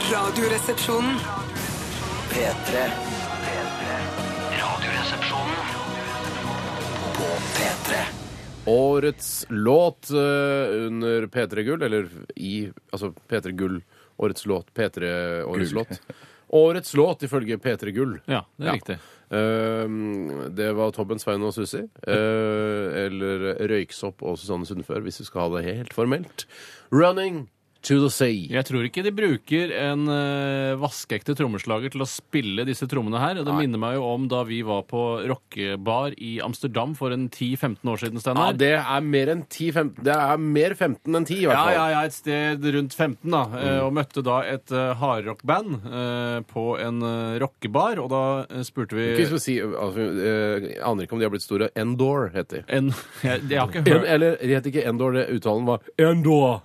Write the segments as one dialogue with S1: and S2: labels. S1: Radioresepsjonen.
S2: P3. Radioresepsjonen på P3.
S3: Årets låt eh, under P3 Gull, eller i Altså P3 Gull, årets låt, P3 Årets
S4: Gull.
S3: låt. Årets låt ifølge P3 Gull.
S4: Ja, det er riktig.
S3: Eh, det var Tobben, Svein og Susi. eh, eller Røyksopp og Susanne Sundfør, hvis vi skal ha det helt formelt. Running to the sea.
S4: Jeg tror ikke de bruker en eh, vaskeekte trommeslager til å spille disse trommene her. Det minner meg jo om da vi var på rockebar i Amsterdam for en 10-15 år siden,
S3: Ja,
S4: Steinar.
S3: det er mer enn 10-15 Det er mer 15 enn 10, i hvert
S4: Ja,
S3: fall. Mm.
S4: ja, ja, et sted rundt 15, da. eh, Og møtte da et eh, hardrockband eh, på en eh, rockebar, og da eh, spurte vi
S3: Ikke skal vi si, altså, eh, jeg aner ikke om de har blitt store. Endor heter de.
S4: en, jeg, jeg har ikke
S3: En,
S4: hørt
S3: eller det het ikke Endor, det uttalen var Endor.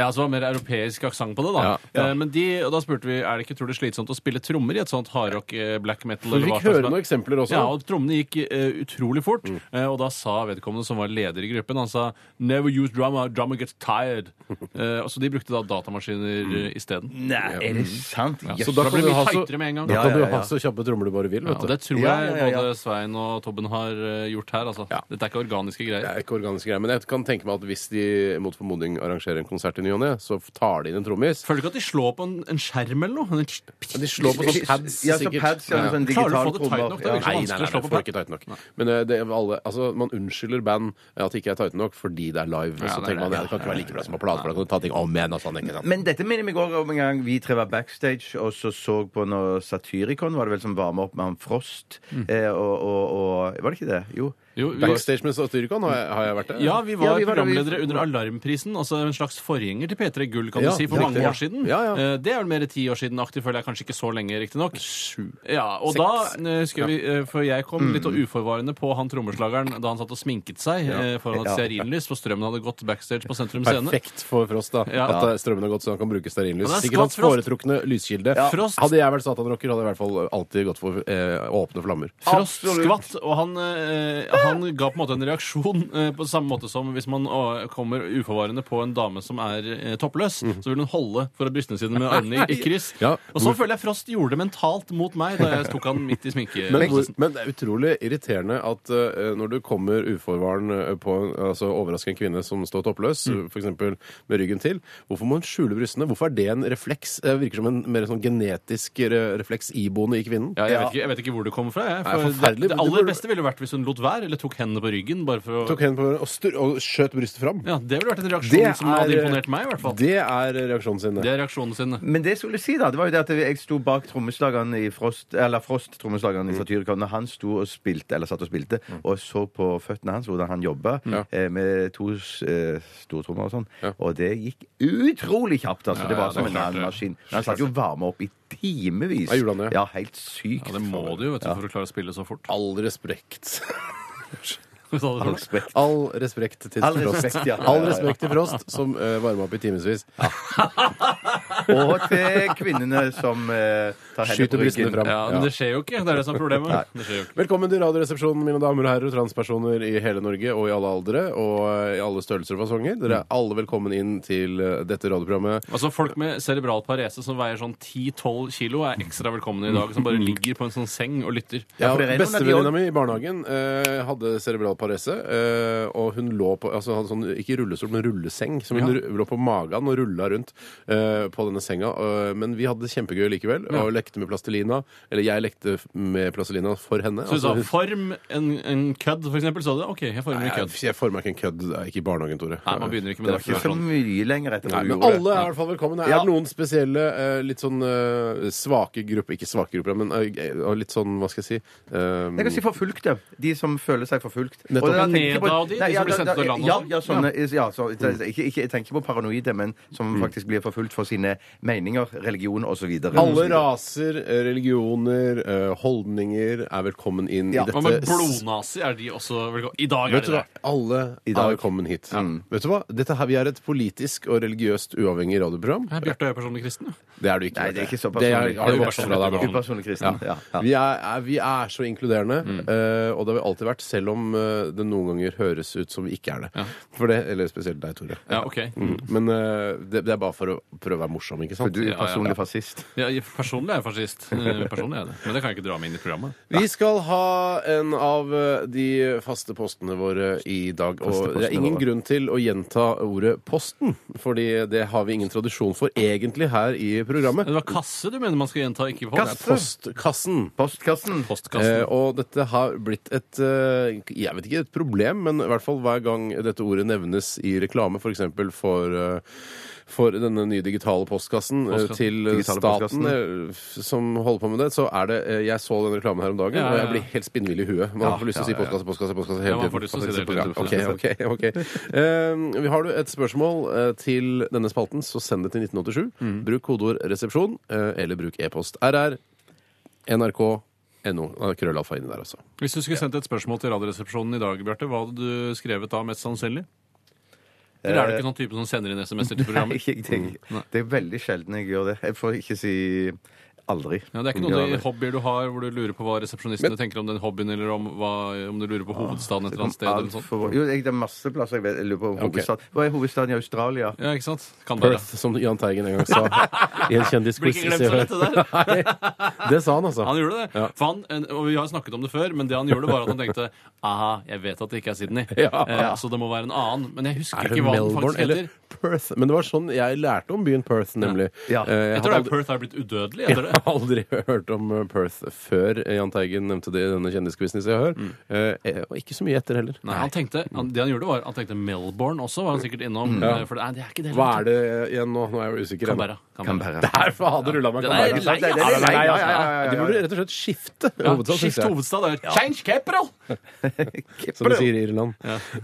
S4: Ja, så det var mer europeisk aksent på det, da.
S3: Ja, ja.
S4: Eh, Men de, og da spurte vi er det ikke tror du det er slitsomt å spille trommer i et sånt hardrock, eh, black metal
S3: Vi
S4: eller hva
S3: fikk
S4: slags
S3: høre
S4: band?
S3: noen eksempler også.
S4: Ja, og trommene gikk eh, utrolig fort. Eh, og da sa vedkommende som var leder i gruppen, han sa 'Never use drama, drama gets tired'. Eh, og så de brukte da datamaskiner mm. isteden.
S5: Nei, er det sant? Jøss.
S3: så da
S4: Da
S3: kan
S4: blir
S3: du
S4: det
S3: ha
S4: mye
S3: så,
S4: tightere med en gang.
S3: da
S5: Ja,
S3: kan
S5: ja,
S3: du
S5: ja,
S3: ha
S5: ja.
S3: så kjappe trommer du bare vil.
S4: Ja, og
S3: Vet
S4: det
S3: du.
S4: tror jeg
S5: Ja, ja, ja, ja.
S4: både Svein og Tobben har eh, gjort her. altså.
S3: Ja.
S4: Dette er ikke organiske greier.
S3: Det er ikke organiske greier, men jeg kan tenke meg at hvis de mot formodning arrangerer en konsert i ny og ne, så tar de inn en trommis.
S4: Føler du ikke at de slår på en, en skjerm eller noe?
S3: Men De slår på sånn pads,
S5: Ja, så
S3: sikkert.
S5: pads, ja, med sånn
S4: Klarer du å
S5: digital
S4: få det tight nok, da?
S5: trommer,
S3: Nei, nei,
S5: ja.
S3: nei,
S4: vanskelig å slå
S3: det
S4: på
S3: får ikke tight nok. Men eh, det, er alle, altså, man unnskylder band at de ikke er tight nok fordi det er live.
S4: Ja,
S3: så
S4: det er
S3: tenker man
S4: det.
S3: ja, det kan ikke være like bra som på plate, for da kan du ta ting om igjen. og sånn, ikke sant?
S5: Men dette minner meg også om en gang vi tre var backstage og så så på noe Satyricon, var det vel som varma opp med han Frost,
S4: Mm.
S5: eh, og, og, og Var det ikke det? Jo.
S4: Jo, jo.
S3: Backstage med Satyricon har jeg, har jeg vært der.
S4: Ja, vi var,
S5: Ja, vi var da vi-
S4: programledere under Alarmprisen, altså en slags forgjenger til P3 Gull, kan
S3: Ja,
S4: du si, for
S3: riktig,
S4: mange
S3: ja.
S4: år siden.
S3: Ja, ja.
S4: Eh, Det er vel mer ti år siden aktig, føler jeg kanskje ikke så lenge, riktignok. Ja, og
S3: Seks.
S4: da eh, husker vi, eh, for jeg kom litt uforvarende på han trommeslageren da han satt og sminket seg eh, foran et
S5: Ja.
S4: stearinlys, for strømmen hadde gått backstage på Sentrum Scene.
S3: Perfekt for Frost, da.
S4: Ja.
S3: At eh, strømmen har gått, så han kan bruke
S4: Men
S3: stearinlys.
S4: det er
S3: Sikkert hans
S4: skvatt Frost.
S3: foretrukne lyskilde.
S4: Ja. Frost.
S3: Hadde jeg vært satanrocker, hadde jeg i hvert fall alltid gått for eh, åpne flammer.
S4: Frost
S5: Absolutt.
S4: skvatt, og han, eh, han ga på en måte en reaksjon eh, på samme måte som hvis man å, kommer uforvarende på en dame som er eh, toppløs, så vil hun holde foran brystene sine med armene i, i kryss.
S3: Ja.
S4: Og så føler jeg Frost gjorde det mentalt mot meg da jeg tok han midt i
S3: Men, hvor,
S4: sminkeprosessen.
S3: men det er utrolig irriterende at eh, når du kommer uforvarende på en- altså overrasker en kvinne som står toppløs,
S4: Mm.
S3: for f.eks. med ryggen til, hvorfor må hun skjule brystene? Hvorfor er det en refleks? Det virker som en mer sånn genetisk re- refleks iboende i kvinnen.
S4: Ja, jeg, vet ikke, jeg vet ikke hvor det kommer fra. Jeg.
S3: Nei,
S4: For
S3: forferdelig.
S4: det, det
S3: Du
S4: aller
S3: burde-
S4: beste ville vært hvis hun lot være, eller tok hendene på ryggen. bare for å...
S3: Tok hendene på hverandre og, styr- og skjøt brystet fram.
S4: Ja, Det ville vært en reaksjon
S3: Det
S4: som hadde
S3: er-
S4: imponert meg. i hvert fall. Det,
S3: Det er reaksjonen sin.
S4: er reaksjonen sin.
S5: Men det jeg skulle si, da, det var jo det at jeg sto bak trommeslageren i Frost, eller Frost, trommeslageren
S3: Mm.
S5: i Satyricon, og han sto og spilte, eller satt og spilte, og så på føttene hans hvordan han jobba eh, med to eh, stortrommer og sånn, og det gikk utrolig kjapt, altså. det
S4: ja,
S5: var
S4: det
S5: som
S4: er
S5: en
S4: klart det.
S5: annen maskin. Men han satt jo varme opp i timevis.
S3: Ja, gjorde han det?
S5: Ja, helt sykt.
S4: Ja, Det må du jo vet du, for å klare å spille så fort.
S3: All respekt.
S4: All
S3: All respekt til
S5: All
S3: Frost.
S5: respekt, ja.
S3: All respekt til Frost, som uh, varma opp i timevis.
S5: Og til kvinnene som eh, tar hendene
S3: Skyter
S5: på
S3: brystene
S5: ryggen.
S3: fram.
S4: Ja, men det skjer jo ikke. Det er det som er problemet. Det skjer jo ikke.
S3: Velkommen til Radioresepsjonen, mine damer og herrer, transpersoner i hele Norge og i alle aldre og eh, i alle størrelser og fasonger. Dere er alle velkommen inn til eh, dette radioprogrammet.
S4: Altså Folk med cerebral parese som veier sånn 10-12 kilo, er ekstra velkomne i dag. Som bare ligger på en sånn seng og lytter.
S3: Ja,
S5: for det er noen av de
S3: Bestevenninna
S5: også-
S3: mi i barnehagen eh, hadde cerebral parese, eh, og hun lå på altså, hadde sånn, Ikke rullestol, men rulleseng. Som hun ru- lå på magen og rulla rundt eh, på denne senga. eh, men vi hadde det kjempegøy likevel, og lekte med plastelina. Eller jeg lekte f- med plastelina for henne.
S4: Så du sa
S3: Altså, hun-
S4: 'form en, en kødd', for eksempel. Så du det? OK, jeg former en
S3: Nei,
S4: kødd.
S3: jeg, jeg former ikke en kødd. Det er ikke i barnehagen, Tore.
S4: Nei, man begynner ikke
S5: Det
S4: med
S5: var
S4: det. sånn.
S5: ikke så mye lenger etter
S3: Nei,
S5: at du
S3: men
S5: gjorde
S3: alle er i hvert fall velkommen. Er
S5: Ja.
S3: det noen spesielle, eh, litt sånn eh, svake grupper Ikke svake grupper, men eh, og litt sånn, hva skal jeg si eh,
S5: Jeg kan si forfulgte. De som føler seg forfulgt.
S3: Nettopp.
S5: da tenker jeg på-
S4: Neda og de, de
S5: Nei,
S4: som
S5: ja,
S4: blir
S5: da-
S4: sendt
S5: da-
S4: til land og
S5: Ja,
S4: sånn.
S5: ja, sånne, ja så, ikke, ikke, jeg tenker på paranoide, men som faktisk blir forfulgt for sine meninger, religion osv.
S3: Alle raser, eh, religioner, eh, holdninger er velkommen inn
S5: Ja.
S3: i
S4: Hva med
S3: dette
S4: blodnazi? Er de også velkommen? I dag
S3: Vet
S4: er
S3: du
S4: de
S3: hva?
S4: det.
S3: Alle er
S5: dag.
S3: velkommen hit. Vet du hva? Dette her, Vi er et politisk og religiøst uavhengig radioprogram.
S4: Jeg er Bjarte Høie personlig kristen, jo.
S3: Det er du ikke.
S5: Nei, det er ikke
S3: Det
S5: så personlig.
S3: er, har
S4: Det
S3: du
S4: er
S3: vokst fra deg, Bjarte.
S5: Upersonlig kristen. Ja. Ja. Mm.
S3: Vi, er, er, vi er så inkluderende, eh, og det har vi alltid vært, selv om eh, det noen ganger høres ut som vi ikke er det. For det eller spesielt deg, Tore.
S4: Ja, ok.
S3: Mm. Men eh, det, det er bare for å prøve å være morsom, ikke
S5: For
S3: sant?
S5: du er
S4: Ja, ja,
S5: personlig
S4: ja.
S5: fascist.
S4: Ja, jeg- personlig er jeg fascist. Eh, Personlig er jeg det. Men det kan jeg ikke dra meg inn i programmet.
S3: Vi skal ha en av eh, de faste postene våre i dag. Og det er ingen
S5: våre.
S3: grunn til å gjenta ordet 'posten', fordi det har vi ingen tradisjon for egentlig her i programmet.
S4: Det var kasse du mener man skal gjenta, ikke post?
S3: Det er postkassen.
S5: Postkassen.
S4: Postkassen.
S3: Eh, og dette har blitt et eh, jeg vet ikke et problem, men i hvert fall hver gang dette ordet nevnes i reklame, f.eks. For, eksempel for eh, for denne nye digitale postkassen eh,
S4: Postkassen.
S3: til eh,
S5: Digitale
S3: staten eh, som holder på med det, så er det eh, Jeg så den reklamen her om dagen,
S4: Ja, ja,
S3: og
S4: ja.
S3: jeg blir helt spinnvill i huet. Man får lyst til å si postkasse, postkasse, postkasse
S4: Ja,
S3: hele
S4: man
S3: tiden.
S4: får lyst til å si det hele tiden.
S3: Ja, ok, ok, ok. Eh, vi har du et spørsmål eh, til denne spalten, så send det til 1987.
S4: Mm.
S3: Bruk kodeord 'resepsjon', eh, eller bruk e-post. RR nrk.no. Da er Krøllalfa inni der, altså.
S4: Hvis du skulle sendt et spørsmål til Radioresepsjonen i dag, Bjarte, hva hadde du skrevet da, mest sannsynlig? Eller
S3: Eh,
S4: er du ikke sånn type som sender inn SMS-er til
S5: Nei,
S4: programmet?
S5: ikke, jeg tenker- det er veldig sjelden jeg gjør det. Jeg får ikke si aldri.
S4: Ja, det er ikke noen hobbyer du har hvor du lurer på hva resepsjonistene tenker om den hobbyen, eller om, hva, om du lurer på hovedstaden et eller annet sted. Eller noe
S5: Alt
S4: sånt.
S5: for, jo, jeg- det er masse plasser jeg, vet, jeg lurer på. Hovedstaden. Hva er hovedstaden i Australia?
S4: Ja, ikke sant? Kan det,
S3: Perth, som Jahn Teigen en gang sa i en kjendisquiz.
S4: Blir ikke glemt så lett, det
S3: Nei, det sa han, altså.
S4: Han gjorde det.
S3: Ja.
S4: For han, en- og vi har snakket om det før, men det han gjorde, var at han tenkte aha, jeg vet at det ikke er Sydney,
S3: Ja.
S4: eh, så det må være en annen. Men jeg husker
S3: Er det
S4: ikke hva den
S3: Melbourne
S4: faktisk
S3: eller
S4: heter.
S3: Perth? Men det var sånn jeg lærte om byen Perth, nemlig.
S5: Ja.
S3: Eh, Jeg
S4: Jeg
S3: hadde
S4: tror det er
S3: aldri,
S4: Perth er blitt udødelig
S3: jeg
S4: etter det.
S3: har aldri hørt om eh, Perth før eh, Jahn Teigen nevnte det i denne kjendisquizen i Se og Hør. Eh, Og ikke så mye etter heller.
S4: Mm. Nei, han tenkte, han, det han gjorde var, han tenkte Melbourne også, var han sikkert innom. eh, For det, nei, det er ikke det.
S3: Mm. Hva er det igjen nå? Nå er jeg usikker. igjen.
S4: Canberra. Canberra.
S5: Canberra.
S3: Det er fader rulla meg
S4: Den er
S3: Canberra.
S4: lei,
S5: Det er- det er-
S4: ja, den er lei,
S5: ja,
S4: altså.
S5: ja, ja, ja, ja.
S3: De burde rett og slett skifte
S4: Ja,
S3: hovedstad. synes
S4: Skift
S3: jeg.
S4: hovedstad. det er Change capital!
S3: Som de sier i Irland.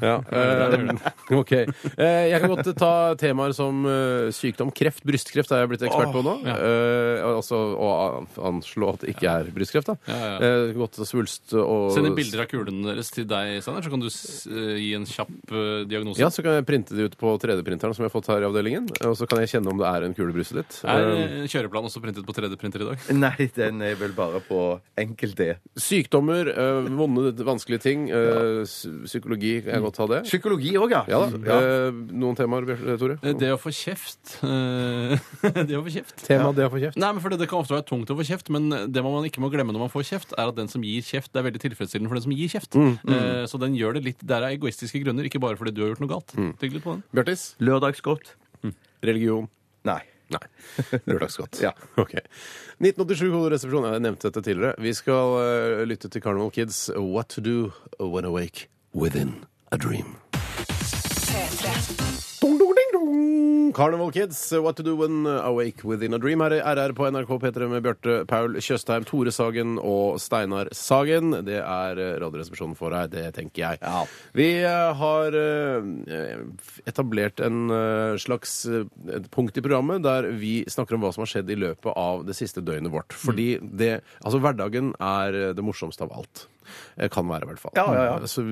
S3: Ja. eh, ok. Eh, jeg kan godt ta temaer som eh, sykdom, kreft, brystkreft er jeg blitt ekspert på nå. Eh, altså å an- anslå at det ikke er brystkreft, da.
S4: Ja, ja.
S3: Eh, godt svulst og
S4: Send inn bilder av kulene deres til deg, Sander, så kan du s eh, gi en kjapp eh, diagnose.
S3: Ja, så kan jeg printe det ut på 3D-printeren som jeg har fått her i avdelingen. eh, Og så kan jeg kjenne om det er en kule i brystet ditt.
S4: Er
S3: Eh,
S4: eh, kjøreplanen også printet på 3D-printer i dag?
S5: Nei, den er vel bare på enkel-D.
S3: sykdommer, eh, vonde, vanskelige ting. eh, s- psykologi, kan jeg godt ta det?
S5: Psykologi òg, ja.
S3: Ja da.
S5: Ja.
S3: Eh, noen temaer, Bjørn- Tore?
S4: Eh, Det å få kjeft eh, Det å få kjeft
S3: Tema det å få kjeft.
S4: Nei, men fordi Det kan ofte være tungt å få kjeft, men det man ikke må glemme når man får kjeft, er at den som gir kjeft, det er veldig tilfredsstillende for den som gir kjeft.
S3: Mm.
S4: Eh, så den gjør det litt Der er egoistiske grunner, ikke bare fordi du har gjort noe galt.
S3: Mm.
S4: Tygg litt på den.
S3: Bjørtis?
S5: Lørdagsgodt?
S3: Religion?
S5: Nei.
S3: Nei. Lørdagsgodt.
S5: Ja.
S3: Ok. 1987 Kodoresepsjon. Jeg nevnte dette tidligere. Vi skal eh, lytte til Carnival Kids' What to do when awake within a dream. Dong, dong, ding, dong. Carnival Kids, What to do when awake within a dream. Her er RR på NRK P3 med Bjarte Paul Tjøstheim, Tore Sagen og Steinar Sagen. Det er eh, Radioresepsjonen for deg, det tenker jeg.
S5: Ja.
S3: Vi eh, har eh, etablert en eh, slags eh, et punkt i programmet der vi snakker om hva som har skjedd i løpet av det siste døgnet vårt. Fordi det, altså hverdagen er eh, det morsomste av alt. Eh, Kan være, i hvert fall. Mm.
S5: Ja, ja, ja.
S3: Så,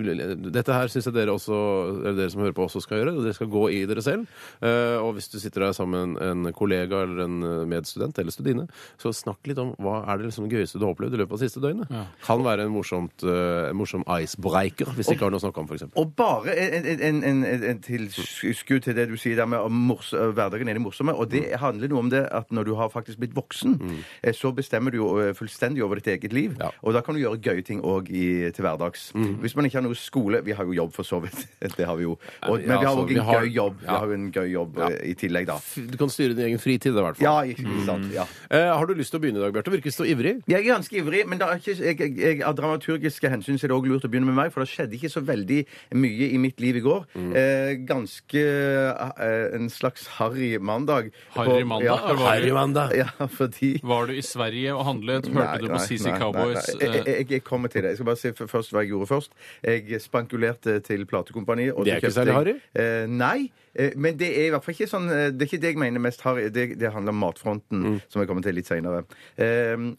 S3: dette her syns jeg dere også eller dere som hører på, også skal gjøre. Dere skal gå i dere selv. Eh, og hvis du sitter der sammen med en en kollega eller en eh, medstudent eller studine, så snakk litt om hva er det liksom gøyeste du har opplevd i løpet av det siste døgnet. Kan være en morsomt, eh, en morsom icebreaker, hvis ikke har noe å snakke om, f.eks.
S5: Og bare en, en, en, en, en- en tilskudd til det du sier der med om mors, øh, hverdagen er det morsomme. Og det handler noe om det at når du har faktisk blitt voksen, eh, så bestemmer du jo øh, fullstendig over ditt eget liv.
S3: Ja.
S5: Og da kan du gjøre gøye ting òg til hverdags. Hvis man ikke har noe skole Vi har jo jobb, for så vidt. Det har vi jo.
S3: Ja,
S5: Og, men vi har
S3: altså,
S5: òg
S3: vi
S5: en
S3: har-
S5: gøy jobb.
S3: ja.
S5: Vi har jo en gøy jobb
S3: Ja.
S5: eh, i tillegg, da.
S3: Du kan styre din egen fritid, i hvert fall.
S5: Ja, ikke sant. Ja.
S3: Eh, har du lyst til å begynne i dag, Bjarte? Virker så ivrig.
S5: Jeg er ganske ivrig, men det er ikke, jeg, jeg, jeg, av dramaturgiske hensyn så er det også lurt å begynne med meg, for det skjedde ikke så veldig mye i mitt liv i går.
S4: Mm.
S5: Eh, ganske eh, en slags harry mandag.
S4: Harry
S5: På-
S4: mandag?
S5: Ja,
S4: Var, du-
S5: ja, fordi
S4: var du i Sverige og handlet? Hørte
S5: Nei,
S4: du på
S5: nei,
S4: CC
S5: nei, nei,
S4: Cowboys?
S5: nei. Jeg,
S4: eh,
S5: jeg, jeg kommer til det. Jeg skal bare si f- først hva jeg gjorde først. Jeg spankulerte til platekompaniet. og
S3: Det
S5: så
S3: er ikke
S5: kjøpte
S3: særlig
S5: jeg- Eh, nei, eh, men det er i hvert fall ikke sånn eh, Det er ikke det jeg mener mest harry. Det, det handler om matfronten,
S3: Mm.
S5: som jeg kommer til litt seinere.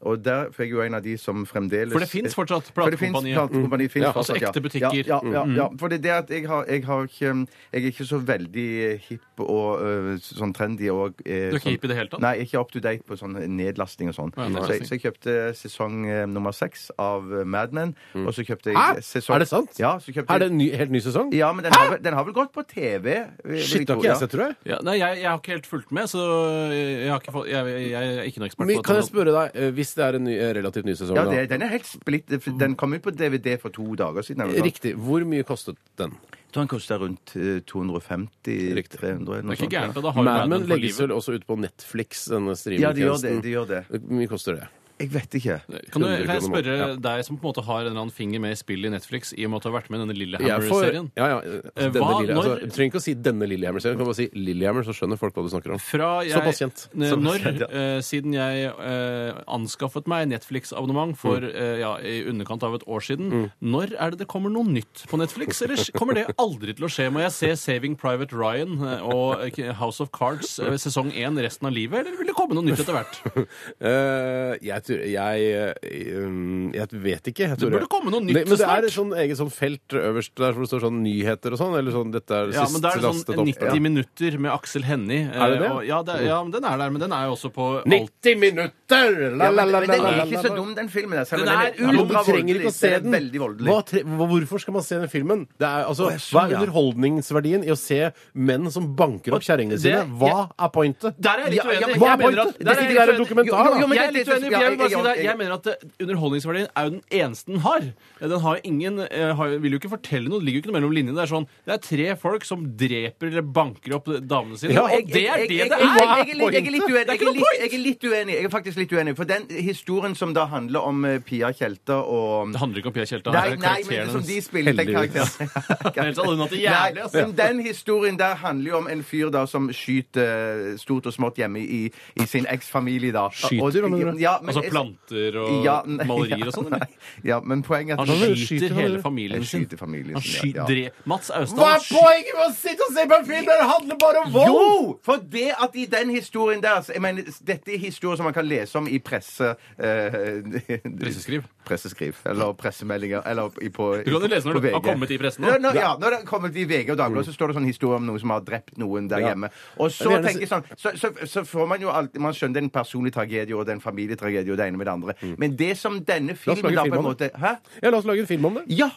S5: og der for jeg er jo en av de som fremdeles
S4: For det finnes fortsatt
S5: For det finnes
S4: platekompanier.
S5: platekompanier, finnes
S4: Ja, altså
S5: fortsatt, ja.
S4: ekte butikker. Mm.
S5: Ja, ja, ja, ja. For det er det at jeg har, jeg har ikke Jeg er ikke så veldig hipp og øh, sånn trendy og eh,
S4: Du er ikke
S5: sånn-
S4: hipp i det hele tatt?
S5: Nei, jeg er ikke up to date på sånn nedlasting og sånn.
S4: Ja, nedlasting.
S5: så, jeg, så jeg kjøpte sesong eh, nummer øh, seks av Mad Batman.
S4: Mm.
S5: Og så kjøpte jeg
S3: Hæ?
S5: sesong-
S3: Er det sant?
S5: Ja, så kjøpte
S3: Er det
S5: jeg
S3: en ny, helt ny sesong?
S5: ja, men den har, vel- den har vel gått på TV? vil
S3: Shit, det har
S5: tro,
S3: ikke
S5: ja.
S3: jeg sett, tror jeg.
S4: Ja, nei, jeg, jeg har ikke helt fulgt med, så jeg, har ikke fått, jeg, jeg, jeg er ikke noen ekspert
S3: Men
S4: på
S3: kan jeg
S4: dette.
S3: spørre deg, eh, hvis det er en ny, eh, relativt ny sesong
S5: Ja,
S3: da.
S5: det, den er helt splitt. øh, Den kom ut på DVD for to dager siden. eller noe sånt.
S3: Riktig. Hvor mye kostet den?
S5: Jeg tror den koster rundt eh, 250
S3: Riktig.
S5: 300 eller
S4: Det
S5: noe
S4: er ikke
S5: sånt.
S4: gærent, da. Da har jo
S3: Madman
S4: verden for
S3: legges
S4: livet.
S3: vel også ut på Netflix, denne
S5: Ja, de gjør det.
S3: streamingtjenesten.
S5: de gjør det.
S3: Hvor mye koster det?
S5: Jeg vet ikke.
S4: Kan, du,
S3: 100
S4: kan jeg
S3: kroner
S4: spørre
S3: måneden.
S4: deg som på en måte har en eller annen finger med i spillet i Netflix, i og med at du har vært med i denne
S3: Jeg får-
S4: Lillehammer-serien?
S3: ja, ja, denne
S4: hva-
S3: lille,
S4: når-
S3: altså, du trenger ikke å si 'denne Lillehammer-serien'. Du kan bare si 'Lillehammer', så skjønner folk hva du snakker om.
S4: Fra jeg,
S3: Såpass kjent.
S4: N-
S5: Såpass
S4: Når,
S5: kjent, ja.
S4: eh, siden jeg eh, anskaffet meg Netflix-abonnement for
S3: Mm.
S4: eh, ja, i underkant av et år siden, når er det det kommer noe nytt på Netflix? Eller s- kommer det aldri til å skje? Må jeg se Saving Private Ryan eh, og eh, House of Cards eh, sesong 1 resten av livet, eller vil det komme noe nytt etter hvert?
S3: Eh, jeg, tror, jeg, eh, um, jeg vet ikke. Jeg tror
S4: burde
S3: jeg-
S4: komme noe nytt
S3: Det, men det
S4: snart.
S3: er et sånn eget sånn felt øverst der hvor det står sånn nyheter og sånn. Eller sånn 'dette er
S4: Ja,
S3: sist
S4: men da er det
S3: lastet
S4: sånn
S3: opp'.
S4: 90 minutter med Aksel Hennie. eh,
S3: Er det Mm. det?
S4: og- Ja, det, ja, men den er der, men den er jo også på
S3: Ja.
S4: alt.
S3: 90 minutter! La,
S5: Ja,
S3: la,
S5: men,
S3: la,
S5: men den
S3: la,
S5: er
S3: la,
S5: ikke
S3: la,
S5: så
S3: la.
S5: dum, den filmen. Der, selv om
S4: Den
S5: den
S4: er
S5: er
S4: ultra
S3: Ja, men du
S5: ultra
S3: trenger ikke å
S5: voldelig.
S3: se
S5: Den
S3: den.
S5: er veldig voldelig.
S3: Hva tre hva- hvorfor skal man se den filmen? Det er, altså,
S5: Å, jeg
S3: hva
S5: skjønner,
S3: er
S5: ja.
S3: underholdningsverdien i å se menn som banker opp kjerringene sine?
S4: det-
S3: Hva er pointet?
S4: Der er jeg litt
S5: Ja, ja,
S4: uenig.
S5: men
S3: Hva
S4: Jeg
S3: er
S4: mener
S3: pointet?
S4: at-
S3: Det
S4: der er
S3: ikke
S4: jeg
S3: det er
S4: litt
S3: en
S4: uenig.
S3: dokumentar!
S5: Jo, jo,
S3: da.
S4: jeg
S5: men
S4: er litt uenig,
S5: det-
S4: for jeg vil bare si
S5: ja,
S4: det.
S5: ja, ja.
S4: Jeg mener at eh, underholdningsverdien er jo den eneste den har. Eh, Den har jo ingen, eh, har, vil jo ikke fortelle noe, det ligger jo ikke noe mellom linjene. Det er sånn, det er tre folk som dreper eller banker opp damene sine,
S3: Ja,
S4: og det er det det
S5: Jeg, jeg,
S4: er!
S5: jeg, jeg, jeg, er litt uenig.
S4: Det er ikke
S5: Jeg er
S4: noe
S5: litt,
S4: point!
S5: jeg er litt uenig. Jeg er faktisk litt uenig. For den historien som da handler om eh, Pia Tjelta og
S4: Det handler ikke om Pia Tjelta.
S5: Nei,
S4: det er
S5: nei, men
S4: karakteren
S5: som de
S4: hennes.
S5: spiller den
S3: Heldigvis.
S5: karakteren.
S4: Ellers hadde hun hatt det
S5: Nei,
S4: jævlig, altså. ass.
S5: men den historien der handler jo om en fyr da som skyter eh, stort og smått hjemme i, i sin eksfamilie. da.
S3: Skyter,
S5: Og-
S3: hva mener du?
S5: Ja, men-
S4: Altså planter og
S5: Ja, nei,
S4: malerier og sånn, eller?
S5: nei. Ja, men poenget er
S4: Han
S5: at
S3: skyter
S4: skyter
S3: han, eller?
S4: hele familien
S5: Jeg
S4: sin.
S5: skyter familien
S4: Han
S5: sin, ja,
S4: skyter dre- Mats
S3: Hva er
S4: Austdal
S3: poenget med å sitte og se på en film der det handler bare om vold?!
S5: Jo! For det at i den historien der så- jeg mener, Dette er historier som man kan lese om i presse... eh,
S4: Presseskriv.
S5: Presseskriv. Eller pressemeldinger. Eller i- på
S4: Du kan jo lese når
S5: på
S4: det har
S5: VG.
S4: kommet i pressen nå.
S5: Ja, nå- ja, når det har kommet i VG og Dagbladet, så står det sånn historie om noen som har drept noen der
S3: Ja.
S5: hjemme. Og
S3: Jeg vil
S5: så
S3: gjerne
S5: tenker jeg sånn så, så, så får man jo alltid Man skjønner en personlig tragedie og den familietragedie og det ene med det andre.
S4: Mm.
S5: Men det som denne
S3: lage
S5: filmen da på
S3: film
S5: en
S3: om
S5: måte Hæ?
S3: Ja, la oss lage en film om det.
S5: Ja!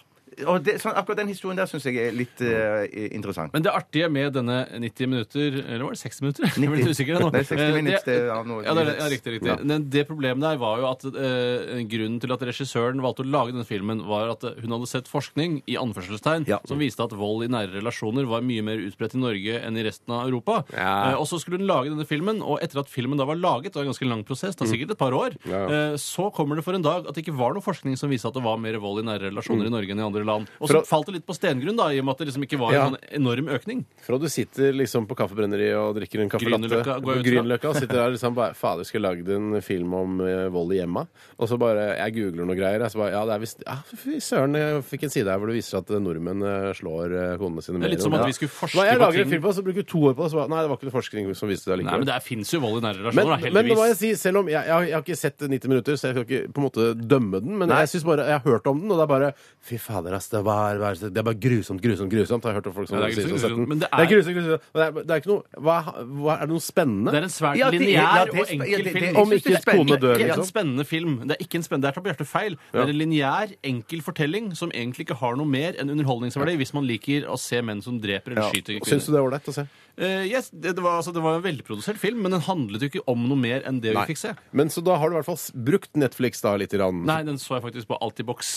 S5: Og det, sånn, akkurat den historien der syns jeg er litt eh, interessant.
S4: Men det artige med denne 90 minutter Eller var det 60 minutter? Jeg blir
S5: 90.
S4: litt usikker nå.
S5: Nei, 60
S4: Eh,
S5: minutes, det er noe-
S4: ja, det er, ja, riktig, riktig.
S5: Ja.
S4: Men det problemet der var jo at eh, grunnen til at regissøren valgte å lage denne filmen, var at hun hadde sett forskning i anførselstegn
S5: Ja.
S4: som viste at vold i nære relasjoner var mye mer utbredt i Norge enn i resten av Europa.
S3: Ja.
S4: Eh, og så skulle hun lage denne filmen, og etter at filmen da var laget, det var en ganske lang prosess, det er sikkert et par år,
S3: Mm. Ja, ja.
S4: eh, så kommer det for en dag at det ikke var noe forskning som viste at det var mer vold i nære relasjoner i Norge enn i andre land. Og
S3: Mm. For
S4: så
S3: å-
S4: falt det litt på stengrunn, da, i og med at det liksom ikke var
S3: Ja.
S4: en sånn enorm økning.
S3: Fra du sitter liksom på kaffebrenneriet og drikker en kaffe latte på
S4: Grünerløkka, går jeg ut fra.
S3: Grünerløkka, og sitter der liksom bare Fader, skulle lagd en film om eh, vold i hjemma. Og så bare Jeg googler noe greier. Jeg så bare, ja, det er visst ja, Fy søren, jeg fikk en side her hvor det viser seg at eh, nordmenn eh, slår eh, konene sine
S4: Det er litt
S3: mer
S4: som
S3: enn- Ja.
S4: at vi skulle forske
S3: Hva jeg
S4: på
S3: lager
S4: ting.
S3: en film på, så bruker du to år på det, så bare Nei, det var ikke noe forskning som viste det
S4: Nei, men
S3: allikevel.
S4: det er- finnes jo vold i nære
S3: Men,
S4: relasjoner, da,
S3: men det må jeg
S4: heldigvis.
S3: si, selv om jeg, jeg, har- jeg har ikke sett 90 minutter, så jeg skal ikke på en måte dømme den, men
S5: Nei.
S3: jeg synes bare, jeg har hørt om den, og det er bare Fy fader, ass, det, var, var- det er bare grusomt, grusomt, grusomt. Jeg har hørt om folk som
S4: Ja, det er
S3: sier som
S4: grusomt,
S3: har sett den.
S4: men det er-
S3: det er grusomt, grusomt. Og Det er, det er ikke noe hva, hva, Er det noe spennende?
S4: Det er en svært
S5: Ja, det er- ja,
S4: lineær
S5: det er
S4: og
S5: spe- ja,
S4: enkel
S5: det- det-
S4: film.
S3: Om
S5: jeg synes det er
S3: ikke kone dør,
S5: spennende.
S4: Det er ikke
S3: liksom.
S4: en spennende film. Det er ikke en spennende, det er tar Bjarte feil.
S3: Ja.
S4: Det er en lineær, enkel fortelling som egentlig ikke har noe mer enn underholdningsverdi, hvis man liker å se menn som dreper eller skyter
S3: Syns
S4: kvinner.
S3: du det er ålreit å se?
S4: Eh, yes, det, det, var, altså, det var en velprodusert film, men den handlet jo ikke om noe mer enn det vi fikk se.
S3: Men så da har du i hvert fall s- brukt Netflix da litt. Grann.
S4: Nei, den så jeg faktisk på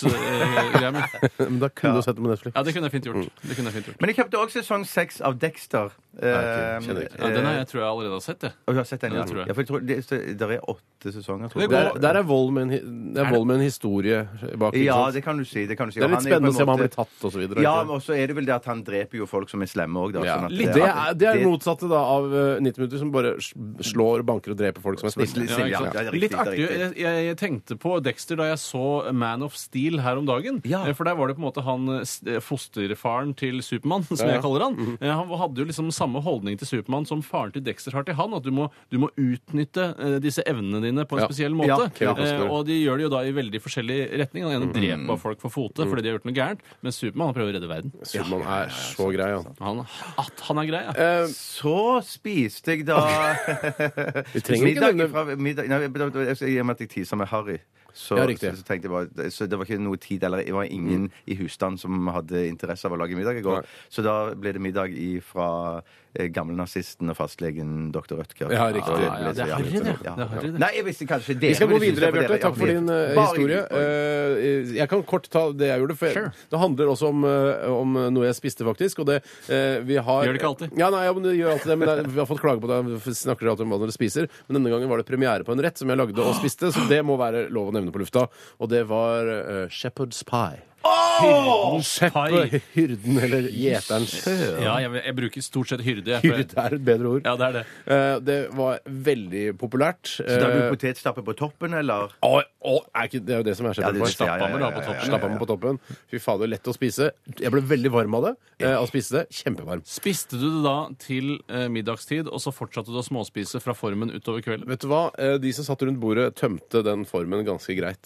S4: Altibox-greia mi.
S3: Men da kunne du sett det på Netflix.
S4: Ja, det kunne jeg fint gjort. Det kunne jeg fint gjort.
S5: Men jeg kjøpte også sesong seks av Dexter. Eh,
S3: ok, kjenner jeg ikke.
S4: Ja, den har jeg tror jeg allerede har sett, jeg.
S5: Og du har sett den?
S4: Ja,
S5: Ja,
S4: det tror jeg.
S5: Ja, for jeg tror det, det der er åtte sesonger, tror
S4: Det
S5: jeg.
S3: Det er, der er vold med en, hi- det er vold med en historie bak. ikke
S5: Ja,
S3: sant?
S5: det kan du si. Det, kan du si.
S3: det er
S5: Og
S3: litt
S5: han jo på
S3: spennende
S5: en
S3: å se om han
S5: måte-
S3: blir tatt og så videre.
S5: Ja,
S3: ikke sant?
S5: men også er det vel det at han dreper jo folk som er slemme òg, da.
S3: Ja.
S5: sånn at-
S3: Litt- Det er det er det motsatte da av eh, 90 minutter, som bare s- slår, banker og dreper folk som er
S5: Snill-
S3: snille.
S5: snill,
S4: Ja,
S5: ja.
S4: ikke sant?
S5: Det er riktig,
S4: Litt
S5: det er
S4: artig. Jeg,
S5: riktig.
S4: jeg tenkte på Dexter da jeg så Man of Steel her om dagen.
S5: Ja.
S4: Eh, For der var det på en måte han eh, s- eh, fosterfaren til Supermann, som
S3: Ja, ja.
S4: jeg kaller han. Eh, Han hadde jo liksom samme holdning til Supermann som faren til Dexter har til han. At du må, du må utnytte eh, disse evnene dine på en
S3: Ja.
S4: spesiell
S5: Ja,
S4: måte.
S3: Kevin
S4: Eh,
S3: Costner.
S4: Og de gjør det jo da i veldig forskjellig retning. Han ene dreper folk for fote fordi de har gjort noe gærent, mens Supermann han prøver å redde verden.
S3: Supermann er så grei, han.
S4: Han, at han er grei, ja.
S3: Eh,
S5: Så spiste jeg da
S3: vi trenger ikke
S5: middag
S3: nevne
S5: fra middag, nei, jeg- jeg- jeg- I og med at jeg teaser med Harry Så,
S3: Ja, riktig.
S5: så, så tenkte jeg bare Så det var ikke noe tid eller Det var ingen i husstand som hadde interesse av å lage middag i går.
S3: Nei.
S5: Så da ble det middag i fra eh, gammelnazisten og fastlegen dr. Rødtger.
S3: Ja, riktig.
S5: Og
S4: Ja, ja, det er
S5: ble så-
S4: harry, det. Det er
S5: Ja.
S4: harry, det.
S5: Nei, jeg visste kanskje det.
S3: Vi skal
S5: men
S3: gå
S5: jeg
S3: videre,
S5: synes det var
S3: Bjarte.
S5: dere-
S3: Takk for
S5: Ja,
S3: din eh,
S5: bare
S3: historie.
S5: hyggelig.
S3: Eh, jeg kan kort ta det jeg gjorde. For
S4: Sure.
S3: Det handler også om, eh, om noe jeg spiste, faktisk. Og det eh, vi har
S4: Gjør det ikke alltid?
S3: Ja, nei, ja, men det gjør alltid det. Men det er, vi har fått klage på det. Vi snakker alltid om hva dere spiser. Men denne gangen var det premiere på en rett som jeg lagde og spiste, så det må være lov å nevne på lufta. Og det var eh, shepherd's pie.
S4: Hyrdens pai.
S3: Hyrden eller gjeterens
S4: Ja, jeg, jeg bruker stort sett hyrde. jeg, for-
S3: Hyrde er et bedre ord.
S4: Ja, det er det.
S3: Eh, det var veldig populært.
S5: Så da
S3: Eh,
S5: er du potetstappe på toppen, eller?
S3: Å, å, er ikke, det er jo det som er skjedd.
S5: Ja, det-
S3: etterpå.
S4: Stappa med da på toppen.
S3: Stappa den på toppen. Fy fader, lett å spise. Jeg ble veldig varm av det. Eh, av å spise det. Kjempevarm.
S4: Spiste du det da til eh, middagstid, og så fortsatte du å småspise fra formen utover kvelden?
S3: Vet du hva? Eh, De som satt rundt bordet, tømte den formen ganske greit.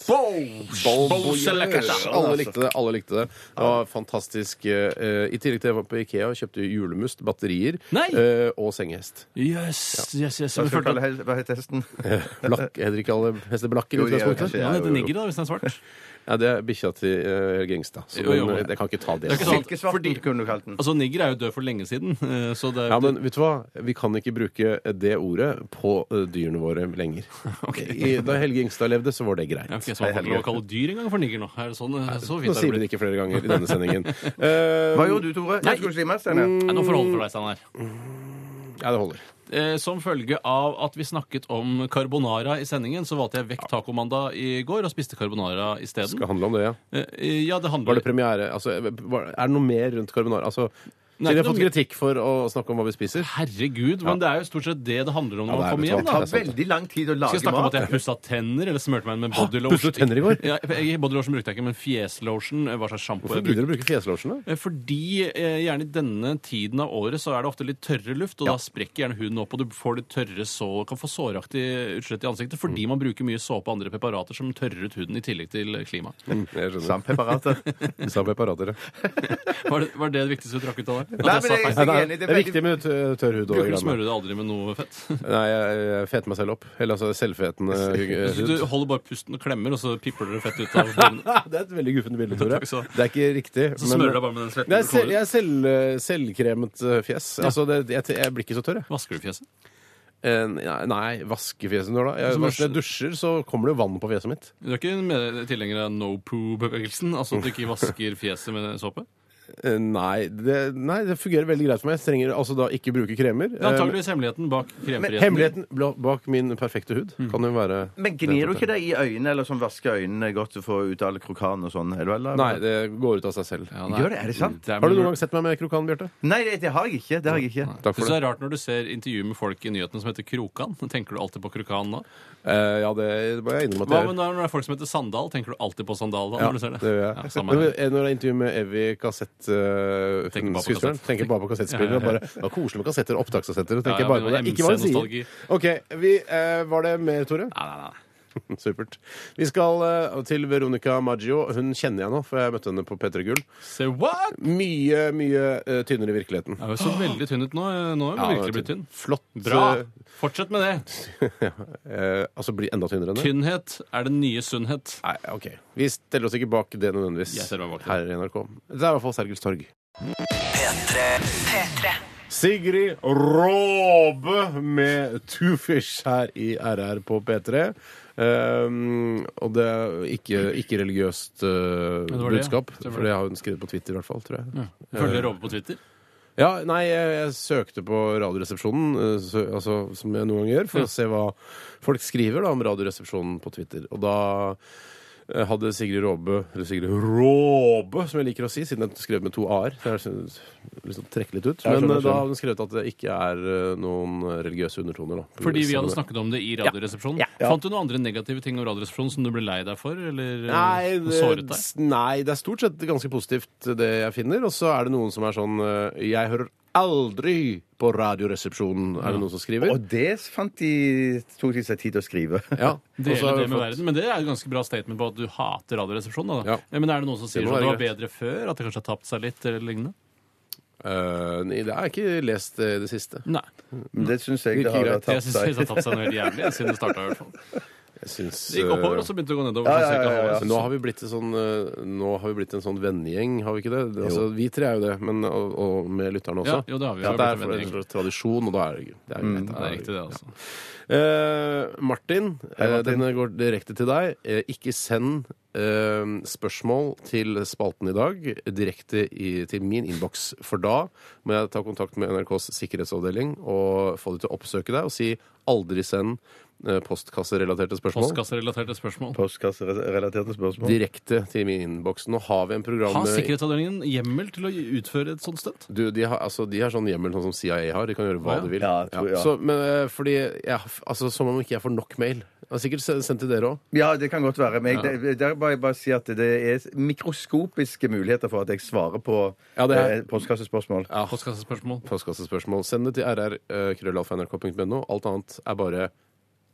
S3: Alle likte det. alle likte Det Det var fantastisk. eh, I tillegg til jeg var på Ikea og kjøpte julemust, batterier
S4: Nei!
S3: eh, og sengehest.
S4: Yes, yes, yes.
S5: Hva
S4: Men
S5: skal vi
S4: følte
S5: kalle
S4: at
S5: hel- hva heter hesten?
S3: Blakk, heter ikke alle hester blakk i
S5: Jo, de er jo
S3: utgangspunktet?
S5: kanskje-
S4: ja, det
S5: Jo,
S4: heter
S5: jo, jo.
S4: nigger, da, hvis den er svart.
S3: Ja, det er bikkja til eh, Helge Engstad. Så
S4: Jo, jo,
S3: den,
S4: men-
S3: eh, jeg kan ikke ta det.
S4: Det er ikke sånn at-
S5: Silkesvarten
S4: fordi-
S5: kunne du kalt den.
S4: Altså, Nigger er jo død for lenge siden, eh, så det er
S3: Ja, men vet du hva? Vi kan ikke bruke det ordet på eh, dyrene våre lenger. I, da Helge Ingstad levde, så var det greit.
S4: Ja, ok, så man får ikke lov å kalle dyr engang for nigger nå? Er det sånn? eh, Så
S3: Nå
S4: fint
S3: sier
S4: er
S3: vi
S4: det
S3: det ikke flere ganger i denne sendingen.
S5: Hva
S3: Eh,
S5: gjorde du, Tore? Jeg skulle slimme, Steinar.
S4: blitt. Nei, Nå får du holde for deg, Steinar.
S3: ja, det holder.
S4: Eh, Som følge av at vi snakket om carbonara i sendingen, så valgte jeg vekk tacomandag i går og spiste carbonara isteden.
S3: Skal handle om det, ja.
S4: Eh, Ja, det
S3: Var
S4: handler
S3: det premiere? Altså, var, er det noe mer rundt carbonara? Altså,
S4: Nei,
S3: siden vi har
S4: ikke
S3: fått
S4: noe-
S3: kritikk for å snakke om hva vi spiser.
S4: Herregud, men det er jo stort sett det det handler om når
S3: Ja,
S4: man
S3: det
S4: kommer
S3: er
S4: hjem,
S3: det
S4: da.
S5: Det tar veldig lang tid å
S4: Skal jeg
S5: lage
S4: snakke om at
S5: mat.
S4: jeg pussa tenner, eller smurte meg med bodylotion?
S3: pusset du tenner i går?
S4: Ja, jeg- jeg- bodylotion brukte jeg ikke, men fjeslotion, eh, hva slags sjampo
S3: Hvorfor
S4: jeg brukte.
S3: gidder du å bruke fjeslosjen, da?
S4: Eh, Fordi eh, gjerne i denne tiden av året så er det ofte litt tørre luft, og da sprekker gjerne huden opp, og du får litt tørre sår, kan få såraktig utslett i ansiktet
S3: Mm.
S4: fordi man bruker mye såpe og andre preparater som tørrer ut huden i tillegg til klimaet.
S3: Mm, jeg skjønner.
S5: Samt preparater.
S3: Samme preparater, ja.
S4: Var det var det, det viktigste du trakk ut av det?
S5: Nei,
S4: At
S5: men
S4: jeg
S5: jeg-
S4: satt
S3: Nei,
S4: der?
S3: det, er,
S5: enig, det er
S3: det er
S5: veldig-
S3: viktig med eh, tørr hud. og
S4: Bruker du å
S3: greiene.
S4: smøre deg aldri med noe fett?
S3: Nei, jeg, jeg feter meg selv opp. Eller altså selvfetende eh,
S4: Du
S3: hud.
S4: du holder bare pusten og klemmer, og så pipler det fett ut av munnen.
S3: Det er et veldig guffent bilde, Tore.
S4: Takk skal du ha.
S3: Det er ikke riktig. eh,
S4: Så smører du deg bare med den svetten
S3: Det er
S4: du får
S3: selv, jeg er selv, selvkremet eh, fjes. Altså, det, jeg, jeg blir ikke så tørr, jeg.
S4: Vasker du fjeset?
S3: Eh, Nei, nei vaske fjeset når da?
S4: Så
S3: Jeg,
S4: når-
S3: når jeg dusjer, så kommer det jo vann på fjeset mitt.
S4: Du er ikke en med- tilhenger av no poo-bevegelsen? Altså at du ikke vasker fjeset med såpe?
S3: Eh, Nei det, nei, det fungerer veldig greit for meg. Jeg trenger altså da ikke bruke kremer.
S4: Det er antageligvis hemmeligheten bak
S3: Eh,
S4: kremfriheten.
S3: Hemmeligheten bla- bak min perfekte hud
S4: Mm.
S3: kan jo være
S5: Men gnir du ikke deg i øynene, eller sånn vasker øynene godt for å få ut alle krokan og sånn? Eller, eller?
S3: Nei, det går ut av seg selv.
S4: Ja, nei.
S5: Gjør det? Er det sant?
S4: er-
S3: Har du noen gang sett meg med krokan, Bjarte?
S5: Nei, det, det har jeg ikke. Det har jeg ikke.
S3: Takk for
S4: Synes det
S3: det.
S4: er rart når du ser intervju med folk i nyhetene som heter Krokan. Tenker du alltid på Krokan da?
S3: Eh, Ja, det må jeg innrømme at
S4: Hva
S3: jeg gjør.
S4: med når det er folk som heter Sandal? Tenker du alltid på Sandal da?
S3: Ja,
S4: når du ser det?
S3: det gjør jeg.
S4: Ja, samme
S3: Men
S4: her.
S3: eh, når det er intervju med Evy Kassett eh,
S4: Tenker bare på
S3: skuespilleren,
S4: kassett.
S3: tenker bare på kassettspillere. og bare, Det var koselig med kassetter, opptakskassetter. og
S4: Ja,
S3: tenker
S4: ja,
S3: bare
S4: men
S3: på det. Ikke hva hun
S4: MC-nostalgi.
S3: sier. OK. Vi, eh, var det mer, Tore?
S4: Nei, nei, nei.
S3: Supert. Vi skal eh, til Veronica Maggio. Hun kjenner jeg nå, for jeg møtte henne på P3 Gull.
S4: Se what?
S3: Mye, mye eh, tynnere i virkeligheten.
S4: Jeg er jo så veldig tynn ut nå. Nå
S3: Ja,
S4: er
S3: hun
S4: jeg
S3: er
S4: virkelig blitt tynn.
S3: Flott.
S4: Bra! Fortsett med det.
S3: eh, altså bli enda tynnere enn det.
S4: Tynnhet er den nye sunnhet.
S3: Nei, ok. Vi stiller oss ikke bak det nødvendigvis
S4: Jeg stiller meg bak det.
S3: her i NRK. Det er i hvert fall Sergels torg.
S2: P3
S3: Sigrid Råbe med Two Fish her i RR på P3. Um, og det er ikke, ikke religiøst uh,
S4: det var det,
S3: budskap,
S4: ja. Det var
S3: for det har hun skrevet på Twitter i hvert fall, tror jeg. Ja,
S4: Følger
S3: Eh.
S4: Robbe på Twitter?
S3: nei, jeg, jeg søkte på Radioresepsjonen, uh, sø, altså, som jeg noen ganger gjør, for å se hva folk skriver da, om Radioresepsjonen på Twitter. Og da eh, hadde Sigrid Råbe, eller Sigrid Råbe, som jeg liker å si, siden jeg skrev med to a-er. så jeg synes- Liksom trekke litt ut. Men
S5: skjønner,
S3: eh, da
S5: skjønner.
S3: har hun skrevet at det ikke er eh, noen religiøse undertoner. Da,
S4: Fordi vi hadde snakket om det i Radioresepsjonen. Fant du noen andre negative ting om Radioresepsjonen som du ble lei deg for? Eller eh,
S3: Nei
S4: såret
S3: det, altså,
S4: deg?
S3: nei, det er stort sett ganske positivt eh, det jeg finner. Og så er det noen som er sånn eh, Jeg hører aldri på Radioresepsjonen, er det noen som skriver.
S5: Og det fant de, tok de seg tid til å skrive.
S3: Ja. og
S4: Det
S3: så har
S4: gjelder
S3: vi
S4: det med
S3: fått-
S4: verden, men det er et ganske bra statement på at du hater Radioresepsjonen. Da.
S3: Ja.
S4: Eh, Men er det noen som sier
S3: må
S4: at
S3: være
S4: det var bedre før? At det kanskje har tapt seg litt? eller lignende?
S3: Eh, nei, det er ikke lest eh, det siste.
S4: Nei.
S5: Men Det syns jeg det
S3: Virker
S5: har
S3: greit.
S5: tatt
S4: Jeg syns det
S5: seg.
S4: har tatt seg noe helt jævlig siden det starta.
S3: Jeg syns
S4: Det gikk oppover, og så begynte det å gå nedover. sånn
S5: ja,
S4: cirka
S5: ja, ja, ja.
S4: halvveis.
S3: Men nå har vi blitt, en sånn, eh, nå har vi blitt en sånn vennegjeng, har vi ikke det? det altså, vi tre er jo det, men, og, og med lytterne også.
S4: Ja, jo, det har vi.
S3: Ja,
S4: Vi
S3: det
S4: har
S3: er
S4: blitt en
S3: for,
S4: vennegjeng.
S3: for tradisjon, og da er det, det er greit.
S4: Ja, det er riktig, det, altså.
S3: Eh, Martin, eh,
S5: Martin.
S3: den går direkte til deg. Eh, ikke send eh, spørsmål til spalten i dag direkte i, til min innboks, for da må jeg ta kontakt med NRKs sikkerhetsavdeling og få de til å oppsøke deg og si aldri send eh, postkasserelaterte spørsmål.
S4: Postkasserelaterte spørsmål.
S5: Postkasserelaterte spørsmål.
S3: Direkte til min innboks. Nå har vi en program
S4: Har Sikkerhetsavdelingen hjemmel til å utføre et sånt stunt?
S3: Du, de, har, altså, de har sånn hjemmel sånn som CIA har. De kan gjøre hva
S4: Å, ja.
S3: de vil.
S5: Ja, jeg tror- ja.
S3: Så, men, eh, fordi, ja, f- altså, som om ikke jeg får nok mail. Jeg har sikkert se- sendt til dere òg.
S5: Ja, det kan godt være. Men jeg, der, der må jeg bare si at det er mikroskopiske muligheter for at jeg svarer på
S3: Ja, det er-
S5: eh, postkassespørsmål.
S4: Postkassespørsmål.
S3: Postkassespørsmål. Send det til eh, rr.krøllalfa.nrk.no. Alt annet er bare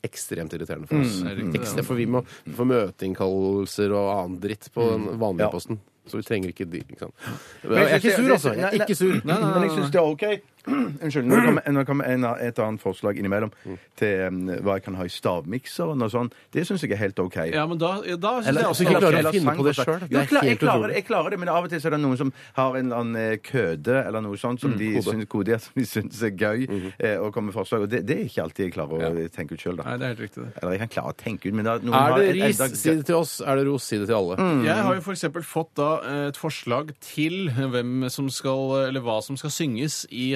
S3: ekstremt irriterende for
S5: Mm,
S3: oss.
S4: det er riktig, det.
S3: Ekstra, for vi må få møteinnkallelser og annen dritt på den vanlige
S5: Mm. Ja.
S3: posten. Så vi trenger ikke de. Ikke sant?
S5: Men
S3: Jeg er ikke
S5: synes
S3: sur,
S5: det-
S3: altså. Jeg
S5: nei,
S3: er
S5: nei.
S3: ikke sur.
S5: Men jeg syns det er OK. Unnskyld. Når det kommer, når det kommer en, et annet forslag innimellom til um, hva jeg kan ha i stavmikseren og sånn, det syns jeg er helt OK.
S4: Ja, men da, da synes
S5: Eller-
S3: altså,
S4: jeg også
S3: ikke
S5: eller-
S3: klarer å
S5: eller
S3: finne
S5: sang
S3: på det
S5: for seg.
S3: selv. Det
S5: Jo,
S3: er
S5: jeg, altså. klar, jeg,
S3: helt
S5: klarer,
S3: utrolig.
S5: jeg klarer det, men av og til så er det noen som har en eller annen eh, køde eller noe sånt som de syns, Mm, kode, ja, som de syns er gøy eh, å komme med forslag. Og det, det er ikke alltid jeg klarer å tenke ut sjøl, da.
S4: Nei, det er helt riktig, det.
S5: Eller jeg kan klare å tenke ut, men da,
S3: Er
S5: noen har Mm.
S3: det
S5: et- et-
S3: ris, si det til oss. Er det ros, si det til alle.
S4: Jeg har jo for eksempel fått da eh, et forslag til hvem som skal, eller hva som skal synges i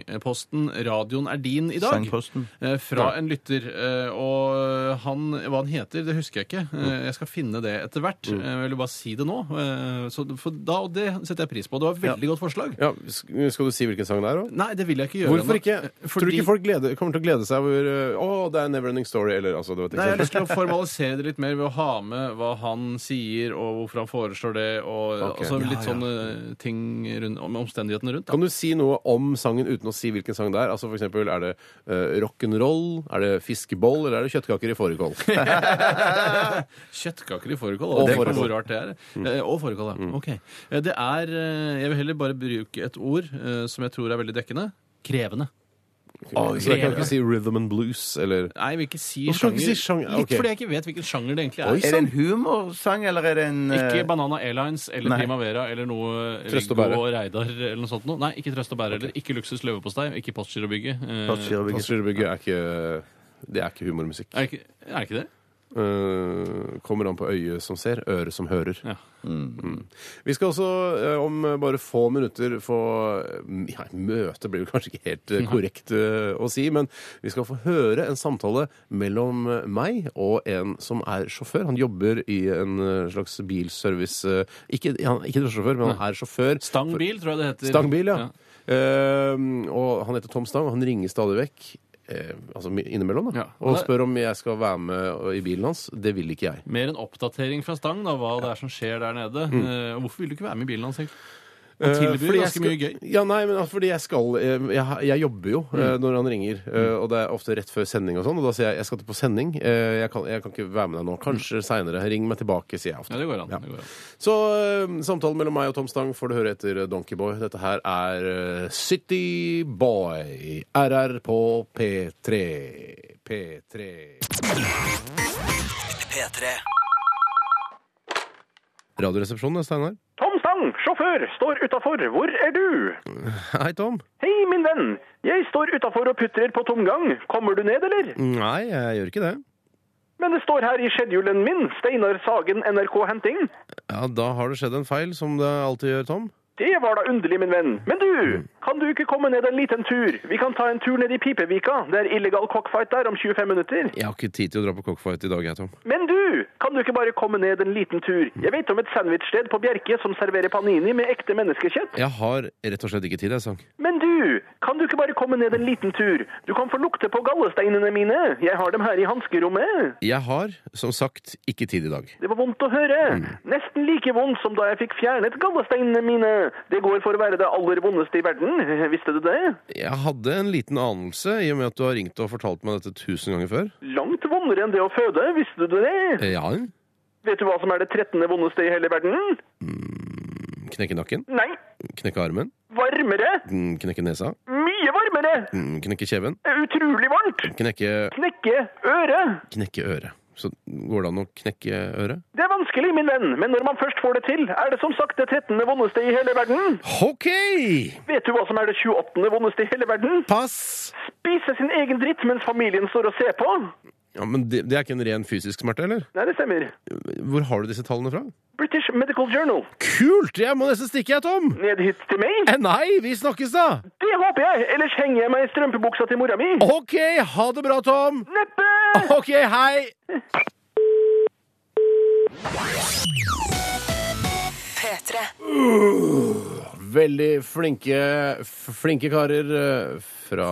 S4: sangposten 'Radioen er din' i dag.
S5: Sangposten.
S4: Eh, Fra en lytter. eh, Og han, hva han heter, det husker jeg ikke.
S3: Mm.
S4: Eh, Jeg skal finne det etter hvert. Eh, Jeg vil bare si det nå. Eh, Så for da, og det setter jeg pris på. Det var et veldig godt forslag.
S3: Ja, sk- skal du si hvilken sang det er òg?
S4: Nei, det vil jeg ikke gjøre.
S3: Hvorfor
S4: nå.
S3: ikke?
S4: Eh,
S3: Tror du ikke folk gleder, kommer til å glede seg over eh, Å, det er en Neverending Story, eller altså det var et
S4: Nei, Jeg har
S3: eksempel.
S4: lyst til å formalisere det litt mer ved å ha med hva han sier, og hvorfor han foreslår det, og
S3: Ok.
S4: altså, litt
S5: Ja, ja.
S4: sånne ting rundt, om omstendighetene rundt. Da.
S3: Kan du si noe om sangen uten å si hvilken sang det er? Altså for eksempel, Er det eh, rock'n'roll, er det fiskeboll, eller er det kjøttkaker i fårikål?
S4: Kjøttkaker i fårikål.
S3: Og
S4: Og
S3: fårikål. Mm.
S4: Hvor rart det er. Eh, Og fårikål, ja. Ok. Eh, Det er eh, Jeg vil heller bare bruke et ord eh, som jeg tror er veldig dekkende. Krevende.
S3: Så jeg kan ikke si rhythm and blues, eller
S4: Nei, jeg vil ikke si
S3: Hvorfor skal du
S4: sjanger.
S3: ikke si sjanger? Ja, ok.
S4: Litt fordi jeg ikke vet hvilken sjanger det egentlig
S3: Oi,
S4: er.
S5: Er det en humorsang, eller er det en eh,
S4: Ikke Banana Airlines eller
S5: Nei.
S4: Primavera eller noe
S3: Trøst og
S4: Viggo
S3: bære.
S4: Reidar eller noe sånt noe. Nei, ikke Trøst og bære heller. Ikke Luksus løvepostei. Ikke Postgirobygget. Eh,
S5: Postgirobygget.
S3: Postgirobygget er ikke det er ikke humormusikk.
S4: Er det ikke, er det ikke det?
S3: Eh, kommer an på øyet som ser, øret som hører.
S4: Ja.
S3: Mm. Vi skal også eh, om bare få minutter få eh, ja, Møte blir jo kanskje ikke helt eh, korrekt eh, å si, men vi skal få høre en samtale mellom eh, meg og en som er sjåfør. Han jobber i en eh, slags bilservice eh, Ikke, han, ikke drosjesjåfør, men han er sjåfør.
S4: Stangbil, tror jeg det heter.
S3: Stangbil, ja. Eh, og han heter Tom Stang, og han ringer stadig vekk. eh, altså innimellom, da.
S4: Ja.
S3: Og spør om jeg skal være med og- i bilen hans. Det vil ikke jeg.
S4: Mer en oppdatering fra Stang, da, hva det er som skjer der nede.
S3: Mm.
S4: Eh, Hvorfor vil du ikke være med i bilen hans, egentlig? Han
S3: Eh,
S4: tilbyr
S3: fordi jeg
S4: ganske
S3: skal-
S4: mye gøy.
S3: Ja, nei, men altså, fordi jeg skal eh, Jeg, ha- jeg jobber jo eh,
S4: Mm.
S3: når han ringer, eh, og det er ofte rett før sending og sånn, og da sier jeg jeg skal til på sending. eh, Jeg kan, jeg kan ikke være med deg nå. Kanskje seinere. Ring meg tilbake, sier jeg ofte.
S4: Ja, det går an.
S3: Ja.
S4: Det går an.
S3: Så eh, samtalen mellom meg og Tom Stang får du høre etter Donkeyboy. Dette her er eh, City Boy. RR på P3. P3.
S2: P3.
S3: Radioresepsjonen, det er Steinar.
S1: Tom Stang, sjåfør, står utafor. Hvor er du?
S3: Hei, Tom.
S1: Hei, min venn. Jeg står utafor og putrer på tomgang. Kommer du ned, eller?
S3: Nei, jeg gjør ikke det.
S1: Men det står her i schedulen min, Steinar Sagen, NRK Henting.
S3: Ja, Da har det skjedd en feil, som det alltid gjør, Tom.
S1: Det var da underlig, min venn. Men du, kan du ikke komme ned en liten tur? Vi kan ta en tur ned i Pipevika. Det er illegal cockfight der om 25 minutter.
S3: Jeg har ikke tid til å dra på cockfight i dag, jeg, Tom.
S1: Men du, kan du ikke bare komme ned en liten tur? Jeg vet om et sandwichsted på Bjerke som serverer panini med ekte menneskekjøtt.
S3: Jeg har rett og slett ikke tid, jeg, Sang.
S1: Men du, kan du ikke bare komme ned en liten tur? Du kan få lukte på gallesteinene mine. Jeg har dem her i hanskerommet.
S3: Jeg har, som sagt, ikke tid i dag.
S1: Det var vondt å høre. Nesten like vondt som da jeg fikk fjernet gallesteinene mine. Det går for å være det aller vondeste i verden. Visste du det?
S3: Jeg hadde en liten anelse, i og med at du har ringt og fortalt meg dette tusen ganger før.
S1: Langt vondere enn det å føde. Visste du det?
S3: Eh, Ja,
S1: Vet du hva som er det 13. vondeste i hele verden?
S3: knekke nakken,
S1: Nei,
S3: knekke armen,
S1: varmere.
S3: mm, knekke nesa,
S1: Mye varmere.
S3: mm, knekke kjeven,
S1: Utrolig varmt.
S3: knekke
S1: Knekke øret.
S3: knekke øret. Så går det an å knekke øret?
S1: Det er vanskelig, min venn, men når man først får det til, er det som sagt det 13. vondeste i hele verden.
S3: OK!
S1: Vet du hva som er det 28. vondeste i hele verden?
S3: Pass!
S1: Spise sin egen dritt mens familien står og ser på.
S3: Ja, men det, det er ikke en ren fysisk smerte, eller?
S1: Nei, det stemmer.
S3: Hvor har du disse tallene fra?
S1: British Medical Journal.
S3: Kult! Jeg må nesten stikke, jeg, Tom!
S1: Ned hit til meg?
S3: Eh, nei, vi snakkes da!
S1: Det håper jeg, ellers henger jeg meg i strømpebuksa til mora mi.
S3: OK, ha det bra, Tom!
S1: Neppe!
S3: OK, hei!
S6: P3.
S3: Veldig flinke, f- flinke karer eh, fra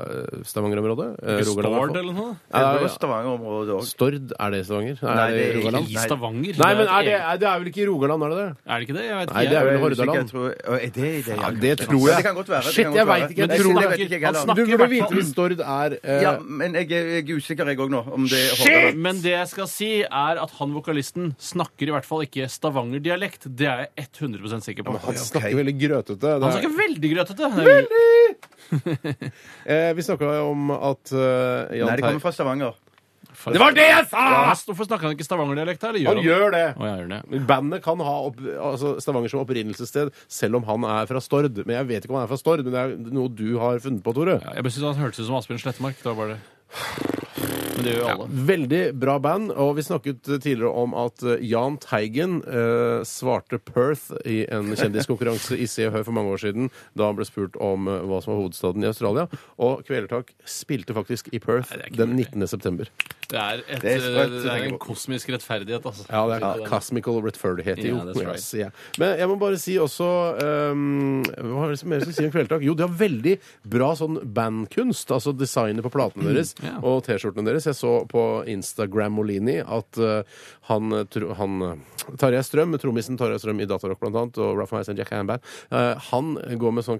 S3: eh, Stavanger-området. eh, Rogaland, i hvert
S4: Stord
S3: fall.
S4: eller noe?
S5: Det
S3: Ja,
S5: var
S3: ja.
S5: Stavanger-området òg.
S3: Stord, er det Stavanger? Er det
S5: Nei, det er ikke
S3: Rogaland?
S4: I Stavanger?
S3: Nei, men er
S4: et
S3: det,
S4: eget-
S3: er, det er vel ikke Rogaland, er det det?
S4: er det ikke det? Jeg vet
S3: Nei,
S4: ikke.
S3: det er vel
S4: jeg.
S3: Hordaland.
S5: Er det det?
S3: Ja, det tror jeg.
S5: Det kan godt være. det
S3: Shit,
S5: kan
S3: jeg vet
S5: godt
S3: ikke, jeg
S5: være. Men
S3: tror
S5: det
S3: det.
S5: vet ikke jeg
S4: Han
S3: Du
S5: heller.
S4: snakker i
S3: burde
S4: hvert
S3: vite
S4: fall-
S3: hvis Stord er eh,
S5: Ja, men jeg er jeg er usikker, jeg òg nå. Om det er Hordaland.
S4: Eh, Men det jeg skal si, er at han vokalisten snakker i hvert fall ikke stavangerdialekt. Det er jeg 100 sikker på.
S3: Han snakker veldig grøtete. Det
S4: Han
S3: er-
S4: snakker veldig grøtete.
S3: Eh, vi snakka jo om at eh, Jan
S5: Nei, det
S3: Terje
S5: kommer fra Stavanger.
S3: Det var det jeg sa!
S4: Hvorfor snakker han ikke stavangerdialekt? da, Eller gjør
S3: Han gjør det.
S4: Å, jeg gjør det.
S3: Men Bandet kan ha opp, altså Stavanger som opprinnelsessted, selv om han er fra Stord. Men jeg vet ikke om han er fra Stord, men det er noe du har funnet på, Tore.
S4: Ja, Jeg bare synes han hørtes ut som Asbjørn Slettemark. Det var bare det. Men det gjør jo alle.
S3: Veldig bra band, og vi snakket tidligere om at eh, Jahn Teigen eh, svarte Perth i en kjendiskonkurranse i Se og Hør for mange år siden, da han ble spurt om eh, hva som var hovedstaden i Australia. Og Kvelertak spilte faktisk i Perth
S4: det er ikke
S3: den 19. september.
S4: Det er, et, eh,
S5: Det er
S4: det
S5: sprøtt,
S4: er,
S5: tenker jeg
S4: en
S5: på.
S4: kosmisk rettferdighet, altså.
S3: Ja, det er Cosmical Retfurdighet.
S4: Ja,
S3: jo.
S4: that's right.
S3: Ja, sier jeg. Men jeg må bare si også ehm, Hva er det som mer jeg skal si om Kvelertak? Jo, de har veldig bra sånn bandkunst. Altså designet på platene deres
S4: Mm, ja.
S3: og T-skjortene deres. Jeg så på Instagram Molini at eh, han, eh, tro- han eh, Tarjei Strøm, trommisen Tarjei Strøm i Datarock blant annet, og Ralph Myers and Jack Hambad, eh, han går med sånn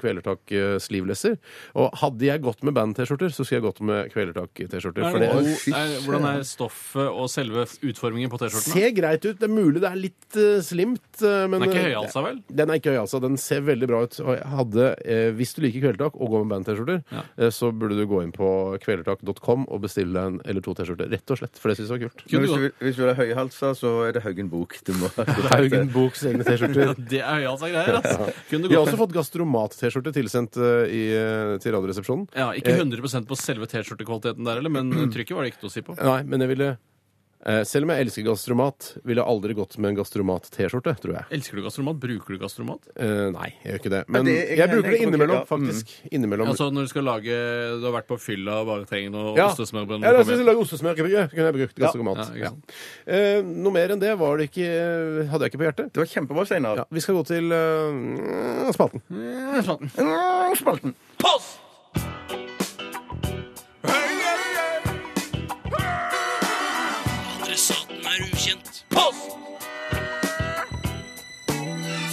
S3: Kvelertak-sleeveleser. Og hadde jeg gått med band-T-skjorter, så skulle jeg gått med Kvelertak-T-skjorter.
S4: Er
S3: for
S4: det
S3: det-
S4: god, er, hvordan er stoffet og selve utformingen på T-skjorten? da?
S3: ser greit ut. Det er mulig det er litt eh, slimt. eh, men,
S4: Den er ikke høyhalsa, vel?
S3: Den er ikke høyhalsa. Den ser veldig bra ut. Og jeg hadde, eh, hvis du liker Kvelertak og går med band-T-skjorter,
S4: Ja.
S3: eh, så burde du gå inn på kvelertak.com og bestille deg en eller to T-skjorter. Rett og slett, for det syns jeg var kult.
S5: Men
S4: Kunne du
S5: hvis, du
S4: godt-
S5: vil, hvis du vil ha høyhalsa, så er det Haugen Bok. Du må,
S3: Haugen Boks egne T-skjorter.
S4: Det er høyhalsa greier, altså. Kunne
S3: Vi
S4: du
S3: har
S4: godt
S3: også fått Gastromat-T-skjorte tilsendt eh, i, eh, til Radioresepsjonen.
S4: ja, Ikke 100 på selve T-skjortekvaliteten der, eller, men trykket var det ikke til å si på.
S3: Nei, men jeg ville eh, Selv om jeg elsker gastromat, ville jeg aldri gått med en gastromat-T-skjorte, tror jeg.
S4: Elsker du gastromat? Bruker du gastromat?
S3: Eh, nei, jeg gjør ikke det. Men
S5: det er-
S3: jeg bruker det
S5: ok,
S3: innimellom,
S5: ja. Mm.
S3: faktisk. Innimellom.
S4: Altså når du skal lage Du har vært på fylla og bare trenger noe
S3: Ja.
S4: ostesmørbrød?
S3: Ja, da skal jeg lage ostesmørbrød. Kunne jeg brukt ganske
S4: Ja,
S3: mat.
S4: ikke
S3: Ja.
S4: sant.
S3: Eh, noe mer enn det var det ikke, eh, hadde jeg ikke på hjertet.
S5: det var kjempebra, Steinar.
S3: Ja, vi skal gå til eh, spalten.
S5: Mm, Spalten.
S2: Adressaten er ukjent. Post!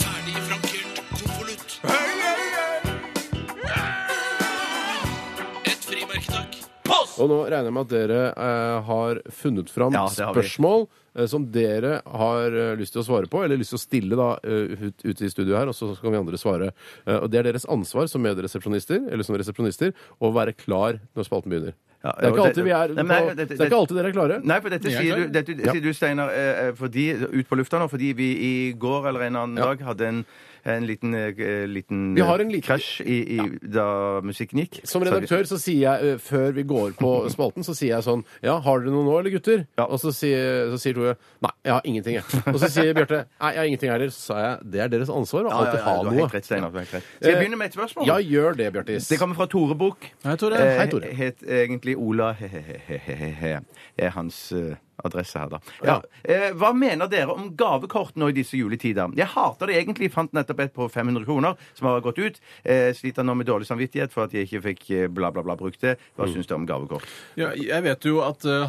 S2: Ferdig frankert konvolutt. Et frimerke, takk. Post!
S3: Og nå regner jeg med at dere eh, har funnet fram
S5: Ja, det har vi.
S3: spørsmål eh, som dere har eh, lyst til å svare på, eller lyst til å stille da eh, ut, ute i studio her, og så kan vi andre svare. Eh, og det er deres ansvar som medresepsjonister, eller som resepsjonister, å være klar når spalten begynner.
S5: Ja,
S3: det er ikke
S5: og det-
S3: alltid vi er
S5: Nei, men-
S3: på, det er ikke alltid dere er klare.
S5: Nei, for dette
S4: Jeg
S5: sier
S4: klarer.
S5: du, dette, sier du Steinar, eh, eh, fordi, ut på lufta nå, fordi vi i går eller en annen dag hadde en, en liten, eh, liten
S3: Vi har en liten-
S5: krasj i, i, da musikken gikk.
S3: Som redaktør så sier jeg, eh, før vi går på spalten, så sier jeg sånn Ja, har dere noe nå, eller gutter? Og så sier, så sier Tore Nei, jeg har ingenting, jeg. Og så sier Bjarte Nei, jeg har ingenting heller. Så sa jeg det er deres ansvar å
S5: Ja, ja,
S3: alltid
S5: ja, du har
S3: ha
S5: helt
S3: noe. Eh,
S5: rett, Steinar. du har helt rett. Skal jeg begynne med et spørsmål?
S3: Ja, gjør det, Bjartis.
S5: Det kommer fra Tore Bukk.
S4: Hei, Tore.
S5: Eh,
S3: Hei, Tore.
S5: Het egentlig Ola he-he-he-he. Er hans eh, adresse her, da. Ja.
S3: Ja.
S5: Eh, hva mener dere om gavekort nå i disse juletider? Jeg hater det egentlig. Fant nettopp et på 500 kroner som har gått ut. Eh, sliter nå med dårlig samvittighet for at jeg ikke fikk eh, bla, bla, bla brukt det. Hva
S3: Mm.
S5: syns dere om gavekort?
S4: Ja, jeg vet jo at eh,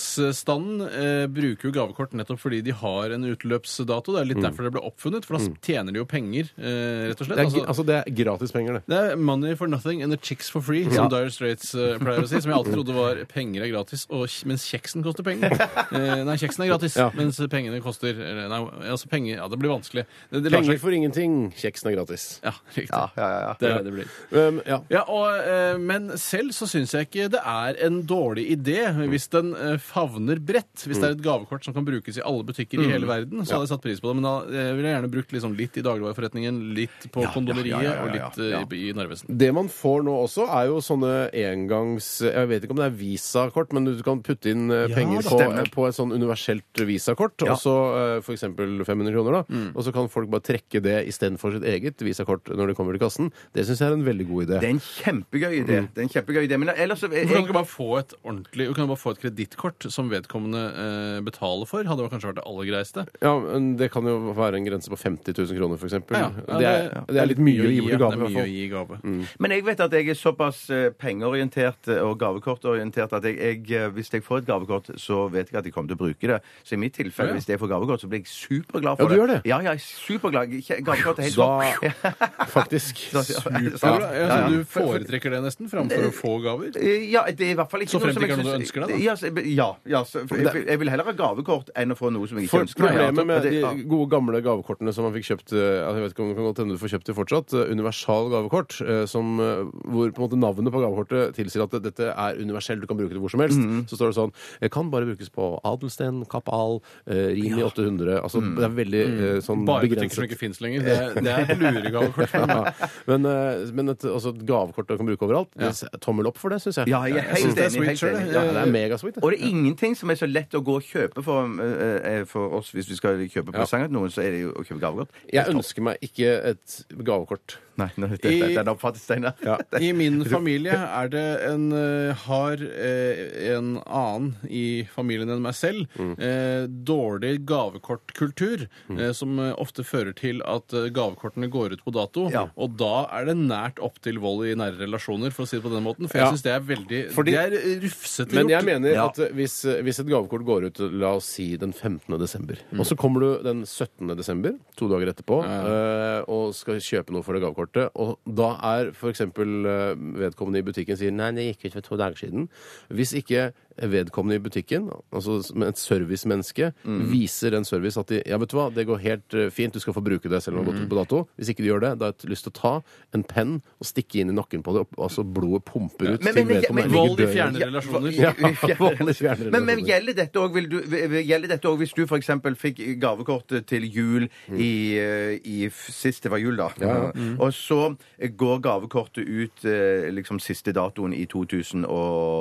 S4: handelsstanden eh, bruker jo gavekort nettopp fordi de har en utløpsdato. Det er litt derfor det ble oppfunnet, for da tjener de jo penger, eh, rett og slett.
S3: Mm. Det er,
S4: altså,
S3: gi- altså, det er gratis penger, det.
S4: det er money for nothing and the chicks for free, som Dire Straits eh, pleier å si. Som jeg alltid trodde var penger er gratis, og, kj- mens kjeksen koster penger. Eh, Nei, kjeksen er gratis,
S3: Ja.
S4: mens pengene koster eller, Nei, altså penger Ja, det blir vanskelig. Det, det lar
S3: Penger
S4: seg-
S3: for ingenting. Kjeksen er gratis.
S4: Ja, riktig.
S5: Ja, ja, ja, ja.
S4: Det er det det blir.
S3: Um, ja.
S4: Ja, og, eh, Men selv så syns jeg ikke det er en dårlig idé hvis den eh, favner bredt. Hvis
S5: Mm.
S4: det er et gavekort som kan brukes i alle butikker i hele verden, så hadde jeg satt pris på det. Men da eh, ville jeg gjerne brukt liksom litt i dagligvareforretningen, litt på kondomeriet
S5: ja, ja, ja, ja,
S4: og litt eh, i i Narvesen.
S3: Det man får nå også, er jo sånne engangs Jeg vet ikke om det er visakort, men du kan putte inn eh, penger på,
S5: stemmer.
S3: på et sånn universelt visakort, og så eh, f.eks. 500 kroner, da. Og så kan folk bare trekke det istedenfor sitt eget visakort når de kommer til kassen. Det syns jeg er en veldig god idé.
S5: Det er en kjempegøy idé.
S3: Mm.
S5: Det er en kjempegøy idé. Men ellers så eh,
S4: Hvorfor kan du ikke bare få et ordentlig Du kan bare få et kredittkort som vedkommende eh, betaler for? Hadde jo kanskje vært det aller greiste.
S3: Ja, men Det kan jo være en grense på 50 000 kroner, f.eks.
S4: Ja, Mm. ja,
S3: det, er-
S4: det-
S3: det er litt mye å gi bort i
S4: ja,
S3: gave.
S4: det
S3: i hvert
S4: er mye
S3: fall. Mm.
S4: å gi i gave.
S5: Men jeg vet at jeg er såpass eh, pengeorientert eh, og gavekortorientert at jeg, jeg, eh, hvis jeg får et gavekort, så vet jeg at jeg kommer til å bruke det. Så i mitt tilfelle,
S4: Ja.
S5: hvis jeg får gavekort, så blir jeg superglad
S3: Ja,
S5: for
S3: du
S5: det.
S3: gjør det.
S5: Ja, ja, jeg er superglad. Ikke- Gavekort er helt topp.
S3: Da Faktisk.
S5: Ja, ja,
S4: Ja,
S5: ja.
S4: ja, så du foretrekker det nesten framfor å få gaver?
S5: Eh, Ja, det er i hvert fall ikke
S4: Så frem til
S5: jeg
S4: ikke er noe du
S5: synes-
S4: ønsker deg, da?
S5: Ja, så- ja, ja så, for, jeg, jeg vil heller ha gavekort enn å få noe som jeg ikke
S3: For
S5: ønsker meg. Ja,
S3: problemet med
S5: det- ja.
S3: de gode gamle gavekortene som man fikk kjøpt eh, Jeg vet ikke om det kan godt hende du får kjøpt det fortsatt. eh, Universal gavekort, eh, som, eh, hvor på en måte navnet på gavekortet tilsier at dette er universell, du kan bruke det hvor som helst.
S5: Mhm.
S3: Så står det sånn eh, Kan bare brukes på Adelsten, Kappal, eh, Rimi 800 Altså
S5: Mhm.
S3: det er veldig eh, sånn
S4: Bare butikker som
S3: begrenset.
S4: ikke fins lenger. Det er, det er et luregavekort.
S3: Ja. Men, eh, men et, altså et gavekort du kan bruke overalt, det- tommel opp for det, syns jeg.
S5: Ja, jeg er helt
S4: det er
S5: enig. Helt
S4: sweet,
S5: enig.
S3: Ja,
S5: Ja,
S3: det er megasweet. det.
S5: Og det er ingenting som er så lett å gå og kjøpe for, eh, eh, for oss hvis vi skal kjøpe presang til noen, så er det jo å kjøpe gavekort.
S3: Jeg ønsker meg ikke et gavekort.
S5: Nei, nå, det, det,
S4: I-
S5: den oppfattes, Steinar.
S4: I min familie er det en eh, har eh, en annen i familien enn meg selv eh, dårlig gavekortkultur, eh, som eh, ofte fører til at eh, gavekortene går ut på dato.
S5: Ja.
S4: Og da er det nært opp til vold i nære relasjoner, for å si det på den måten. For jeg
S3: Ja.
S4: syns det er veldig
S3: Fordi-
S4: Det er rufsete
S3: Men jeg
S4: gjort.
S3: mener
S5: Ja.
S3: at hvis, hvis et gavekort går ut, la oss si den 15. desember, og så kommer du den 17. desember, to dager etterpå, eh, og skal kjøpe noe for det gavekortet, og da er f.eks. vedkommende i butikken sier nei, det gikk ut for to dager siden. Hvis ikke vedkommende i butikken, altså som et servicemenneske, viser en service at de ja, vet du hva, det går helt eh, fint, du skal få bruke det selv om det har gått ut på dato. Hvis ikke de gjør det, da har jeg lyst til å ta en penn og stikke inn i nakken på det, og, altså blodet pumper ut
S5: Men-
S3: til
S5: men- men-
S3: vedkommende.
S5: men-
S3: ligger
S4: Vold i
S3: død
S4: fjerne relasjoner.
S3: ja, vanlig fjernere
S5: Men, men
S3: relasjoner.
S5: gjelder dette òg hvis du f.eks. fikk gavekort til jul i, eh, i f- sist det var jul, da?
S3: Mm.
S5: Og så går gavekortet ut eh, liksom siste datoen i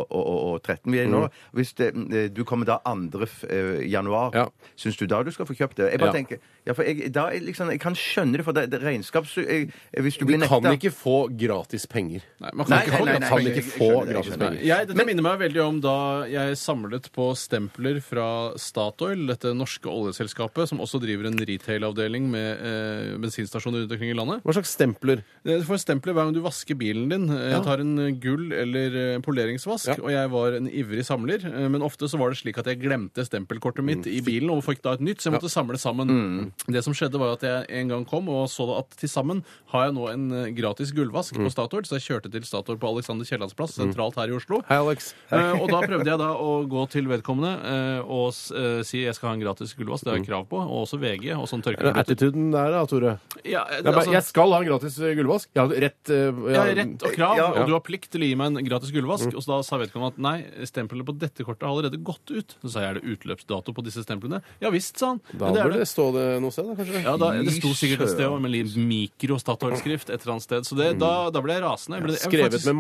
S5: 2013 vi er i
S3: Mm.
S5: nå. Hvis det, eh, du kommer da 2. f- eh, januar,
S3: Ja.
S5: syns du da du skal få kjøpt det? Jeg
S3: Ja.
S5: bare tenker, ja, for jeg, da, er liksom, jeg kan skjønne det, for det, det regnskaps... Jeg, hvis du
S3: Du
S5: blir
S3: kan
S5: nekta
S3: ikke få gratis penger.
S4: Nei, man kan
S5: Nei,
S4: ikke
S5: nei,
S4: holde
S5: nei,
S4: det på
S5: nei,
S3: Kan
S5: jeg-
S3: ikke
S5: jeg
S3: få
S5: skjønner, jeg
S3: gratis
S5: skjønner.
S3: penger.
S4: Jeg, dette minner meg veldig om da jeg samlet på stempler fra Statoil, dette norske oljeselskapet, som også driver en retail-avdeling med eh, bensinstasjoner rundt omkring i landet. Eh,
S3: Hva slags stempler?
S4: Du får stempler hver gang du vasker bilen din. Eh,
S3: Ja.
S4: Tar en eh, gull- eller eh, poleringsvask.
S3: Ja.
S4: Og jeg var en ivrig samler, eh, men ofte så var det slik at jeg glemte stempelkortet mitt
S3: Mm.
S4: i bilen og fikk da et nytt, så jeg måtte samle sammen. Det som skjedde, var at jeg en gang kom og så at til sammen har jeg nå en eh, gratis gullvask
S3: Mm.
S4: på Statoil, så jeg kjørte til Statoil på Alexander Kiellands plass, sentralt her i Oslo.
S3: Hei, Alex.
S4: Eh, og da prøvde jeg da å gå til vedkommende eh, og s- eh, si jeg skal ha en gratis gullvask. Det har jeg krav på. Og også VG og sånn
S3: Er det
S4: tørkeprodukt.
S3: attituden der, da, Tore?
S4: Ja, eh,
S3: Det er bare,
S4: altså,
S3: jeg skal ha en gratis eh, gullvask. Jeg hadde rett eh,
S4: jeg har rett og krav,
S5: Ja.
S4: og du har plikt til å gi meg en gratis
S3: Mm.
S4: gullvask. Og så da sa vedkommende at nei, stempelet på dette kortet har allerede gått ut. Så sa jeg er det utløpsdato på disse stemplene? Ja visst, sa han.
S3: Da
S4: Men det er
S3: burde det
S4: det.
S3: stå det noe sted, da, kanskje?
S4: Ja, da, Det sto sikkert et
S5: Fy
S4: sted også, med litt mikro-Statoil-skrift et eller annet sted. Så det, da, da ble jeg rasende. Jeg ble, jeg
S3: Mm.
S4: ble
S3: Skrevet
S4: faktisk-
S3: med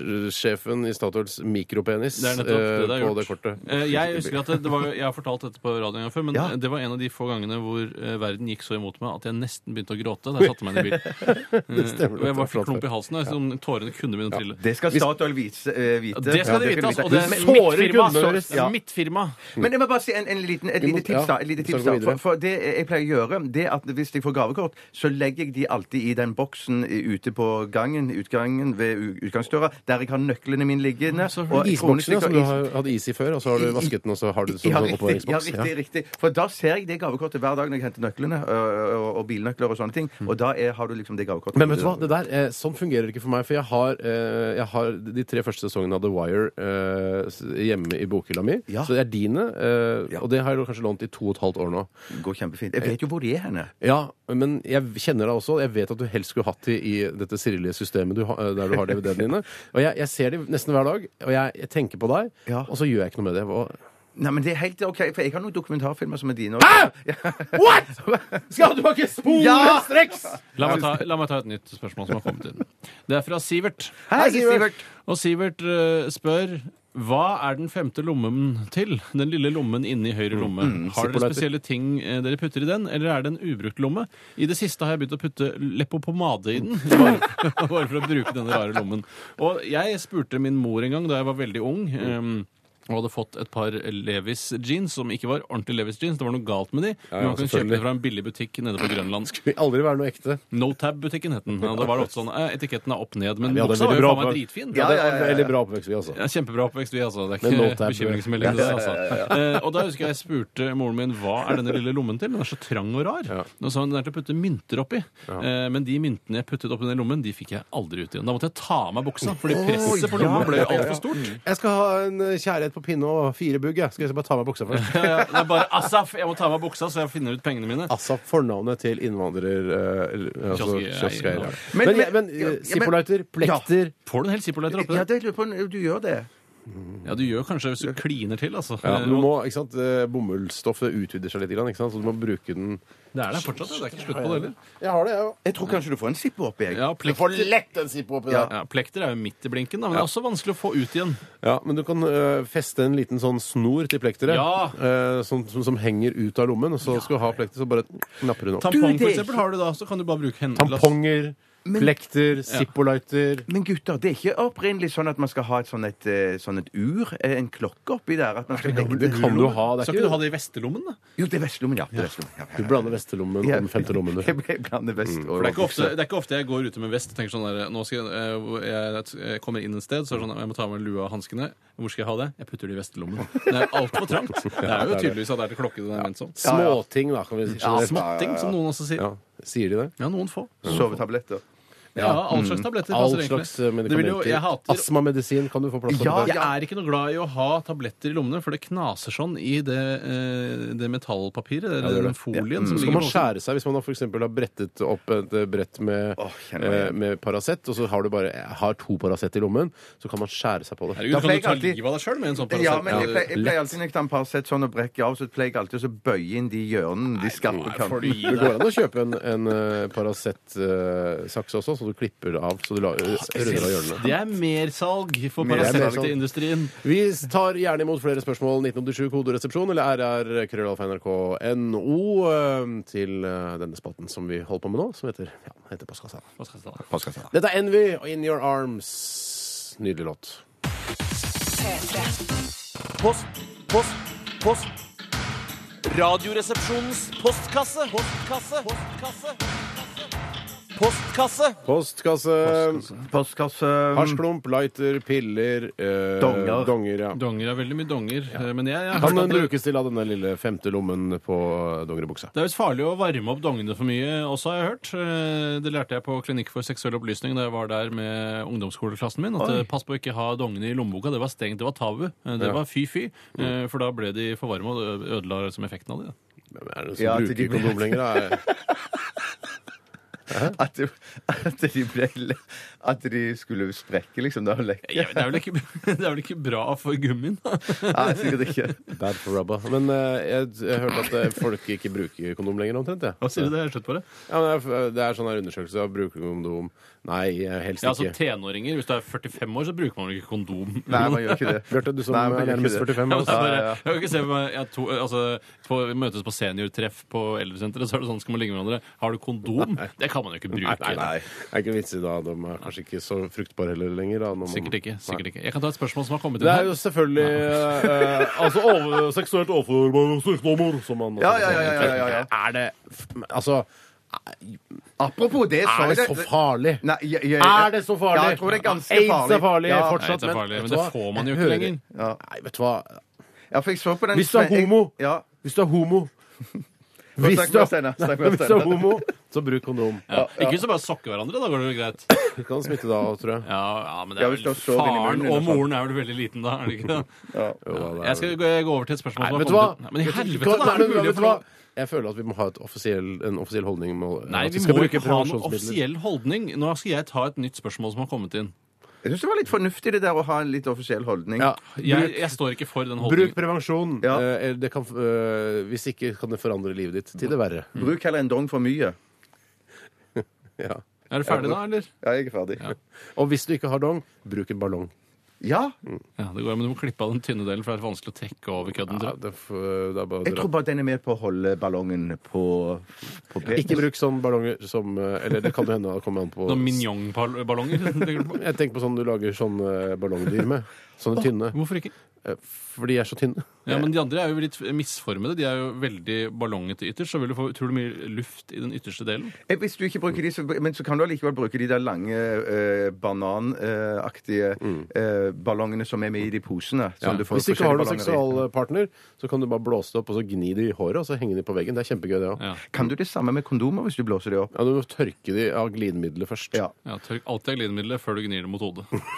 S3: markedssjefen i Statoils mikropenis
S4: Det er nettopp det
S3: eh,
S4: det er
S3: på
S4: gjort.
S3: det kortet.
S4: Eh, Jeg husker at det, det var, jo- jeg har fortalt dette på radioen en gang før, men eh,
S5: Ja.
S4: det var en av de få gangene hvor eh, verden gikk så imot meg at jeg nesten begynte å gråte da jeg satte meg inn i bilen.
S3: Det stemmer.
S4: Og jeg bare fikk
S3: Flott.
S4: klump i halsen, og jeg- som tårene kunne begynne å trille.
S5: Det skal Statoil vite. eh, vite.
S4: Det skal
S5: Ja,
S4: de vite, altså. Og det er
S5: Men-
S4: mitt
S3: sårer
S4: firma.
S3: kundene
S4: så-
S3: deres.
S5: Ja.
S4: Mitt firma.
S5: Men jeg må bare si en, en liten, et
S3: Vi må-
S5: lite tips, da.
S3: ja,
S5: Et lite
S3: så
S5: tips,
S3: går
S5: da.
S3: vi
S5: For,
S3: videre.
S5: for det jeg pleier å gjøre, det at hvis jeg får gavekort, så legger jeg de alltid i den boksen i- ute på gangen, utgangen ved u- utgangsdøra, der jeg har nøklene mine liggende.
S4: så
S3: Isboksen, ja,
S5: og
S4: liksom.
S5: kronestykker
S3: som du
S5: is-
S3: har, hadde is i før, og så har du vasket den, og så har du det som
S5: ja,
S3: sånn
S5: riktig, ja,
S3: oppbevaringsboks.
S5: riktig, riktig. For da ser jeg det gavekortet hver dag når jeg henter nøklene og, og, og bilnøkler og sånne ting. Og da er, har du liksom det gavekortet.
S3: Men vet du hva, det der, eh, sånn fungerer det ikke for meg. For jeg har, eh, jeg har de tre første sesongene av The Wire eh, s- hjemme i bokhylla mi.
S5: Ja.
S3: Så det er dine, eh,
S5: Ja.
S3: og det har jeg kanskje lånt i to og et halvt år nå.
S5: Går kjempefint. Jeg vet jo hvor de er henne.
S3: Ja, men jeg kjenner deg også. og Jeg vet at du helst skulle hatt de i dette sirlige systemet du, har- der du har DVD-ene dine. Og jeg, jeg ser de nesten hver dag, og jeg, jeg tenker på deg,
S5: Ja.
S3: og så gjør jeg ikke noe med det. Hva-
S5: Nei, men det er helt OK, for jeg har noen dokumentarfilmer som er dine.
S3: What?! Skal du ikke spore
S5: Ja!
S3: streks?!
S4: La meg, ta, la meg ta et nytt spørsmål som har kommet inn. Det er fra Sivert.
S5: Hei, Sivert.
S4: Og Sivert eh, spør hva er den femte lommen til? Den lille lommen inni høyre lomme.
S3: Mm,
S4: Har dere
S3: sipolletter.
S4: spesielle ting eh, dere putter i den, eller er det en ubrukt lomme? I det siste har jeg begynt å putte leppepomade i den, bare, bare for å bruke denne rare lommen. Og jeg spurte min mor en gang da jeg var veldig ung. eh, og hadde fått et par Levis jeans som ikke var ordentlige Levis jeans. Det var noe galt med de. Men man kunne kjøpe
S3: selvfølgelig.
S4: det fra en billig butikk nede på Grønland.
S3: Vil aldri være noe ekte.
S4: Notab-butikken het den. Ja, da var det ofte sånn, eh, Etiketten er opp ned, men
S3: Nei, vi hadde
S4: buksa var
S3: veldig
S4: jo
S3: bra
S4: faen meg
S3: oppvekst.
S4: dritfin.
S5: Ja,
S3: Det
S5: ja,
S3: var en veldig bra oppvekst, vi, altså.
S4: Ja, kjempebra oppvekst, vi, altså. Det er
S3: Men
S4: ikke
S3: Notab-
S4: bekymringsmelding. det, altså. Eh, Og da husker jeg jeg spurte moren min hva er denne lille lommen til. Den er så trang og rar. Nå sa hun den er til å putte mynter oppi. Eh, Men de myntene jeg puttet oppi den lommen, de fikk jeg aldri ut igjen. Da måtte jeg ta av meg buksa, fordi presset på lommen ble altfor stort.
S3: Jeg skal ha en eh, kjærlighet på pinne og fire bugg. jeg. Skal jeg bare ta meg buksa først?
S4: Ja, ja, det er bare Asaf! Jeg må ta av meg buksa, så jeg finner ut pengene mine.
S3: Altså fornavnet til innvandrer... eh, altså,
S4: Kioskeier.
S3: kioskeier.
S5: Men-
S3: Men, men,
S5: men-
S3: eh,
S5: ja, men-
S3: sipolauter, plekter
S4: Får du en hel zippo-lighter oppi
S5: Ja,
S4: der?
S5: det lurer på om du gjør det.
S4: Ja, du gjør kanskje hvis du kliner til, altså.
S3: ja,
S4: Eh,
S3: Du må, ikke sant, eh, Bomullsstoffet utvider seg litt, grann, ikke sant? så du må bruke den
S4: Det er der fortsatt, det. Det er ikke slutt på det heller.
S3: Jeg har det, jeg òg.
S5: Jeg tror kanskje du får en sippe oppi, jeg.
S4: Ja, plekter,
S3: lett en sipo oppi
S5: Ja.
S3: der.
S4: ja, plekter er jo midt i blinken, da, men det er også vanskelig å få ut igjen.
S3: Ja, men du kan eh, feste en liten sånn snor til plekteret
S4: Ja.
S3: eh, som, som, som henger ut av lommen. Og så skal du ha plekter, så bare knapper du den opp.
S4: Tampong
S5: det er
S4: for eksempel, har du da, så kan du bare bruke hendene.
S3: Tamponger,
S5: Men-
S3: plekter, zippolighter
S5: Men gutter, det er ikke opprinnelig sånn at man skal ha et sånn et, eh, sånn et ur, eh, en klokke oppi der? At man skal legge
S3: Det kan du ha. Det
S4: Skal
S3: er
S4: ikke du
S3: ikke
S4: ha det i vestelommen, da?
S5: Jo, det er vestlommen, ja. Det er vestlommen, ja,
S3: Du
S5: ja,
S3: blander vestelommen
S5: ja.
S3: og den femte lommen. du.
S5: Jeg ble- jeg blander vest og
S4: Det er, ikke ofte,
S5: bukse.
S4: det er ikke ofte jeg går ute med vest og tenker sånn der, nå skal jeg, eh, hvor jeg, jeg kommer inn et sted, så er det sånn, jeg må ta med lua og hanskene. Hvor skal jeg ha det? Jeg putter det i vestelommen. Det er altfor trangt. Det er jo tydeligvis at det er til klokke den er ment som.
S3: Småting, da, kan vi si. generelt.
S4: Småtting, som noen også sier.
S3: Ja, Sier de det?
S4: Ja, noen få.
S5: Sovetabletter.
S4: Ja, all slags tabletter.
S3: All
S4: passer egentlig.
S3: slags eh,
S4: Det vil jo-
S3: medikamenter.
S4: Jeg hater Ah,
S3: Astmamedisin kan du få plass til.
S5: Ja,
S3: det.
S4: Jeg er ikke noe glad i å ha tabletter i lommene, for det knaser sånn i det, eh, det metallpapiret, det,
S3: det gjør
S4: den
S3: det.
S4: folien som
S3: Skal
S4: ligger
S3: man skjære seg hvis man har, for eksempel har brettet opp et eh, brett med,
S5: Åh, kjenner meg
S3: eh,
S5: igjen.
S3: med Paracet, og så har du bare jeg har to Paracet i lommen, så kan man skjære seg på det.
S4: Herregud,
S5: Da
S4: kan
S5: pleier
S4: du ta
S5: jeg alltid-
S4: livet av deg sjøl med en sånn
S5: Ja, men jeg
S4: Paracet?
S5: pleier, jeg pleier alltid når jeg tar en Paracet sånn og brekker av, så pleier jeg alltid å så bøye inn de hjørnene, de skarpe
S4: Nei, får du
S5: kantene.
S4: gi
S3: Det
S4: deg.
S3: går an å kjøpe en, en eh, Paracet-saks også, så du klipper av så du la, runder av hjørnene.
S4: Det er mersalg for
S5: Mer-
S4: Paracet
S3: mersalg.
S4: til industrien.
S3: Vi tar gjerne imot flere spørsmål. 1987 koderesepsjon eller rr.krøllalfa.nrk.no eh, til eh, denne spalten som vi holder på med nå, som heter, ja, heter Postkassa.
S4: Hva skal jeg ta?
S3: Dette er Envy og In Your Arms. Nydelig låt.
S6: P3.
S2: Post, post, post. Radioresepsjonens postkasse. Postkasse. Postkasse. Postkasse.
S3: Postkasse.
S5: Postkasse
S3: Hasjklump, lighter, piller eh,
S5: Donger.
S3: donger ja.
S4: Donger er veldig mye donger. eh, Men jeg, jeg har
S3: Kan
S4: hørt
S3: den
S4: at det,
S3: brukes til av denne lille femte lommen på dongeribuksa?
S4: det er visst farlig å varme opp dongene for mye også, har jeg hørt. Eh, Det lærte jeg på Klinikk for seksuell opplysning da jeg var der med ungdomsskoleklassen min. At eh, pass på å ikke ha dongene i lommeboka. Det var strengt, det var tabu. Eh, Det
S3: Ja.
S4: var fy-fy.
S5: Mm.
S4: eh, For da ble de for varme og det ødela liksom effekten av de. da.
S3: Hvem er det som
S5: Ja, at de-
S3: bruker kondom lenger? da?
S5: At, de- at, de ble- at de skulle sprekke, liksom. Da lekker
S4: Ja, men Det er vel ikke, det er vel ikke bra for gummien? da?
S5: Nei, sikkert ikke.
S3: Bad for rubber. Men eh, jeg, jeg hørte at eh, folk ikke bruker kondom lenger, omtrent. jeg.
S4: Hva sier du det? Jeg har skjønt på det.
S3: Ja, men det er- det er sånn her undersøkelse av bruker du kondom. Nei, eh, helst
S4: Ja, altså
S3: ikke.
S4: tenåringer, Hvis du er 45 år, så bruker man vel ikke kondom.
S5: Nei, man gjør ikke det.
S3: Bjarte, du som
S5: Nei, men
S3: er
S5: det er
S3: nærmest
S5: ikke det.
S3: 45 år.
S4: Ja, men det er
S3: altså.
S4: bare, jeg kan ikke se for meg jeg to, altså, på, Vi møtes på seniortreff på eldresenteret, så er det sånn skal man ligge med hverandre. Har du kondom? Det kan man jo ikke bruke.
S3: Nei, nei. Det er ikke vits i da. De er kanskje ikke så fruktbare heller lenger. Da, når man-
S4: Sikkert ikke. sikkert ikke Jeg kan ta et spørsmål som har kommet
S3: Det
S4: inn
S3: er jo
S4: her.
S3: selvfølgelig eh, Altså over, seksuelt overførbare sykdommer, som man
S5: Ja, ja, ja, ja, ja, ja.
S3: Er det f- Altså,
S5: Apropos det, så
S3: er det så farlig?
S5: Nei, jeg, jeg,
S3: Er det så farlig?
S5: Ja, jeg tror det er ganske
S3: Aids
S5: farlig.
S3: er farlig
S5: Ja.
S3: fortsatt.
S4: Aids er farlig,
S3: vet
S4: men
S3: du
S4: det
S3: hva?
S4: får man
S3: Jeg
S4: jo ikke
S3: hører-
S4: lenger.
S5: Ja.
S3: Nei, vet du hva.
S5: Ja, for jeg så på den
S3: Hvis du er
S5: sve- jeg-
S3: homo.
S5: Ja.
S3: Hvis du er homo
S5: Snakk med oss, Steinar. Snakk med oss,
S3: Hvis du er
S5: Steinar.
S3: homo, så bruk kondom.
S4: Ja. Ikke hvis du bare sokker hverandre, da går det vel greit.
S3: Du kan smitte da, tror jeg.
S4: Ja, ja men det
S5: Ja,
S4: er
S5: hvis du
S4: vel
S5: har sovet inn i
S4: Faren
S5: munnen
S4: og
S5: eller sånn.
S4: moren er vel veldig liten da, er det ikke det?
S3: Jo, da, det er
S4: Jeg skal gå gå over til et spørsmål
S3: Nei,
S4: som har
S3: vet du hva?
S4: kommet ut. Nei, Men i helvete,
S3: Kan-
S4: da! Er
S3: men
S4: det mulig
S3: vet
S4: å
S3: du
S4: få
S3: hva? Jeg føler at vi må ha et offisiell, en offisiell holdning. Med,
S4: Nei,
S3: at
S4: vi
S3: skal
S4: må
S3: bruke
S4: ikke ha noen
S3: prevensjonsmidler.
S4: offisiell holdning. Nå skal jeg ta et nytt spørsmål som har kommet inn.
S5: Jeg syns det var litt fornuftig det der å ha en litt offisiell holdning.
S3: Ja.
S4: Jeg, jeg står ikke for den
S3: Bruk
S4: holdningen.
S3: prevensjon.
S5: Ja.
S3: Eh, eller det kan, eh, hvis ikke kan det forandre livet ditt til det verre.
S5: Bruk heller en dong for mye.
S3: Ja.
S4: Er du ferdig da, eller?
S5: Ja, jeg er ferdig. Ja,
S3: Og hvis du ikke har dong, bruk en ballong.
S4: Ja, det går, men du må klippe av den tynne delen, for det er vanskelig å trekke over
S3: Ja,
S4: kødden. tror jeg.
S3: det, f- det er bare å dra.
S5: jeg tror bare den er med på å holde ballongen på, på penis.
S3: Ikke bruk sånne ballonger som eh, Eller det kan jo hende det kommer an på
S4: Noen mignon-ballonger? tenker du på?
S3: Jeg tenker på sånn du lager sånne ballongdyr med. Sånne tynne.
S4: Hvorfor ikke?
S3: Eh, For de er så tynne.
S4: Ja, men De andre er jo litt misformede. De er jo veldig ballongete ytterst. Så vil du få utrolig mye luft i den ytterste delen.
S5: Eh, Hvis du ikke bruker de, så, men så kan du allikevel bruke de der lange eh, bananaktige eh, ballongene som er med i de posene. Som du får
S3: Hvis du ikke har noen
S5: forskjellige ballonger i.
S3: seksualpartner, så kan du bare blåse det opp, og så gni det i håret, og så henge de på veggen. Det er kjempegøy, det òg.
S4: Ja.
S5: Kan du det samme med kondomer hvis du blåser de opp?
S3: Ja, du må tørke de av glidemiddelet først.
S5: Ja.
S4: Ja, Tørk alltid av glidemiddelet før du gnir det mot hodet.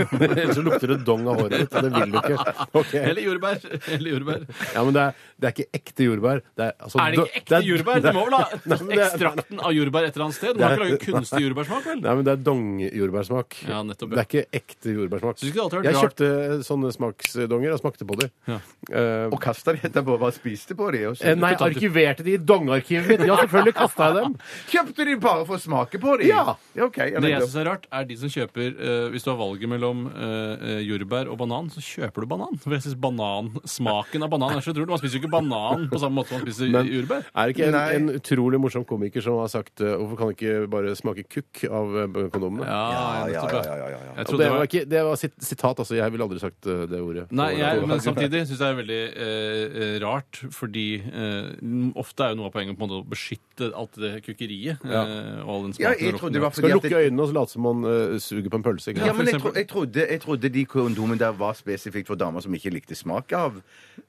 S3: Ellers så lukter det dong av håret ditt, og det vil du ikke. Ok.
S4: Eller jordbær. Eller jordbær.
S3: Ja, men det er, det er ikke ekte jordbær. Det er, altså,
S4: Er det ikke ekte
S3: er- det
S4: jordbær? Du
S3: er-
S4: må vel
S3: Nei,
S4: ha
S3: men det er-
S4: ekstrakten av jordbær et eller annet sted? Du må ikke lage kunstig jordbærsmak, vel?
S3: Nei, men det er dongjordbærsmak.
S4: Ja, nettopp,
S3: Det
S4: ja.
S3: er ikke ekte jordbærsmak.
S4: Synes ikke det alltid har
S3: Jeg
S4: vært rart?
S3: kjøpte sånne smaksdonger og smakte på dem. Eh,
S5: Og kasta de etterpå? Bare spiste på de? Og så,
S3: eh, nei, arkiverte de i dongarkivet mitt. Ja, selvfølgelig kasta jeg dem.
S5: Kjøpte de bare for å smake på de?
S3: Ja.
S5: OK. Ja,
S4: Det jeg
S5: nettopp.
S4: syns er rart, er de som kjøper eh, Hvis du har valget mellom eh, eh, jordbær og banan, så kjøper du banan. For jeg synes banan, Smaken av banan er så utrolig. Man spiser jo ikke banan på samme måte som man spiser
S3: Men-
S4: jordbær.
S3: Er det ikke en,
S5: Nei.
S3: en utrolig morsom komiker som har sagt eh, hvorfor kan det ikke bare smake kukk av eh, kondomene?
S4: Ja,
S5: ja,
S4: nettopp,
S5: ja, ja, ja, ja.
S4: Jeg
S3: Og det
S4: trodde det
S3: var,
S4: var
S3: ikke, det var sit, sitat, altså. Jeg ville aldri sagt eh, det ordet.
S4: Nei, jeg,
S3: Det var-
S4: men samtidig syns jeg det er veldig eh, eh, rart, fordi eh, n- ofte er jo noe av poenget på en måte å beskytte alt det kukkeriet.
S3: Ja.
S4: eh, og all den
S5: Ja,
S4: smaken
S5: jeg
S4: og
S5: trodde
S4: lukten.
S5: det var
S3: Skal
S5: fordi at
S3: lukke øynene og så late som man eh, suger på en pølse. Ikke
S5: ja,
S3: sant?
S5: men
S4: for
S5: jeg, tro,
S4: eksempel.
S5: jeg, trodde, jeg trodde de kondomene der var spesifikt for damer som ikke likte smak av,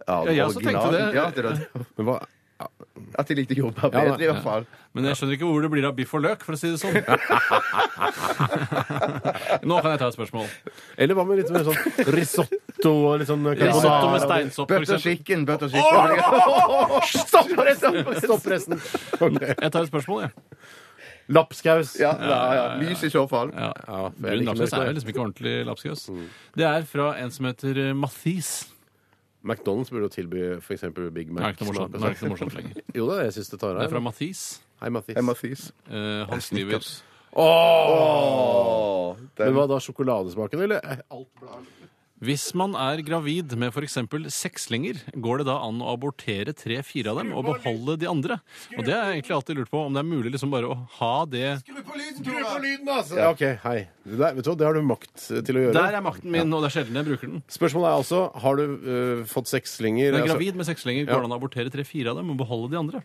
S5: av
S4: Ja, jeg også tenkte
S5: originalen.
S4: det.
S5: Ja, at, det,
S3: Men hva
S5: at de likte jordbær
S3: Ja,
S5: bedre,
S3: da.
S5: i hvert fall.
S4: Men jeg skjønner ikke hvor det blir av biff og løk, for å si det sånn. Nå kan jeg ta et spørsmål.
S3: Eller hva med litt mer sånn risotto og litt sånn
S4: Risotto med
S3: carbonara?
S4: steinsopp,
S5: Butter
S4: f.eks.
S5: chicken, butter chicken.
S3: Stopp resten! Stopp resten. Ok.
S4: Jeg tar et spørsmål, jeg.
S3: Lapskaus. Eh,
S5: Ja, ja, ja. Lys i så fall.
S4: Ja.
S3: Ja, for jeg
S4: Brun
S3: liker Mm.
S4: lapskaus er jo
S3: det.
S4: liksom ikke ordentlig lapskaus. Det er fra en som heter eh, Mathis.
S3: McDonald's burde jo tilby f.eks. Big
S4: Det er
S3: Mac. sånn.
S4: ikke noe morsomt, det er ikke noe morsomt lenger.
S3: Jo da, jeg syns det tar
S4: Det er fra
S3: av.
S4: Mathis.
S3: Hei, Mathis.
S5: Emma Thies.
S4: Eh, han skriver
S5: Åh,
S3: Men
S5: den-
S3: hva da? Sjokoladesmaken, eller? Eh, Alt blant.
S4: Hvis man er gravid med f.eks. sekslinger, går det da an å abortere tre-fire av dem og beholde de andre? Og det har jeg egentlig alltid lurt på, om det er mulig liksom bare å ha det
S3: Ja, OK, hei. Det der, vet du hva, det har du makt til å gjøre.
S4: altså. Der er makten min, og det er sjelden jeg bruker den.
S3: Spørsmålet er altså har du eh, fått sekslinger
S4: Når jeg er
S3: altså-
S4: gravid med sekslinger,
S3: Ja.
S4: går det an å abortere tre-fire av dem og beholde de andre?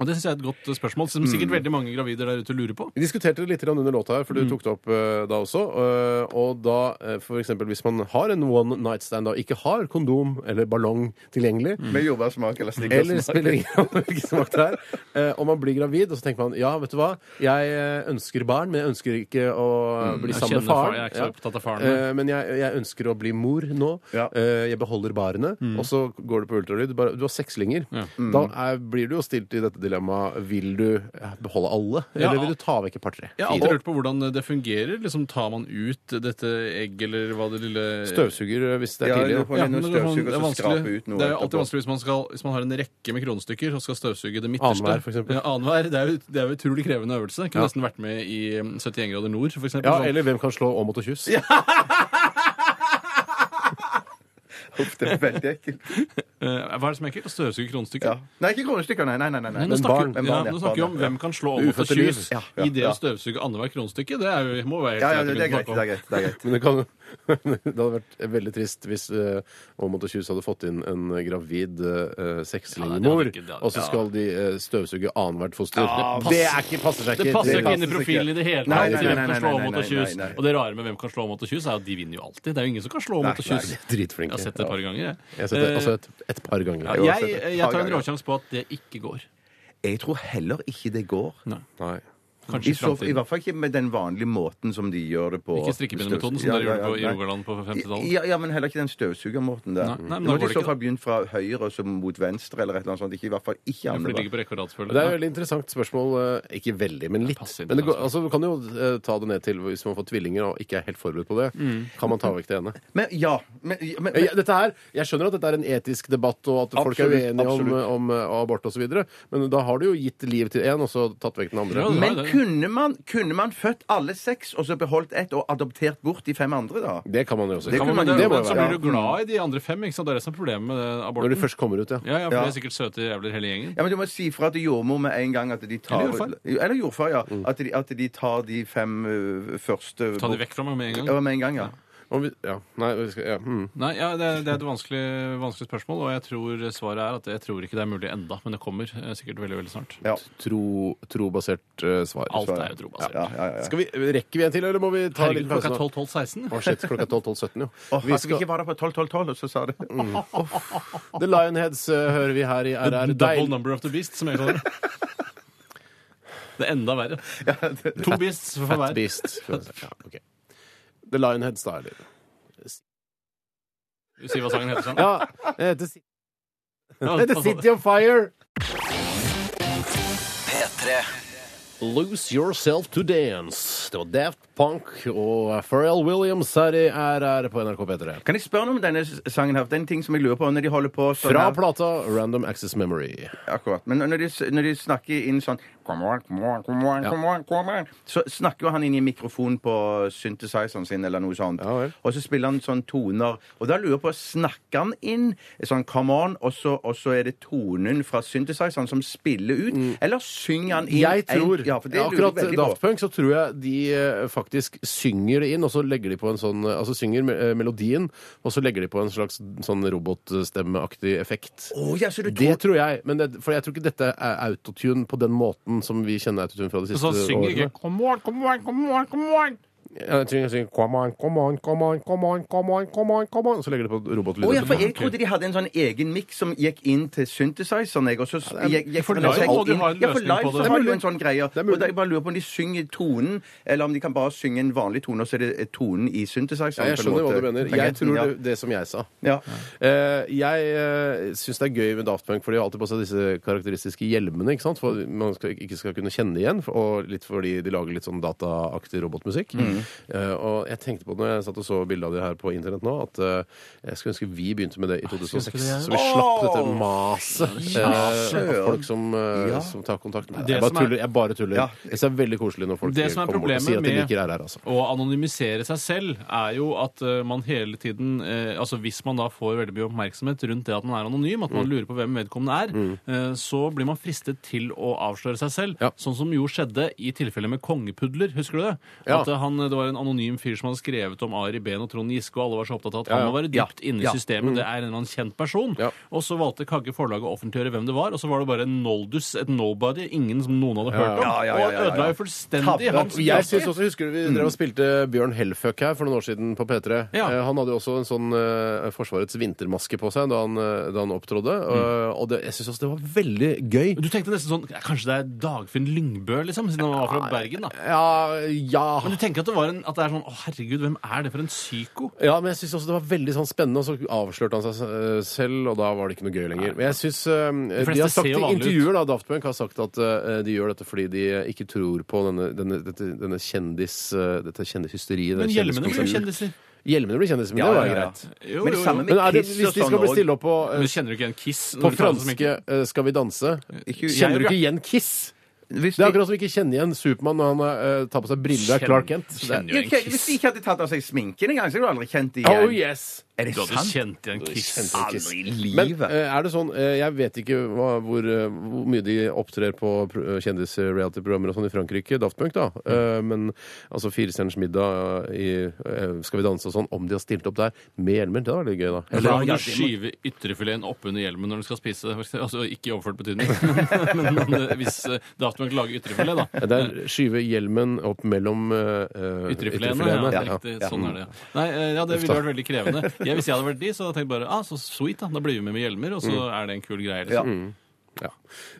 S4: Og det syns jeg er et godt eh, spørsmål,
S3: Mm.
S4: som sikkert veldig mange gravide der ute lurer på.
S3: Vi diskuterte det litt grann under låta her, for
S4: Mm.
S3: du tok det opp eh, da også. eh, og da, eh, for eksempel hvis man har en one night stand og ikke har kondom eller ballong tilgjengelig,
S4: Mm.
S5: Med jordbærsmak eller
S3: eller
S5: snickersmak.
S3: spiller ingen rolle hvilken smak det er, eh, og man blir gravid, og så tenker man ja, vet du hva, jeg eh, ønsker barn, men jeg ønsker ikke å bli
S4: Mm, jeg
S3: sammen med
S4: kjenner far,
S3: faren.
S4: jeg er ikke så
S3: Ja.
S4: opptatt av faren,
S3: Eh, men jeg, jeg ønsker å bli mor nå.
S5: Ja.
S3: Eh, jeg beholder barene.
S4: Mm.
S3: Og så går du på ultralyd. Du, bare, du har sekslinger. Da er, blir du jo stilt i dette dilemmaet. Vil du eh, beholde alle,
S4: Ja.
S3: eller vil du ta vekk et par-tre?
S4: Jeg har alltid lurt på hvordan det fungerer. Liksom Tar man ut dette egg, eller hva det lille
S3: Støvsuger eh, hvis det
S5: Ja,
S3: er tidlig.
S5: du får
S4: Ja,
S5: inn
S4: men det
S5: noen
S4: går sånn-
S5: støvsug,
S4: det er
S5: og så skrape
S4: vanskelig.
S5: ut noe
S4: Det er jo alltid
S5: etterpå.
S4: vanskelig hvis man, skal, hvis man har en rekke med kronestykker og skal støvsuge det midterste.
S3: Annenhver, for eksempel.
S4: Ja, annenhver. Det er jo det er jo utrolig krevende øvelse. Kunne nesten vært med i um, 71 grader nord, for eksempel.
S3: Ja,
S4: Sånn.
S3: eller hvem kan slå Åmot og Kjus?
S5: Uff, det er veldig ekkelt.
S4: Eh, Hva er det som er ekkelt? Å støvsuge kronestykker?
S5: Ja. Nei, ikke kronestykker, nei. nei, nei, nei, nei.
S4: Nå
S5: Men
S4: snakker,
S5: barn, men
S4: ja,
S5: barn,
S4: nå snakker vi om
S5: barn,
S4: hvem kan slå om og
S3: Ufødte liv.
S4: kyss
S5: Ja, ja,
S4: i det
S5: ja.
S4: å støvsuge annethvert kronestykke. Det er jo, må være
S5: Ja, ja,
S4: helt
S5: det er greit.
S4: å
S5: det er
S4: kunne snakke om.
S5: greit, det er greit.
S3: Men det, kan, det hadde vært veldig trist hvis eh, Aamodt og Kjus hadde fått inn en gravid eh,
S4: Ja,
S3: sekslingmor,
S4: det hadde ikke- det hadde-
S3: og så skal de eh, støvsuge annethvert foster.
S4: passer-
S3: det er ikke, passer seg
S4: Det
S3: ikke.
S4: passer ikke inn i
S5: passer
S4: profilen i
S5: ikke.
S4: det hele
S5: Nei,
S4: tatt.
S5: nei,
S4: til
S5: nei,
S4: hvem
S5: nei,
S4: kan slå
S5: nei,
S4: om og
S5: nei,
S4: kyss.
S5: nei, nei.
S4: Og det rare med hvem kan slå om og kyss, er at de vinner jo alltid. Det er jo ingen som kan slå om
S5: Nei,
S4: og kyss.
S5: nei.
S4: Jeg
S3: Dritflinke.
S4: har sett det et par ganger, jeg. Eh,
S3: Jeg har sett det altså et, et par
S4: Ja,
S3: ganger.
S5: jo også
S4: jeg,
S5: sett det et
S4: jeg
S5: par
S4: tar en
S5: ganger.
S4: råsjanse på at det ikke går.
S5: Jeg tror heller ikke det går.
S4: Nei.
S3: Nei.
S4: Kanskje
S5: I,
S4: i
S5: så, I
S4: framtiden.
S5: hvert fall ikke med den vanlige måten som de gjør det på.
S4: Ikke strikkepinnemetoden som
S5: Ja,
S4: dere gjorde
S5: ja,
S4: på, i
S5: nei.
S4: Rogaland på 50-tallet.
S5: Ja, ja, men heller ikke den støvsugermåten der.
S4: Nei, nei, men
S5: Du
S4: da
S5: måtte
S4: går det
S5: i så
S4: ikke,
S5: fall begynt fra høyre og så mot venstre eller et eller annet sånt. Ikke, I hvert fall
S4: For
S5: ikke
S4: det
S5: andre.
S4: ligger på rekke
S3: Det
S4: og rad,
S3: er et
S4: selvfølgelig.
S3: veldig interessant spørsmål. eh, Ikke veldig, men litt.
S4: passer inn
S3: Men det
S4: på
S3: går, altså, man kan jo eh, ta det ned til hvis man får tvillinger og ikke er helt forberedt på det.
S4: Mm.
S3: Kan man ta vekk det ene?
S5: Men ja, men, men,
S3: Eh, ja, Dette her, jeg skjønner at dette er en etisk debatt, og at folk er
S5: Absolutt,
S3: uenige om,
S5: absolutt.
S3: om, eh, abort osv., men da har du jo gitt liv til én, og så tatt vekk den andre.
S4: Ja, det var
S5: men
S4: det.
S5: kunne, man, kunne man født alle seks og så beholdt ett og adoptert bort de fem andre, da?
S3: Det kan man jo også.
S5: Det
S4: Ja, men
S5: man-
S4: det,
S3: det må
S4: men så
S3: være.
S4: blir du glad i de andre fem. ikke sant? Det er det som er problemet med det
S3: Når de
S4: aborten.
S3: først kommer ut, ja.
S4: Ja, ja, for
S5: Ja.
S4: det er sikkert søte jævler hele gjengen.
S5: Ja, men Du må si fra til jordmor med en gang at de tar
S4: Eller jordfar.
S5: Eller jordfar, ja.
S3: Mm.
S5: At, de, at de tar de fem ø, første
S4: Ta de vekk fra meg med en gang.
S5: Ja, med en gang, ja.
S3: Om vi, ja. Nei, vi skal, ja. Mm.
S4: Nei, ja, det, er- det er et vanskelig, vanskelig spørsmål, og jeg tror svaret er at jeg tror ikke det er mulig enda, men det kommer eh, sikkert veldig veldig snart.
S5: ja.
S3: Tro, trobasert eh, svar.
S4: Alt er jo trobasert.
S5: Ja, ja, ja.
S3: Skal vi, rekker vi en til, eller må vi ta
S4: Herregud,
S3: litt
S4: klokka
S3: pause
S4: er
S3: nå?
S4: 12, 12, 16.
S3: Å, shit, klokka er 12.12.17, jo.
S5: Åh,
S3: Vi
S5: at vi
S3: skal-
S5: ikke var der på 12-12-12, og så sa det
S3: The Lionheads eh, hører vi her i RR.
S4: Double
S3: Deil-
S4: number of the beast, som jeg kaller det. Det er enda verre. To beasts for
S3: Fat
S4: hver.
S3: Beast. Ja, ok. The Lionheads, da, eller?
S4: Si hva sangen heter. Sånn.
S3: Ja, det heter Si-
S4: Ja,
S3: det heter
S4: altså,
S3: City of Fire.
S2: P3
S3: Lose Yourself to Dance. Det var Daft Punk og Pharrell Williams her i RR på NRK P3.
S5: Kan jeg spørre noe om denne s- sangen her? Det er en ting som jeg lurer på når de holder på sånn
S3: Fra
S5: her-
S3: plata Random Access Memory.
S5: Akkurat. Men når de, s- når de snakker inn sånn come on, come on, come on, come on, come on, Så snakker jo han inn i mikrofon på synthesizeren sin eller noe sånt.
S3: Ja vel.
S5: og så spiller han sånn toner. Og da lurer jeg på, snakker han inn sånn come on, og så, og så er det tonen fra synthesizeren som spiller ut? Eller synger han inn
S3: Mm. Jeg
S5: en-
S3: tror
S5: Ja, for det lurer
S3: Akkurat
S5: jeg veldig
S3: Daft
S5: på.
S3: Punk så tror jeg de eh, faktisk synger det inn, og så legger de på en sånn eh, Altså synger me- eh, melodien, og så legger de på en slags sånn robotstemmeaktig effekt.
S5: Å, ja, så du
S3: Det tror jeg, men det, for jeg tror ikke dette er autotune på den måten som vi kjenner autotune fra de
S4: Og
S3: siste
S4: så synger
S3: årene.
S4: ikke Come on, come on, come on, come on.
S3: Ja, Jeg synger, jeg synger come on, come on, come on, come on, come on, come on, come on. Så legger de på robotlyder.
S5: Å ja, for jeg trodde de hadde en sånn egen miks som gikk inn til synthesizeren. Jeg, og så gikk, gikk
S4: for live
S5: gikk
S4: må du
S5: inn-
S4: ha en
S5: ja, for
S4: løsning på
S5: live
S4: det.
S5: så
S4: Det er
S5: har du
S3: mulig.
S5: en sånn greie.
S3: Det er
S5: Og
S3: mulig.
S5: da jeg bare lurer på om de synger tonen, eller om de kan bare synge en vanlig tone, og så er det eh, tonen i synthesizeren.
S3: Ja, jeg
S5: på en
S3: skjønner hva
S5: måte.
S3: du mener. Jeg
S5: Tangenten,
S3: tror
S5: ja.
S3: det, det som jeg sa.
S5: Ja.
S3: Eh, jeg uh, syns det er gøy med Daft Punk, for de har alltid på seg disse karakteristiske hjelmene. ikke sant? For man skal, ikke skal kunne kjenne igjen, for- og litt fordi de lager litt sånn dataaktig robotmusikk.
S4: Mm.
S3: Eh, og jeg tenkte på det når jeg satt og så bilde av de her på internett nå, at eh, jeg skulle ønske vi begynte med det i 2006. Så vi slapp dette maset eh, av
S5: Ah, søren.
S3: folk som, eh,
S5: Ja.
S3: som tar kontakt. Nei,
S4: Det
S3: jeg, bare
S4: som er-
S3: tuller, jeg bare tuller.
S5: Ja.
S3: Jeg synes det er veldig koselig når folk
S4: Det som er
S3: kommer bort og sier at de
S4: problemet
S3: liker RR. Altså.
S4: Å anonymisere seg selv er jo at eh, man hele tiden eh, Altså hvis man da får veldig mye oppmerksomhet rundt det at man er anonym,
S5: Mm.
S4: at man lurer på hvem vedkommende er, eh, så blir man fristet til å avsløre seg selv.
S3: Ja.
S4: Sånn som jo skjedde i tilfellet med kongepudler, husker du det?
S3: Ja.
S4: At eh, han, det var en anonym fyr som hadde skrevet om Ari Behn og Trond Giske, og alle var så opptatt av at
S3: Ja,
S4: han
S3: ja.
S4: må være dypt inne
S5: Ja. Mm.
S4: i systemet, det er en eller annen kjent person.
S3: Ja.
S4: Og så valgte Kagge forlaget å offentliggjøre hvem det var, og så var det bare en noldus, et nobody, ingen som noen hadde hørt om,
S5: Ja, ja, ja, ja, ja.
S4: og ødela jo fullstendig
S5: Tabbe.
S4: hans
S5: Og
S3: Jeg synes også, husker du Vi drev og spilte Bjørn Hellfuck her for noen år siden på P3.
S4: Ja.
S3: Eh, Han hadde jo også en sånn eh, Forsvarets vintermaske på seg da han, eh, da han opptrådde. Eh, og det, jeg syns også det var veldig gøy.
S4: Du tenkte nesten sånn ja, Kanskje det er Dagfinn Lyngbø, liksom, siden han var fra Bergen, da.
S3: Ja, ja.
S4: Men du tenker at det, var en, at det er sånn Å, herregud, hvem er det for en psyko?
S3: ja, men jeg syns også det var veldig sånn spennende, og så avslørte han seg eh, selv, og da var det ikke noe gøy lenger. Men jeg syns eh,
S4: fleste
S3: De har sagt
S4: ser
S3: i
S4: jo vanlig ut.
S3: intervjuer, da, Daft Punk har sagt at eh, de gjør dette fordi de ikke tror på denne, denne, dette, denne kjendis, eh, dette kjendishysteriet.
S4: Men
S3: denne
S4: hjelmene blir jo
S3: kjendiskonserten.
S4: kjendiser.
S3: Hjelmene blir kjendiser, men
S5: Ja,
S3: det var
S5: ja, ja.
S3: greit.
S4: Jo,
S5: Men det
S4: jo, jo.
S5: samme med
S3: Men er det,
S5: Kiss
S3: hvis
S5: og
S3: de skal
S5: sånn også.
S3: bestille opp på, eh,
S4: Men kjenner du ikke igjen Kiss?
S3: på
S4: når du tar det som
S3: franske eh, Skal vi danse,
S5: Ikke-
S3: kjenner du
S5: jeg-
S3: ikke igjen Kiss?
S5: Hvis
S3: Det er
S5: de,
S3: akkurat som vi ikke kjenner igjen Supermann når han eh, tar på seg briller av
S4: Kjenn-
S3: Clark Kjent. Det er-
S4: kjenner jo
S5: Ok,
S4: igjen
S5: hvis
S4: Kiss.
S5: de ikke hadde tatt av seg sminken engang, så hadde du aldri kjent det igjen.
S3: Oh yes!
S5: Er det
S4: Du hadde
S5: sant?
S4: kjent igjen Kiss.
S3: Kjente Kiss.
S5: Aldri i
S3: Men
S5: livet.
S3: eh, er det sånn eh, Jeg vet ikke hva, hvor, eh, hvor mye de opptrer på pr- kjendis-reality-programmer og sånn i Frankrike, Daft Punk, da.
S5: Mm.
S3: Eh, men altså Fire stjerners middag i eh, Skal vi danse og sånn, om de har stilt opp der med hjelmer, det var litt gøy, da. Eller-
S4: Eller om
S5: Ja,
S4: du
S5: det må-
S4: skyver ytrefileten oppunder hjelmen når du skal spise. for eksempel. Altså ikke i overført betydning, men, men eh, hvis eh, Daft Punk lager ytrefilet, da.
S3: Ja, Der skyver hjelmen opp mellom uh,
S4: Ytrefiletene. Ja, det er riktig. Sånn er det. ja. Nei, eh, ja, det ville vært veldig krevende. Ja, hvis jeg hadde vært de, så hadde jeg tenkt bare ah, så sweet, da. Da blir vi med med hjelmer, og så er det en kul greie,
S5: Ja.
S4: liksom.
S3: Ja.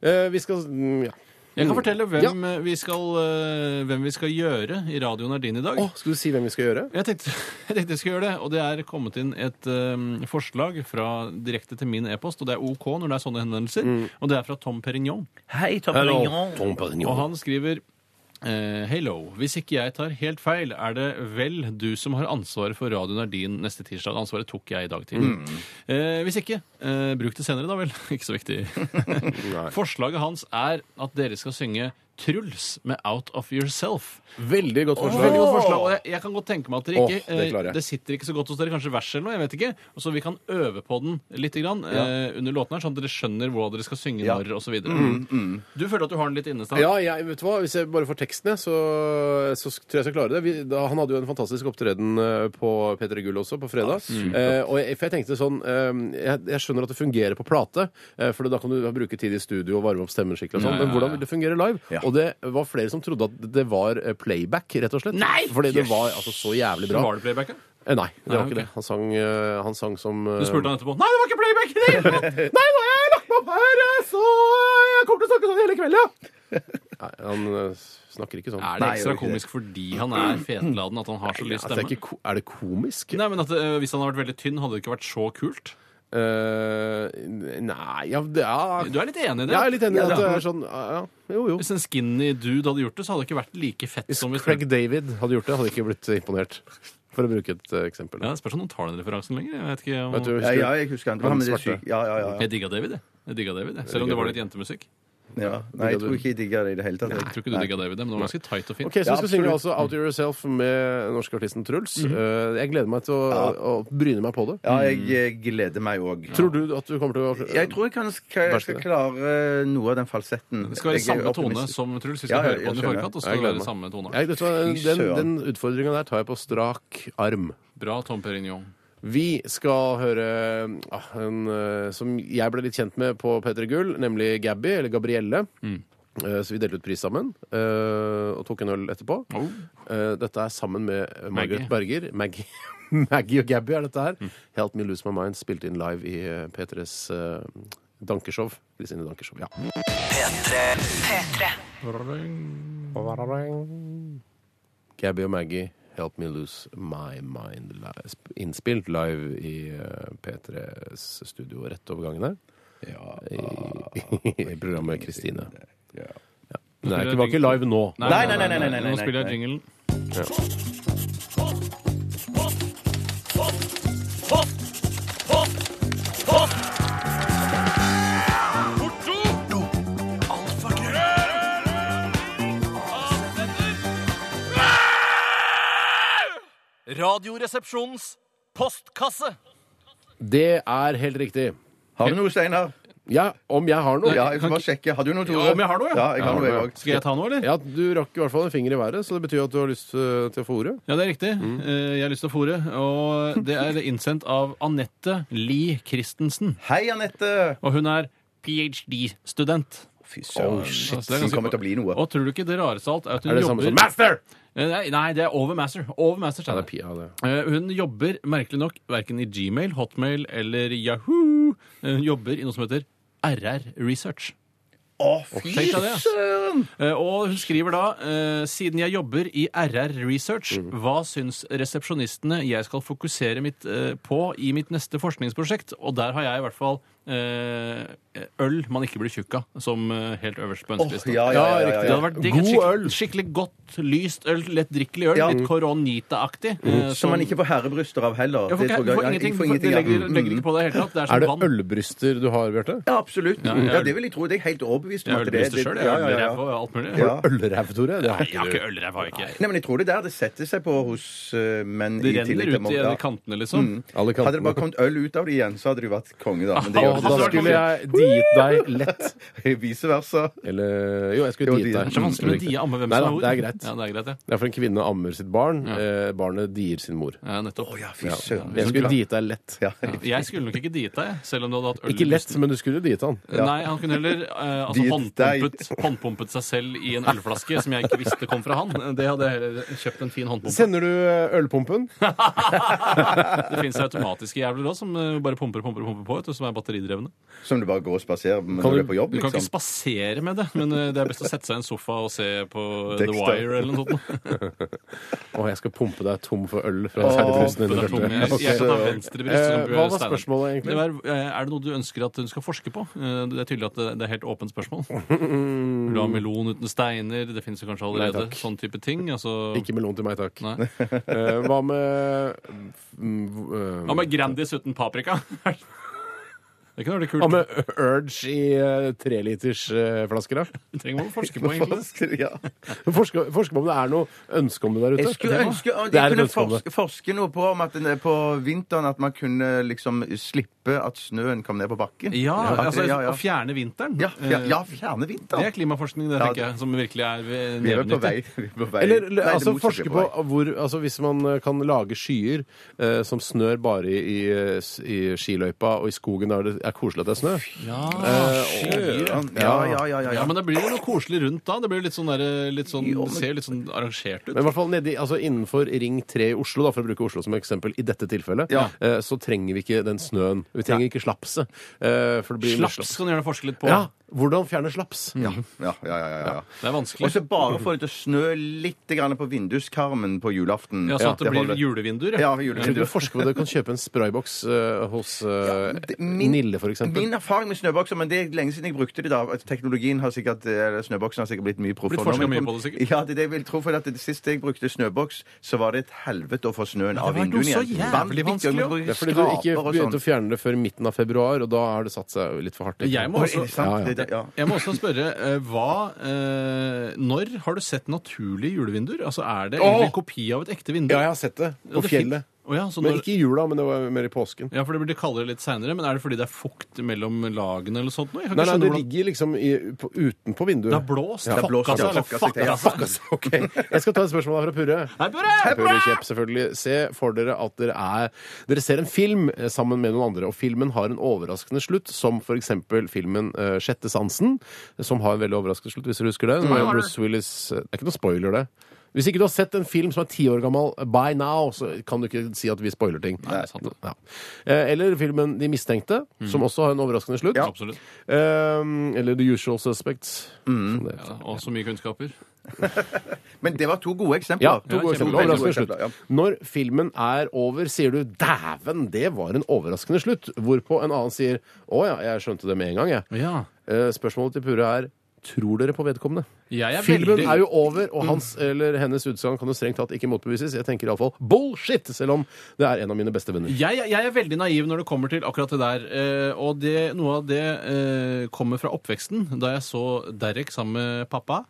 S3: Eh, vi skal mm, ja.
S4: Jeg kan fortelle hvem, eh, vi, skal, eh, hvem vi skal gjøre i radioen er din i dag.
S3: Å, skal du si hvem vi skal gjøre?
S4: Jeg tenkte, jeg tenkte jeg skulle gjøre det, og det er kommet inn et eh, forslag fra, direkte til min e-post, og det er OK når det er sånne henvendelser, og det er fra Tom Perignon.
S7: Hei, Tom Perignon.
S3: Tom
S4: Og
S3: Perignon.
S4: han skriver eh, Hello. Hvis ikke jeg tar helt feil, er det vel du som har ansvaret for Radio Nardin neste tirsdag. Ansvaret tok jeg i dag tidlig.
S3: Mm.
S4: Eh, hvis ikke, eh, bruk det senere, da vel. ikke så viktig. Forslaget hans er at dere skal synge Truls med Out of Yourself.
S3: Veldig godt forslag.
S4: Veldig godt forslag. Og jeg, jeg kan godt tenke meg at dere
S3: Åh,
S4: ikke
S3: det
S4: eh,
S3: klarer jeg.
S4: det sitter ikke så godt hos dere, kanskje verset eller noe, jeg vet ikke. Og Så vi kan øve på den litt grann, eh, under låten her, sånn at dere skjønner hva dere skal synge når, osv. Du føler at du har den litt inne, Stan?
S3: Mm, Ja, jeg, vet du hva? Hvis jeg bare får tekstene, så, så tror jeg jeg skal klare det. Vi, da, han hadde jo en fantastisk opptreden eh, på P3 Gull også, på fredag. eh, og jeg, for jeg tenkte sånn eh, jeg, jeg skjønner at det fungerer på plate, eh, for da kan du bruke tid i studio og varme opp stemmen skikkelig og sånn, men hvordan vil det fungere live? Og det var flere som trodde at det var eh, playback, rett og slett.
S4: Nei!
S3: Fordi det var altså så jævlig bra.
S4: Var det playbacken?
S3: Eh, Nei, det var
S4: Nei, ok.
S3: ikke det. Han sang, eh, han sang som eh,
S4: Du spurte han etterpå. Nei, det var ikke playback! i det hele tatt!»
S3: Nei, nå har jeg lagt meg opp her, eh, så jeg kommer til å snakke sånn hele kvelden, ja! Nei, han eh, snakker ikke sånn.
S4: Er det ekstra
S5: det er ikke
S4: komisk fordi han er fetladen at han har så lys
S3: Altså, det er,
S4: stemme?
S3: ikke, ko- er det komisk?
S4: Nei, men at eh, Hvis han hadde vært veldig tynn, hadde det ikke vært så kult?
S3: Eh, nei, ja, det er
S4: Du er litt enig i det?
S3: Jeg er litt enig i
S4: Ja,
S3: at det
S4: da.
S3: er sånn ja, Jo, jo.
S4: Hvis en skinny dude hadde gjort det, så hadde det ikke vært like fett
S3: Hvis
S4: som hvis
S3: Craig David hadde gjort det, hadde jeg ikke blitt imponert. For å bruke et eh, eksempel.
S4: Ja, det Spørs om noen tar den referansen lenger. Jeg vet ikke om...
S3: Vet du,
S5: Ja,
S3: husker,
S5: ja, jeg husker han. Det var han med det
S3: svarte.
S5: syke. Ja, ja, ja.
S4: Jeg digga David, jeg. jeg. digga David, jeg. Selv om det var litt jentemusikk.
S5: ja. Nei, jeg tror ikke jeg digger det i det hele tatt.
S4: Jeg tror ikke du digga David, jeg, men det var ganske tight og fint.
S3: Ok, Så
S5: Ja,
S3: vi skal synge
S5: absolutt.
S3: altså Out of Yourself med norske artisten Truls.
S4: Mhm.
S3: Eh, jeg gleder meg til å, å, å bryne meg på det.
S5: Ja,
S4: Mm.
S5: jeg eh, gleder meg òg.
S3: Tror du at du kommer til å
S5: Jeg tror jeg kan skal, skal klare eh, noe av den falsetten.
S4: Det skal være
S5: Jeg er
S4: samme tone
S5: optimistisk.
S4: som Truls. Vi
S5: Ja,
S4: skal
S5: ja,
S4: høre på
S5: jeg
S4: den i
S5: skjønner.
S4: forkant, og så
S3: Jeg
S4: skal det
S3: gleder
S4: være
S3: meg.
S4: samme tone.
S3: jeg, vet du, hva,
S5: Fy
S3: Den,
S5: søren.
S3: den utfordringa der tar jeg på strak arm.
S4: Bra, Tom Perignon.
S3: Vi skal høre ah, en eh, som jeg ble litt kjent med på P3 Gull, nemlig Gabby, eller Gabrielle.
S4: Mm.
S3: Eh, Så vi delte ut pris sammen, eh, og tok en øl etterpå.
S4: Oh.
S3: Eh, Dette er sammen med Margaret
S4: Maggie. Mm.
S3: Berger. Maggie. Maggie og Gabby er dette her. Help Me Lose My Mind spilte inn live i eh, P3s eh, Dankeshow. Kristine Dankeshow, ja.
S6: P3.
S3: Gabby og Maggie, Help Me Lose My Mind. li- sp- Innspilt live i eh, P3s studio rett over gangen her. I, I programmet Kristine. Ja. Nei, det var ikke live nå.
S5: Nei, nei, nei, nei, nei, nei,
S4: Nå
S5: nei,
S4: spiller jeg
S5: nei.
S4: jinglen.
S2: Radioresepsjonens postkasse.
S3: Det er helt riktig.
S5: Har du noe, Steinar?
S3: Ja, om jeg har noe?
S5: Ja, jeg skal bare sjekke. Har du noe, Tore?
S4: Ja, om jeg har noe, ja.
S5: ja jeg har noe, jeg også.
S4: Skal jeg ta noe, eller?
S3: Ja, Du rakk i hvert fall en finger i været, så det betyr at du har lyst eh, til å få ordet.
S4: Ja, det er riktig.
S3: Mm.
S4: Eh, Jeg har lyst til å fòre. Og det er innsendt av Anette Lie Christensen.
S5: Hei, Anette!
S4: Og hun er ph.d.-student.
S5: Fy søren.
S4: shit.
S5: det kommer til å bli noe.
S4: Og tror du ikke det rareste av alt er at hun
S3: Er det samme
S4: jobber
S3: som master?
S4: Eh, Nei, nei, det er over master. Over master,
S3: Ja,
S4: sa
S3: det er
S4: jeg.
S3: pi- ja, det.
S4: Eh, Hun jobber merkelig nok verken i Gmail, Hotmail eller Yahoo. Eh, Hun jobber i noe som heter RR Research.
S5: Å, fy
S4: Tenk deg det, ass.
S5: søren!
S4: Eh, Og hun skriver da eh, Siden jeg jobber i RR Research,
S5: Mm.
S4: hva syns resepsjonistene jeg skal fokusere mitt, eh, på i mitt neste forskningsprosjekt? Og der har jeg i hvert fall eh, øl man ikke blir tjukk av, som eh, helt øverst på
S5: Åh,
S4: ønskelisten.
S5: ja, ja, ja, ja,
S4: Det
S5: ja.
S4: hadde vært digg.
S3: God
S4: skikkelig,
S3: øl.
S4: Skikkelig godt, lyst øl, lettdrikkelig øl.
S5: Ja. Mm.
S4: Litt koronita-aktig. eh,
S5: Som man ikke får herrebryster av heller.
S4: Ja, for
S5: Det
S4: ikke-
S5: tror
S4: Du
S5: jeg-
S4: får
S5: ja, jeg
S4: ingenting,
S5: får
S4: du
S5: ja.
S4: legger,
S5: Mm.
S4: legger ikke på deg i det hele tatt. Det er som
S3: Er det
S4: vann.
S3: ølbryster du har, Bjarte?
S5: Ja, absolutt. Ja,
S4: jeg-
S5: det vil jeg tro. Det er jeg helt overbevist om
S4: Jeg
S5: at
S4: har
S5: det er
S4: øllyst sjøl. Jeg
S5: Ja,
S4: har
S5: ja, ja.
S4: ølræv og alt mulig.
S5: Ja.
S3: Ølræv, Tore? Det har
S4: Jeg har
S3: ikke
S4: ikke
S3: du.
S4: ølræv. har jeg ikke.
S5: Nei, men jeg tror det er der det setter seg på hos eh, menn.
S4: Det
S5: i tillegg
S4: renner ut i
S5: til Molde.
S4: kantene, liksom.
S5: Mm.
S3: Alle kantene.
S5: Hadde det bare kommet øl ut av det igjen, så hadde du vært konge, da. Men det
S3: Ja, da
S5: gjør det
S3: skulle jeg diet deg lett.
S5: ikke. Vice versa.
S3: Eller Jo, jeg skulle
S5: Jo,
S3: diet
S5: diet.
S3: deg.
S4: Det er så vanskelig å Mm, die amme hvem
S3: Nei
S4: som
S3: da,
S4: er hor.
S3: det er greit.
S4: Ja, det er greit, ja.
S3: Det er for en kvinne ammer sitt barn. Eh, barnet dier sin mor.
S4: Ja, nettopp.
S5: Å ja, fy søren.
S3: Jeg skulle diet deg lett.
S5: Ja.
S4: Jeg skulle nok ikke diet deg, selv om du hadde hatt øl. i
S3: Ikke lett,
S4: lysten.
S3: men du skulle diet han.
S4: Nei, han kunne heller eh, altså
S5: Did
S4: håndpumpet, håndpumpet seg selv i en ølflaske som jeg ikke visste kom fra han. Det hadde jeg heller kjøpt en fin håndpumpe.
S3: Sender du eh, ølpumpen?
S4: det fins automatiske jævler òg som eh, bare pumper og pumper, og pumper på, vet du, som er batteridrevne.
S5: Som du bare går og spaserer med
S3: Kan
S5: når du
S3: du-
S5: er på jobb,
S4: Du kan ikke
S5: liksom.
S4: spasere med det, men eh, det er best å sette seg i en sofa og se på eh, The
S5: Dexter.
S4: Wire eller noe sånt.
S3: Å, jeg skal pumpe deg tom for øl fra seilbrusen
S4: På
S3: din.
S4: den
S3: Bjarte.
S4: tungen. Jeg- Jeg kan ta
S5: Ok.
S4: venstre bryst. så
S3: Eh,
S4: kan du
S3: hva var
S4: gjøre Steinar.
S3: spørsmålet egentlig?
S4: Det var, eh, er det noe du ønsker at hun skal forske på? Eh, Det er tydelig at det- det er helt åpent spørsmål. Vil du ha melon uten steiner? Det finnes jo kanskje
S3: Nei,
S4: allerede.
S3: takk.
S4: Sånn type ting. Altså,
S3: Ikke melon til meg, takk.
S4: Nei.
S3: Eh, hva med mm, eh,
S4: Hva med Grandis uten paprika? Det kunne vært kult.
S3: Hva med Urge i eh, trelitersflasker, da?
S4: Det trenger man å forske på, egentlig.
S5: Ja.
S3: Forske, forske på om det er noe ønske om det der ute.
S5: Jeg skulle ønske jeg
S3: Det er et
S5: kunne
S3: ønske om det.
S5: forske, forske noe på om at den er på vinteren at man kunne liksom slippe at snøen kom ned på bakken.
S4: Ja,
S5: At-
S4: altså
S5: ja, ja.
S4: å fjerne vinteren.
S5: Ja, fjer-
S4: Eh,
S5: ja, fjerne
S4: Det
S5: vinteren.
S4: er klimaforskning, det,
S5: Ja,
S4: tenker jeg, som virkelig er eh,
S5: Vi er vel
S4: nevenyttig.
S5: på vei. Vi er på vei.
S3: Eller
S5: Nei, det
S3: altså,
S5: motsatte
S3: forske
S5: er
S3: på
S5: vei.
S3: hvor altså, Hvis man eh, kan lage skyer eh, som snør bare i, i, eh, s- i skiløypa og i skogen der det er koselig at det er snø
S5: Ja, ja, ja, ja, ja,
S4: Ja,
S5: ja.
S4: men da blir det noe koselig rundt da. Det blir jo litt sånn, der, litt sånn, det ser jo litt sånn arrangert ut.
S3: Men i hvert fall nedi, altså innenfor Ring 3 i Oslo, da, for å bruke Oslo som eksempel i dette tilfellet,
S5: Ja.
S3: eh, så trenger vi ikke den snøen. Vi trenger ikke slapset. eh, for det blir
S4: Slaps kan du gjerne forske litt på.
S3: Ja, Hvordan fjerne slaps?
S5: ja, ja, ja, ja, ja.
S4: Det er
S5: Og
S4: vanskelig.
S5: så bare få det til å snø litt grann på vinduskarmen på julaften.
S4: Ja, sånn at det blir
S5: holder.
S4: julevinduer.
S5: Ja,
S4: Ja.
S3: Jeg tror ikke
S5: julevinduer.
S3: du forsker på det. Du kan kjøpe en sprayboks eh, hos eh,
S5: det- min-
S3: Nille, for eksempel.
S5: Min erfaring med snøbokser, men det er lenge siden jeg brukte de da. Teknologien har sikkert, eller snøboksen har sikkert blitt mye proffere.
S4: Blitt forsket
S5: nå, men-
S4: mye på det, sikkert.
S5: Ja, det er det jeg vil tro, for at det siste jeg brukte snøboks, så var det et helvete å få snøen av
S4: var jo
S5: vinduene
S4: så jævlig
S5: igjen. Vanvittig,
S4: vanskelig,
S5: og vi
S4: jo.
S5: bruker
S3: Det er fordi du ikke
S5: skraper og
S3: begynte å
S5: sånn.
S3: fjerne det før midten av februar, og da har det satt seg litt for hardt.
S4: Jeg må
S5: Oi, er det sant?
S3: Ja, ja.
S5: Det- det- ja.
S4: Jeg må også spørre, eh, hva, eh, når har du sett naturlige julevinduer? Altså, Er det egentlig en kopi av et ekte vindu?
S3: Ja, jeg har sett det.
S4: Ja,
S3: På
S4: det fin-
S3: fjellet.
S4: Å ja, så
S3: Men
S4: sånn når,
S3: ikke i jula, men det var mer i påsken.
S4: ja, for det blir det kaldere litt seinere. Men er det fordi det er fukt mellom lagene eller sånt? nå? Jeg
S3: Nei,
S4: kan ikke
S3: nei,
S4: skjønne
S3: det
S4: hvordan...
S3: ligger liksom i, på, utenpå vinduet.
S4: Det har blåst.
S5: Det har blåst,
S4: Fucka
S5: ja.
S4: seg, eller
S3: altså.
S4: altså.
S5: Fucka seg til, ja.
S4: fucka seg.
S3: Ok, Jeg skal ta et spørsmål her fra Purre.
S4: Hei, Børre!
S3: Purre Kjepp, selvfølgelig. Se for dere at dere er Dere ser en film eh, sammen med noen andre, og filmen har en overraskende slutt, som for eksempel filmen eh, Sjette sansen, som har en veldig overraskende slutt, hvis dere husker det. Med Bruce Willis eh, Det er ikke noe spoiler, det. Hvis ikke du har sett en film som er ti år gammel eh, by now, så kan du ikke si at vi spoiler ting.
S4: Nei, det er sant det.
S3: Ja. Eh, Eller filmen De mistenkte, som også har en overraskende slutt.
S4: Absolutt. Mm.
S3: Eh, eller The Usual Suspects. som det heter.
S4: Ja, og så mye kunnskaper.
S5: Men det var to gode eksempler.
S3: Ja, to gode eksempler.
S5: kjempe- veldig gode
S3: Overraskende slutt.
S5: eksempler, ja.
S3: Når filmen er over, sier du 'dæven, det var en overraskende slutt', hvorpå en annen sier 'å ja, jeg skjønte det med en gang', jeg.
S4: Ja.
S3: Eh, Spørsmålet til Purre er Tror dere på vedkommende?
S4: Jeg er
S3: Filmen
S4: veldig- Mm.
S3: er jo over, og hans eller hennes utsagn kan jo strengt tatt ikke motbevises. Jeg tenker iallfall bullshit, selv om det er en av mine beste venner.
S4: Jeg, jeg er veldig naiv når det kommer til akkurat det der. eh, Og det, noe av det eh, kommer fra oppveksten, da jeg så Derek sammen med pappa.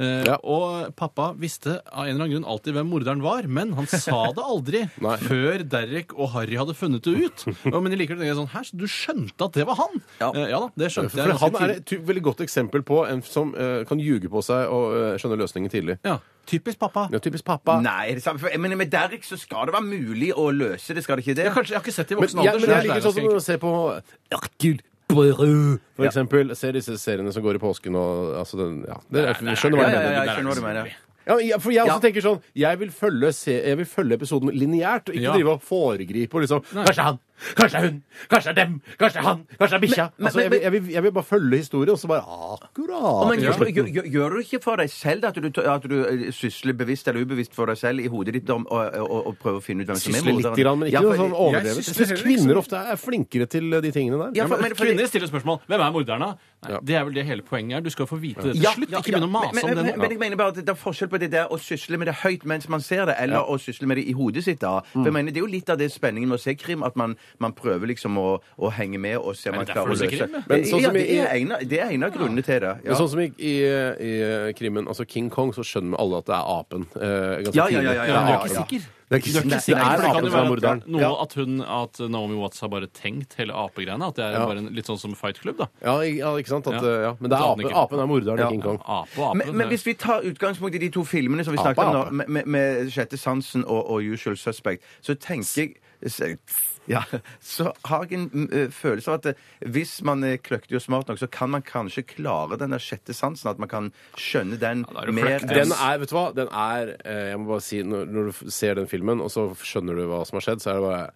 S4: Eh,
S3: Ja.
S4: Og pappa visste av en eller annen grunn alltid hvem morderen var, men han sa det aldri
S3: Nei.
S4: før Derek og Harry hadde funnet det ut. Og- Men jeg liker det tenker jeg sånn Hæ, så du skjønte at det var han?
S5: Ja.
S4: Eh, ja da, det skjønte jeg.
S3: For
S4: ganske
S3: han er
S4: tidlig.
S3: et ty- veldig godt eksempel på en som eh, kan ljuge på seg og eh, skjønne løsningen tidlig.
S4: ja, typisk pappa.
S3: Ja, typisk pappa.
S5: Nei, det samme. For, men med Derek så skal det være mulig å løse det, skal det ikke det?
S4: Jeg, kanskje, jeg har ikke sett det i
S3: Men
S4: voksen
S3: jeg,
S4: alder.
S3: men
S4: så
S3: jeg
S4: det er
S3: liker sånn som
S4: ganske
S3: å se på Hercule Poirot, for eksempel. Se disse seriene som går i påsken og altså den, ja, det er, Skjønner hva
S5: ja,
S3: jeg
S5: ja, ja,
S3: mener.
S5: jeg skjønner hva du mener.
S3: Ja, men jeg- for jeg også
S5: Ja.
S3: tenker sånn Jeg vil følge, se, jeg vil følge episoden lineært, og ikke
S4: Ja.
S3: drive og foregripe og liksom Kanskje han, kanskje hun, kanskje dem, kanskje han, kanskje bikkja.
S5: men-
S3: Altså, jeg,
S5: men-
S3: vil- jeg, vil- jeg vil bare følge historien, og så bare "Ah,
S5: Ja,
S3: Akkurat.
S5: men gjør, gjør, gjør- gjør du ikke for deg selv at du, at du eh, sysler bevisst eller ubevisst for deg selv i hodet ditt om, og, og, og prøver å finne ut hvem som er
S3: Sysle
S5: morderen?
S3: litt, grann, men ikke
S5: Ja, for-
S3: noe sånn overdrevet. Jeg
S4: sysler
S3: syns
S4: heller ikke
S3: kvinner ofte er flinkere til eh, de tingene der.
S5: Ja, for, men,
S4: Men
S5: for,
S4: Kvinner stiller spørsmål. Hvem er morderen, da? Nei, Det er vel det hele poenget er. Du skal jo få vite det til
S5: Ja,
S4: slutt.
S5: ja,
S4: Ikke
S5: ja.
S4: begynn å mase
S5: men,
S4: om det
S5: men,
S4: nå.
S5: men jeg mener bare at det er forskjell på det der å sysle med det høyt mens man ser det, eller å sysle med det i hodet sitt. da. For jeg mener, Det er jo litt av det spenningen med å se krim, at man, man prøver liksom å, å henge med og se om man
S4: det derfor
S5: klarer å
S4: du ser
S5: løse
S4: krim, ja?
S3: Men sånn
S5: ja,
S3: som
S5: det,
S3: i-
S5: er en, av- det er en av grunnene til det.
S3: Men
S5: Ja.
S3: sånn som i, i, i krimmen, altså King Kong, så skjønner alle at det er apen. Eh, ganske
S5: Ja, ja, ja, ja,
S3: tidlig.
S4: Men du
S5: ja, ja,
S4: er
S5: ja.
S4: ikke sikker.
S3: Det er ikke
S4: Du er ikke
S3: sikkert.
S4: sikker,
S3: Det
S4: for
S3: er
S4: det kan
S3: apen som
S4: jo
S3: er
S4: være
S3: morderen.
S4: at, noe at, hun, at Naomi Watts har bare tenkt hele apegreiene. At det er
S3: Ja.
S4: bare en, litt sånn som Fight Club, da.
S3: Ja, i- ja, ikke sant? At,
S4: Ja.
S3: eh, ja. Men det er
S4: Apen
S3: apen,
S4: ikke.
S3: apen er morderen i King Kong.
S4: Ape og ape.
S5: Men, men hvis vi tar utgangspunkt i de to filmene som vi snakket om
S3: Apa,
S5: nå,
S3: apa.
S5: med, med, med Sjette sansen og, og Usual Suspect, så tenker jeg så- ja, så har jeg en mm, eh, følelse av at eh, hvis man er kløktig og smart nok, så kan man kanskje klare den der sjette sansen. At man kan skjønne den
S4: da er du
S5: mer
S4: kløktig.
S3: Den er, vet du hva, den er eh, Jeg må bare si, når, når du f- ser den filmen, og så skjønner du hva som har skjedd, så er det bare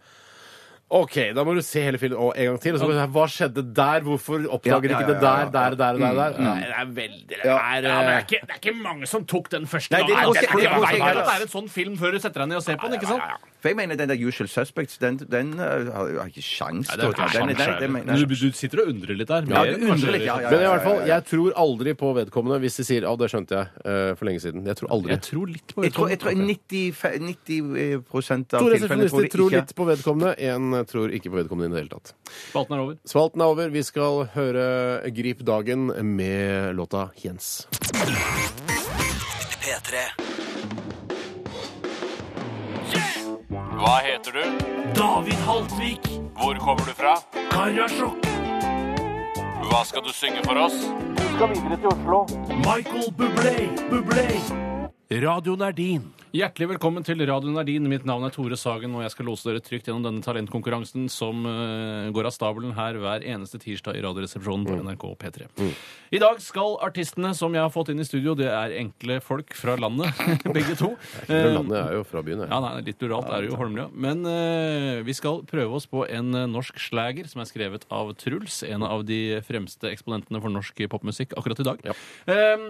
S3: OK, da må du se hele filmen og en gang til. Og så bare, Hva skjedde der? Hvorfor oppdager
S5: Ja, ja,
S3: ikke det
S5: ja, ja,
S3: der, der, der, der? der?
S4: Mm.
S3: Nei, det
S5: Mm.
S3: er veldig det er,
S2: Ja, men det,
S3: eh,
S2: er ikke, det er ikke mange som tok den første
S5: Nei, det-
S2: gangen.
S5: det-
S2: Det er fordi
S5: det-
S2: man vet
S5: det-
S2: at det er en sånn film før du setter deg ned og ser på den. ikke sant?
S5: For jeg mener den der Usual Suspects, den, den eh, har har ikke sjans til å ta den. den, den, den
S4: Men Du, du sitter og undrer litt der.
S5: ja,
S4: Mer
S5: du
S4: enn kanskje-
S5: undrer litt, ja, ja, ja,
S3: Men i
S5: ja,
S3: hvert fall,
S5: ja, ja.
S3: jeg tror aldri på vedkommende hvis de sier 'Å, det skjønte jeg eh, for lenge siden'. Jeg tror aldri.
S4: Jeg tror litt på
S5: Jeg tror, jeg tror 90, 90 av
S3: To
S5: tilfellene tror
S3: resepsjonister
S5: de
S3: tror
S5: ikke
S3: litt på vedkommende, én tror ikke på vedkommende i det hele tatt.
S4: Spalten er over.
S3: Spalten er over. Vi skal høre Grip dagen med låta Jens.
S6: P3.
S2: Hva heter du? David Haltvik. Hvor kommer du fra? Karasjok. Hva skal du synge for oss? Du skal videre til Oslo. Michael Bublé, Bublé. Radioen er din.
S4: Hjertelig velkommen til Radio Nardin. Mitt navn er Tore Sagen, og jeg skal lose dere trygt gjennom denne talentkonkurransen som eh, går av stabelen her hver eneste tirsdag i Radioresepsjonen
S2: Mm.
S4: på NRK P3. I dag skal artistene som jeg har fått inn i studio, det er enkle folk fra landet, begge to.
S3: Men
S4: Eh,
S3: Landet er jo fra byen,
S4: ja,
S3: jeg.
S4: nei, Litt ruralt er det jo Holmlia. Men eh, vi skal prøve oss på en eh, norsk slager som er skrevet av Truls, en av de fremste eksponentene for norsk popmusikk akkurat i dag. Eh,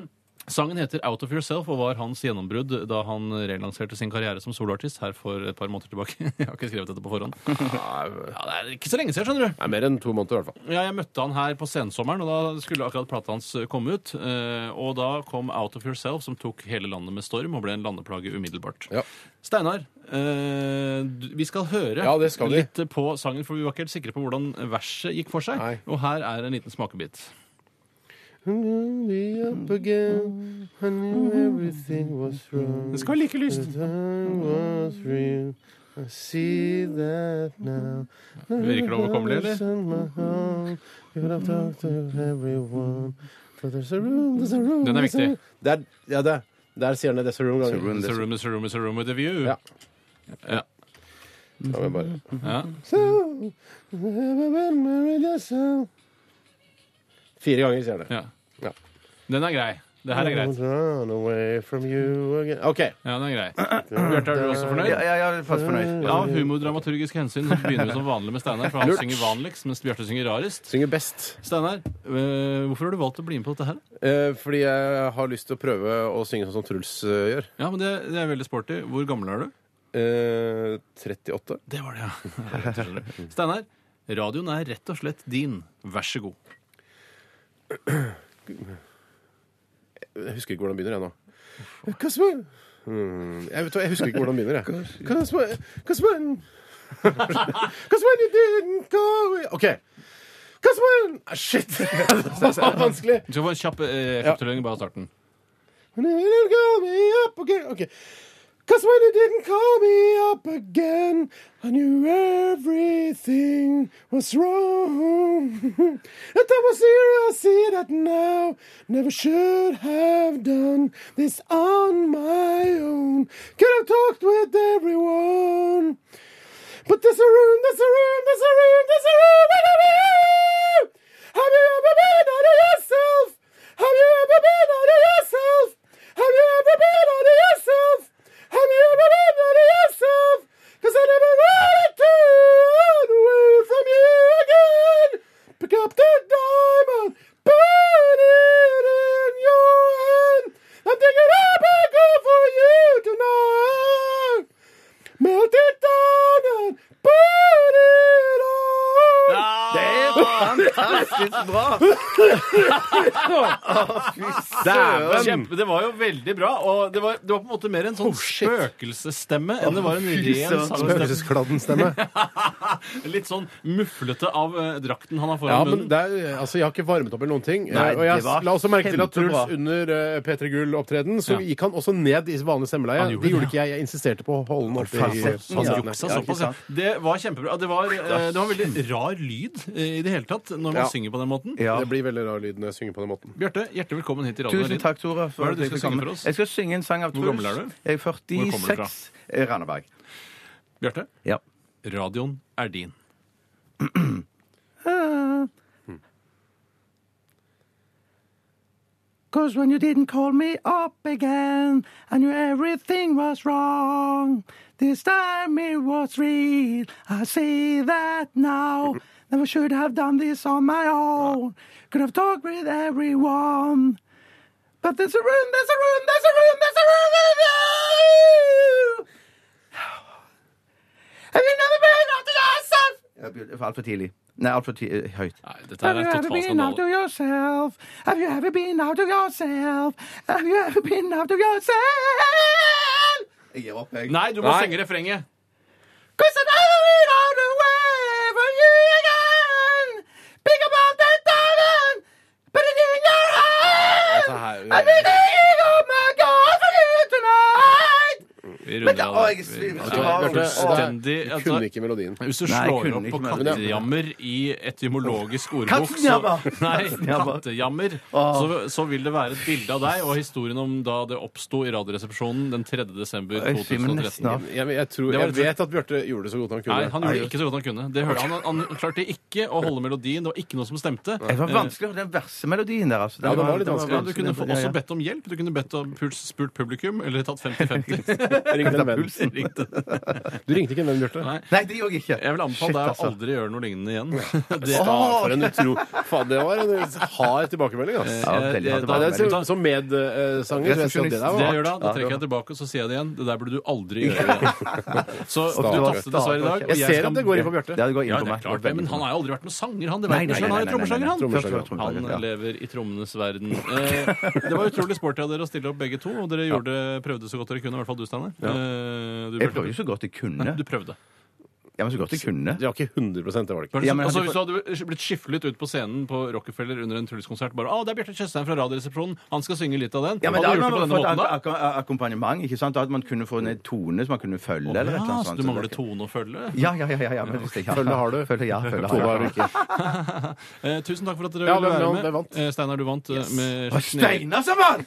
S4: sangen heter Out of Yourself og var hans gjennombrudd da han relanserte sin karriere som soloartist her for et par måneder tilbake. Jeg har ikke skrevet dette på forhånd. Ja, det er ikke så lenge siden, skjønner du.
S3: Det er mer enn to måneder, i hvert fall.
S4: Ja, jeg møtte han her på sensommeren, og da skulle akkurat plata hans komme ut. Eh, Og da kom Out of Yourself, som tok hele landet med storm og ble en landeplage umiddelbart.
S3: Ja.
S4: Steinar, eh, du- vi skal høre
S3: Ja, det skal vi.
S4: litt på sangen, for vi var ikke helt sikre på hvordan verset gikk for seg.
S3: Nei.
S4: Og her er en liten smakebit.
S3: Det
S4: skal være like lyst. Virker det overkommelig, eller?
S3: eller?
S4: Den er viktig.
S3: Der, ja, det. Der sier han det. There's a room ganger.
S4: It's a room, it's a room, it's a room with a view.
S3: Ja.
S4: Ja.
S3: Ja, men bare-
S4: Ja.
S3: Fire ganger sier han det.
S4: ja.
S3: Ja.
S4: Den er grei. Det her er greit.
S3: Run away from you again. OK.
S4: Ja, den er grei. Bjarte, er du også fornøyd?
S5: Ja, ja, ja, fast fornøyd.
S4: Ja, av humordramaturgiske hensyn så begynner vi som vanlig med Steinar, for han synger vanligst, mens Bjarte synger rarest.
S3: Synger best.
S4: Steinar, øh, hvorfor har du valgt å bli med på dette her?
S3: Eh, fordi jeg har lyst til å prøve å synge sånn som Truls eh, gjør.
S4: Ja, men det, det er veldig sporty. Hvor gammel er du?
S3: Eh, 38.
S4: Det var det, ja. Steinar, radioen er rett og slett din. Vær så god.
S3: Jeg husker ikke hvordan den begynner, jeg nå. Kasper! Mm, jeg, vet, hva, jeg husker ikke hvordan den begynner, jeg. Kasper, Kasper. Kasper, you didn't go away. OK. Kasper! Ah, Shit! Det var vanskelig.
S4: Du skal få en kjapp eh,
S3: Ja.
S4: fortelling bare av starten.
S3: When you didn't call me up again. Okay. Cause when you didn't call me up again, I knew everything was wrong. That I was here, I see that now. Never should have done this on my own. Could have talked with everyone. But there's a room, there's a room, there's a room, there's a room in the room. Have you ever been out of yourself? Have you ever been out of yourself? Have you ever been out of yourself? Have you ever been out of yourself? Cause I never wanted to run away from you again. Pick up the diamond, burn it in your hand. I'm taking it back for you tonight. Melt it down and burn it all.
S5: Det er fantastisk bra!
S3: Dæven!
S4: Kjempe, det var jo veldig bra, og det var, det var på en måte mer en sånn
S3: shit.
S4: spøkelsesstemme enn det var en ren
S5: søren.
S4: sangstemme.
S3: stemme.
S4: Litt sånn muflete av eh, drakten han
S3: Ja,
S4: har foran
S3: men
S4: munnen.
S3: det er, altså, Jeg har ikke varmet opp eller noen ting.
S5: Nei,
S3: Eh, og jeg
S5: det var
S3: la også merke til at Truls
S5: kjempebra.
S3: under eh, P3 Gull-opptreden så
S4: Ja.
S3: gikk han også ned i vanlig stemmeleie.
S4: Han gjorde
S3: det
S4: det,
S3: gjorde ikke jeg. Jeg insisterte på å holde den oppe. i
S5: Fasetten, ja.
S3: fasettene.
S4: Juksa
S5: Altså, Ja,
S4: såpass,
S5: ikke
S4: ja.
S5: sant?
S4: Det var kjempebra. Det var, eh, det var en veldig rar lyd eh, i det hele tatt når man
S3: Ja.
S4: synger på den måten.
S5: Ja.
S3: Det blir veldig rar lyd når jeg synger på den måten.
S4: Bjarte, hjertelig velkommen hit til Radio
S5: Tusen
S4: Nordin.
S5: takk, Tore.
S4: Hva er
S5: at
S4: det du skal
S5: jeg fikk komme.
S4: synge for oss?
S5: Jeg skal synge en sang av Truls.
S4: gammel er du?
S5: Jeg er
S4: Hvor kommer du fra?
S5: 46. Eh, Randaberg.
S4: Bjarte,
S5: Ja.
S4: Radioen er din.
S5: Ah. Cause when you didn't call me up again, I knew everything was wrong. This time it was real. I see that now. Never should have done this on my own. Could have talked with everyone. But there's a room, there's a room, there's a room, there's a room. There's a room. And we never been out to yourself. Altfor tidlig. Nei, altfor ti høyt.
S4: Nei, dette her er total skandale.
S5: yourself? Have you ever been out of yourself? Have you ever been out of yourself? Jeg gir opp, jeg.
S4: Nei, du må
S3: Nei.
S4: synge refrenget.
S5: 'Cause I never been out away from you again. Pick up all that diamond, put it in your hand.
S3: Dette her-
S5: I've been thinking, oh my God, for you tonight.
S4: Vi
S5: Men
S4: runder
S5: da-
S4: av.
S5: å, jeg svir-
S4: Ja,
S5: Bjarte,
S4: det er Fullstendig
S3: Du
S4: altså,
S3: kunne ikke melodien.
S4: Hvis du
S5: Nei, jeg
S4: slår
S5: kunne
S4: opp på
S5: ikke melodien.
S4: kattejammer i etymologisk ordbok så,
S5: Kattejammer!
S4: Nei,
S5: Kattejammer.
S4: kattejammer så, så vil det være et bilde av deg og historien om da det oppsto i Radioresepsjonen den 3. desember
S5: Jeg svimmer
S4: 2013.
S5: nesten av.
S3: Jeg, jeg, tror,
S4: Det var
S3: jeg
S4: litt-
S3: vet at Bjarte gjorde det så godt han kunne.
S4: Nei, han gjorde ikke så godt han kunne. Det hørte han, han klarte ikke å holde melodien. Det var ikke noe som stemte.
S5: Det var vanskelig å høre den verste melodien der. Altså.
S3: Ja, det var litt vanskelig.
S4: Ja, du kunne få-
S5: Ja, ja.
S4: også bedt om hjelp. Du kunne bedt om puls, spurt publikum, eller tatt 50-50.
S3: Ringte en venn.
S4: Ringte.
S3: Du ringte ikke en venn, Bjarte.
S4: Nei.
S5: Nei, det gjorde jeg ikke.
S4: Jeg vil anbefale
S5: Shit,
S4: deg å
S5: altså.
S4: aldri gjøre noe lignende igjen. Det,
S3: Ja, for en utro... Faen, det var en hard tilbakemelding, ass.
S5: Ja, veldig
S4: Eh,
S5: hardt.
S3: Nei,
S4: da-
S3: det er
S4: da-
S3: som- Som medsanger. så jeg sier at Det der
S4: Det jeg
S3: var
S4: gjør da, da trekker jeg tilbake og så sier jeg det igjen. Det der burde du aldri gjøre igjen. Så du tapte dessverre i dag. og
S3: Jeg ser
S4: skal-
S3: at det går inn på Bjarte.
S5: Ja, det går inn
S4: Ja,
S5: på
S4: det er
S5: meg.
S4: klart det, men han har jo aldri vært noen sanger, han. Det
S5: Nei,
S4: vet du
S5: nei,
S4: selv. Han er jo
S5: nei, nei, nei, nei,
S4: trommeslager,
S5: nei.
S4: han.
S5: Trommeslager,
S3: Først-
S5: trommeslager,
S4: Han eh,
S5: ja.
S4: lever i trommenes verden. Eh, det var utrolig sporty av dere å stille opp begge to, og dere gjorde, prøvde så godt dere kunne. I hvert fall du, Steinar. Eh, du, prøvde.
S5: Jeg prøvde jo så godt jeg kunne.
S4: du prøvde.
S5: Ja, men så godt jeg kunne.
S3: Det var ikke 100 det var det ikke.
S4: Var det
S5: Ja,
S4: så,
S5: men
S4: altså,
S5: hadde-
S4: hvis du hadde blitt skiflet ut på scenen på Rockefeller under en Truls-konsert bare, ah, det er Bjarte Tjøstheim fra Radioresepsjonen, han skal synge litt av den.
S5: Ja, men da
S4: hadde
S5: hadde
S4: du gjort det på denne
S5: man fått
S4: måten da?
S5: ak ak akkompagnement, ikke sant? Da hadde man kunne få en tone som man kunne følge, eller et eller
S4: Ja,
S5: annet
S4: så
S5: sånt.
S4: du mangler
S5: det-
S4: tone å følge?
S5: Ja, ja, ja. ja, ja, men hvis det- ja.
S3: Følge har du.
S5: Følge, ja, følge
S3: Tone har
S5: har
S3: du
S5: jeg.
S3: ikke.
S4: Eh, tusen takk for at dere
S3: Ja,
S4: ville
S3: hvem-
S4: være
S3: hvem-
S4: med.
S3: hvem vant?
S4: Eh, Steinar, du vant eh, med
S5: Å, Steinar som vant!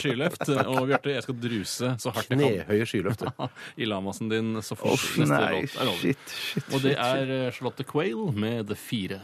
S4: skiløft. Og Bjarte, jeg skal druse så hardt jeg
S3: Knehøye skyløfter.
S4: kan i lamasen din, så får
S5: Uff,
S4: neste
S5: nei,
S4: låt er over.
S5: shit, shit.
S4: Og det er eh, Charlotte Quail med The Fire.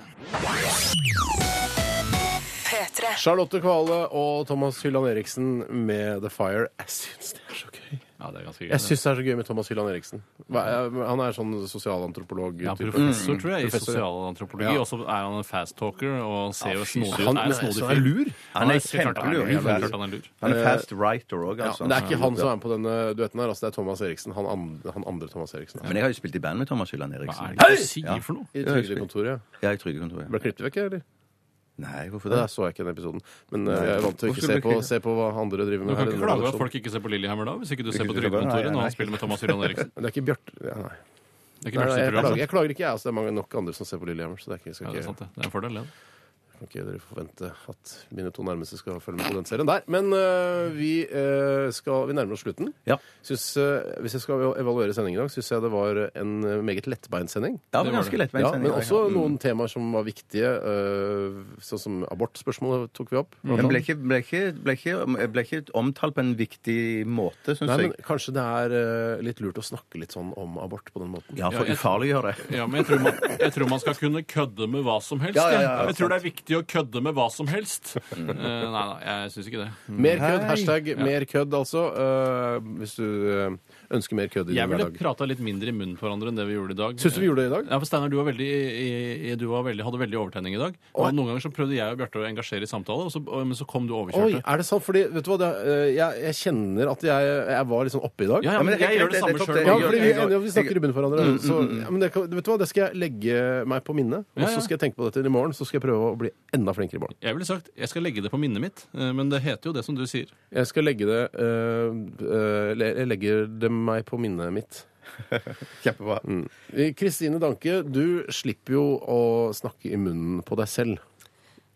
S6: P3.
S3: Charlotte Kvale og Thomas Hylland Eriksen med The Fire. Jeg syns det er så gøy.
S4: Ja, det er ganske
S3: Jeg
S4: gøy.
S3: syns det er så gøy med Thomas Hylland Eriksen. Hva er- Han er sånn sosialantropolog.
S4: Ja,
S3: type.
S4: professor, tror jeg, i
S3: Mm. Professor, ja.
S4: sosialantropologi.
S3: Ja.
S4: Og så er han en fast talker og ser jo
S3: fy
S4: snodig ut.
S3: søren.
S4: Er
S3: Han-
S4: en snodig
S3: så er
S4: fyr.
S3: lur.
S5: Han er
S4: helt klart
S5: kjempelur.
S4: han er lur. Helt klart han er lur. Eh,
S5: Han er fast writer òg,
S3: Ja,
S5: altså.
S3: men det er ikke han som er med på denne duetten her. Altså, det er Thomas Eriksen. Han andre, han andre Thomas Eriksen.
S5: Men jeg har jo spilt i band med Thomas Hylland
S4: Hva
S5: Eriksen.
S4: er det du sier for noe?
S3: I Trygdekontoret. ja.
S5: Ja, i Trygdekontoret.
S3: Ble klippet vekk, eller?
S5: Nei, hvorfor
S3: Der
S5: det?
S3: så jeg ikke den episoden. Men eh, jeg er vant til å ikke
S5: Hvorfor
S3: se
S5: ble
S3: på,
S5: klippet?
S3: se på hva andre driver med.
S4: Du kan
S3: her i denne
S4: ikke klage over at
S3: redaksjonen.
S4: folk ikke ser på Lillehammer da, hvis ikke du ser på
S5: Ikke- Nei,
S4: Trygdekontoret
S5: nei,
S4: når
S5: nei.
S4: han spiller med Thomas Hylland Eriksen.
S3: Men det er ikke Bjarte ja, Nei,
S4: Det er ikke
S3: nei, nei jeg,
S4: Bjarte
S3: klager,
S4: Sitt
S3: jeg klager ikke, jeg. Altså, det er mange nok andre som ser på Lillehammer. Så det er ikke,
S4: Ja,
S3: skal
S4: det er
S3: ikke,
S4: sant, det. Det er en fordel, det.
S3: kan ikke dere forvente at mine to nærmeste skal følge med på den serien der. Men eh, vi, eh, skal, vi nærmer oss slutten.
S5: Ja.
S3: Syns, eh, hvis jeg skal evaluere sendingen i dag, syns jeg det var en eh, meget lettbeint sending.
S5: Ja,
S4: det
S5: men
S4: var
S5: ganske
S4: det.
S5: lett med en
S3: Ja,
S5: sending.
S3: men også
S4: Mm.
S3: noen temaer som var viktige, eh, sånn som abortspørsmålet tok vi
S4: Mm.
S3: opp.
S5: Men ble ikke, ble, ikke, ble, ikke, ble ikke omtalt på en viktig måte, syns
S3: Nei,
S5: jeg.
S3: men Kanskje det er eh, litt lurt å snakke litt sånn om abort på den måten.
S5: Ja, for ufarlig å gjøre det.
S4: Ja, men jeg tror, man, jeg tror man skal kunne kødde med hva som helst.
S5: Ja, ja, ja,
S4: jeg.
S5: ja,
S4: jeg tror det er viktig å kødde med hva som helst. Eh, nei, nei, jeg syns ikke det.
S3: Mer kødd,
S5: Hei.
S3: hashtag mer kødd, altså. eh, hvis du eh, ønsker mer kødd i
S4: Jeg
S3: din
S4: ville
S3: hverdag.
S4: prata litt mindre i munnen på hverandre enn det vi gjorde i dag.
S3: Syns du vi gjorde det i dag?
S4: Ja, for Steinar, du, var veldig, i- i- du var veldig, hadde veldig overtenning i dag. Og Noen ganger så prøvde jeg og Bjarte å engasjere i samtale, og så, og- men så kom du
S3: Oi,
S4: overkjørt.
S3: er det sant? Fordi, vet du hva, det, er, eh, jeg, jeg kjenner at jeg, jeg var litt sånn oppe i dag.
S4: Ja, ja,
S5: Ja,
S4: men
S5: men det er
S4: jeg
S5: helt-
S4: gjør det
S5: det-
S4: samme
S5: det-
S4: sjøl.
S5: det-
S3: Ja,
S5: Jeg-
S3: fordi vi er
S5: jeg-
S3: enige om at vi snakker i bunnen for hverandre.
S4: Mm,
S3: Så, ja, men det, kan- vet du hva, det skal jeg legge meg på minnet. Og
S4: Ja, ja.
S3: så skal jeg tenke på dette i morgen, så skal jeg prøve å bli enda flinkere i morgen.
S4: Jeg ville sagt jeg skal legge det på minnet mitt, eh, men det heter jo det som du sier.
S3: Jeg skal legge det eh, eh, le- Jeg legger det meg på minnet mitt. Mm.
S5: Kjempebra.
S3: Kristine Danke, du slipper jo å snakke i munnen på deg selv.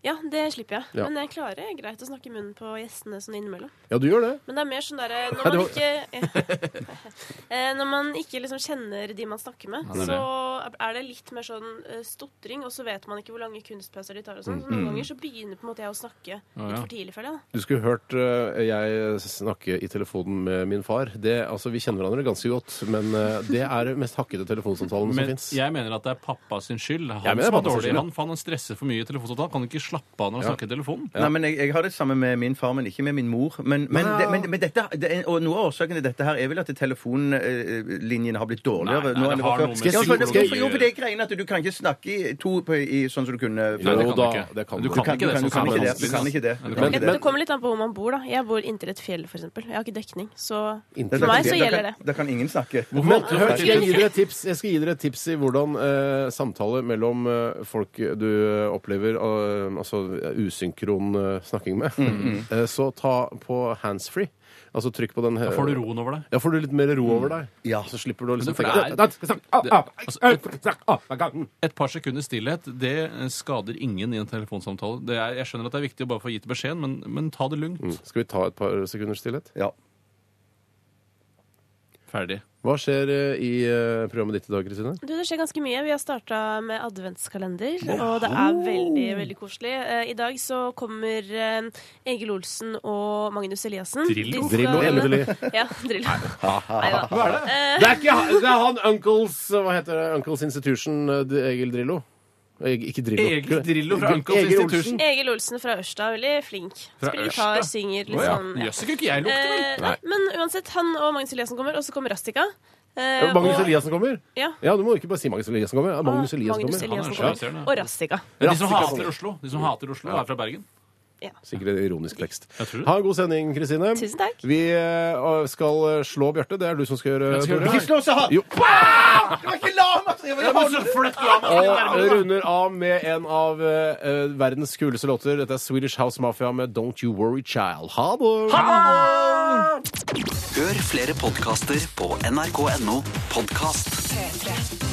S7: Ja, det slipper jeg.
S3: Ja.
S7: Men jeg klarer greit å snakke i munnen på gjestene sånn innimellom.
S3: Ja, du gjør det.
S7: Men det er mer sånn derre
S3: Ja,
S7: når
S3: det
S7: man ikke Eh, Når man ikke liksom kjenner de man snakker med,
S4: Ja, det er det.
S7: så er det litt mer sånn eh, stotring, og så vet man ikke hvor lange kunstpauser de tar og sånn. Så noen ganger så begynner på en måte jeg å snakke
S4: Å,
S7: litt
S4: Mm, ja.
S7: for tidlig, føler jeg. da.
S3: Du skulle hørt eh, jeg snakke i telefonen med min far. Det, altså, Vi kjenner hverandre ganske godt, men eh, det er den mest hakkete telefonsamtalen som
S4: Men
S3: fins.
S4: jeg mener at det er pappa sin skyld.
S3: Jeg
S4: Han
S3: mener
S4: som er
S3: pappa sin
S4: dårlig.
S3: skyld, ja.
S4: Han, for han stresser for mye i telefonsamtalen. Kan ikke slappe av når han snakker i telefonen.
S5: Nei, men jeg, jeg har det samme med min far, men ikke med min mor. Men, men,
S3: Nei.
S5: det, men, men dette, det, er- og noe av årsaken til dette her er vel at telefonlinjene har blitt dårligere.
S4: Nei, nei,
S5: nå
S4: det
S5: enn
S4: har noe
S5: før.
S4: med
S5: Ja, for-
S4: psykologi
S5: for- Jo, for det er greien at du kan ikke snakke i to på, i, sånn som du
S3: Jo,
S5: kunne før.
S4: det kan
S3: da,
S4: du ikke.
S3: det kan du.
S4: du kan
S5: Du kan-
S4: ikke
S5: du
S4: det
S5: kan-
S4: sånn
S5: du kan
S4: som
S5: ikke det,
S4: vanskelig.
S5: du kan ikke det.
S4: Du
S3: Men-
S4: kan ikke det.
S7: Det kommer litt an på hvor man bor, da. Jeg bor inntil et fjell, for eksempel. Jeg har ikke dekning, så
S3: Inntil
S5: Da
S7: for
S5: kan-
S7: meg så
S5: da
S7: gjelder
S5: kan-
S7: det.
S5: Da kan ingen snakke.
S3: Men
S4: Hvorfor-
S3: hør, jeg, gir dere et tips, jeg skal gi dere et tips i hvordan eh, samtale mellom eh, folk du eh, opplever eh, altså usynkron eh, snakking med, eh, så ta på handsfree. Altså trykk på den
S4: Da får du roen over deg.
S3: Da får du litt mer ro over deg.
S5: Ja.
S3: Så slipper du å liksom
S4: Men det
S3: tenke
S4: er-
S3: «Ah, da skal jeg snakke, ah, ah, ah, snakke, ah, ah, gangen».
S4: Et par sekunders stillhet det eh, skader ingen i en telefonsamtale. Det er, jeg skjønner at det er viktig å bare få gitt beskjeden, men, men ta det lugnt.
S3: Skal vi ta et par sekunders stillhet?
S5: Ja.
S4: Ferdig.
S3: Hva skjer eh, i eh, programmet ditt i dag, Kristine?
S7: Du, Det skjer ganske mye. Vi har starta med adventskalender, og det er veldig veldig koselig. Eh, I dag så kommer eh, Egil Olsen og Magnus Eliassen.
S4: Drillo?
S7: De skal-
S3: Drillo, endelig.
S7: Ja, Drillo. Neida.
S3: Det er ikke han- det er han Uncles eh, Hva heter det? Uncles Institution, eh, Egil Drillo. Eg, ikke Drillo.
S4: Egil Drillo fra Uncles
S3: Egil
S4: Institution.
S7: Egil Olsen fra Ørsta er veldig flink.
S4: Fra
S7: Spiller
S4: Ørsta?
S7: gitar, synger, litt sånn. ja.
S4: Jøss, det kunne ikke jeg lukte, vel?
S7: Eh, nei, men uansett, han og Magnus Eliassen kommer, og så kommer Rastika. Eh,
S3: Ja, Magnus
S7: og-
S3: Eliassen kommer?
S7: Ja.
S3: ja, du må ikke bare si Magnus Eliassen kommer. Ja,
S4: Ah,
S3: Magnus Eliassen
S7: Magnus
S3: kommer.
S7: Eliassen
S4: Han er
S7: kommer.
S4: sjøl.
S7: Og Rastika.
S4: De som
S3: Rastika
S4: hater
S3: kommer.
S4: Oslo, de som hater Oslo er fra Bergen.
S3: Sikkert en ironisk tekst.
S4: Jeg tror det.
S3: Ha en god sending, Kristine.
S7: Tusen takk.
S3: Vi eh, skal eh, slå Bjarte. Det er du som skal gjøre
S4: Jeg skal
S3: Tore.
S4: gjøre det.
S5: Ikke slå seg hardt!
S3: Jo.
S5: Det var ikke lam, altså! Jeg var
S4: Det
S5: ikke
S4: var
S5: lam.
S4: så flott, la meg
S3: Og
S4: stille nærmere, da.
S3: runder av med en av eh, eh, verdens kuleste låter. Dette er Swedish House Mafia med Don't You Worry Child. Ha det!
S6: Hør flere podkaster på nrk.no podkast.
S8: P3.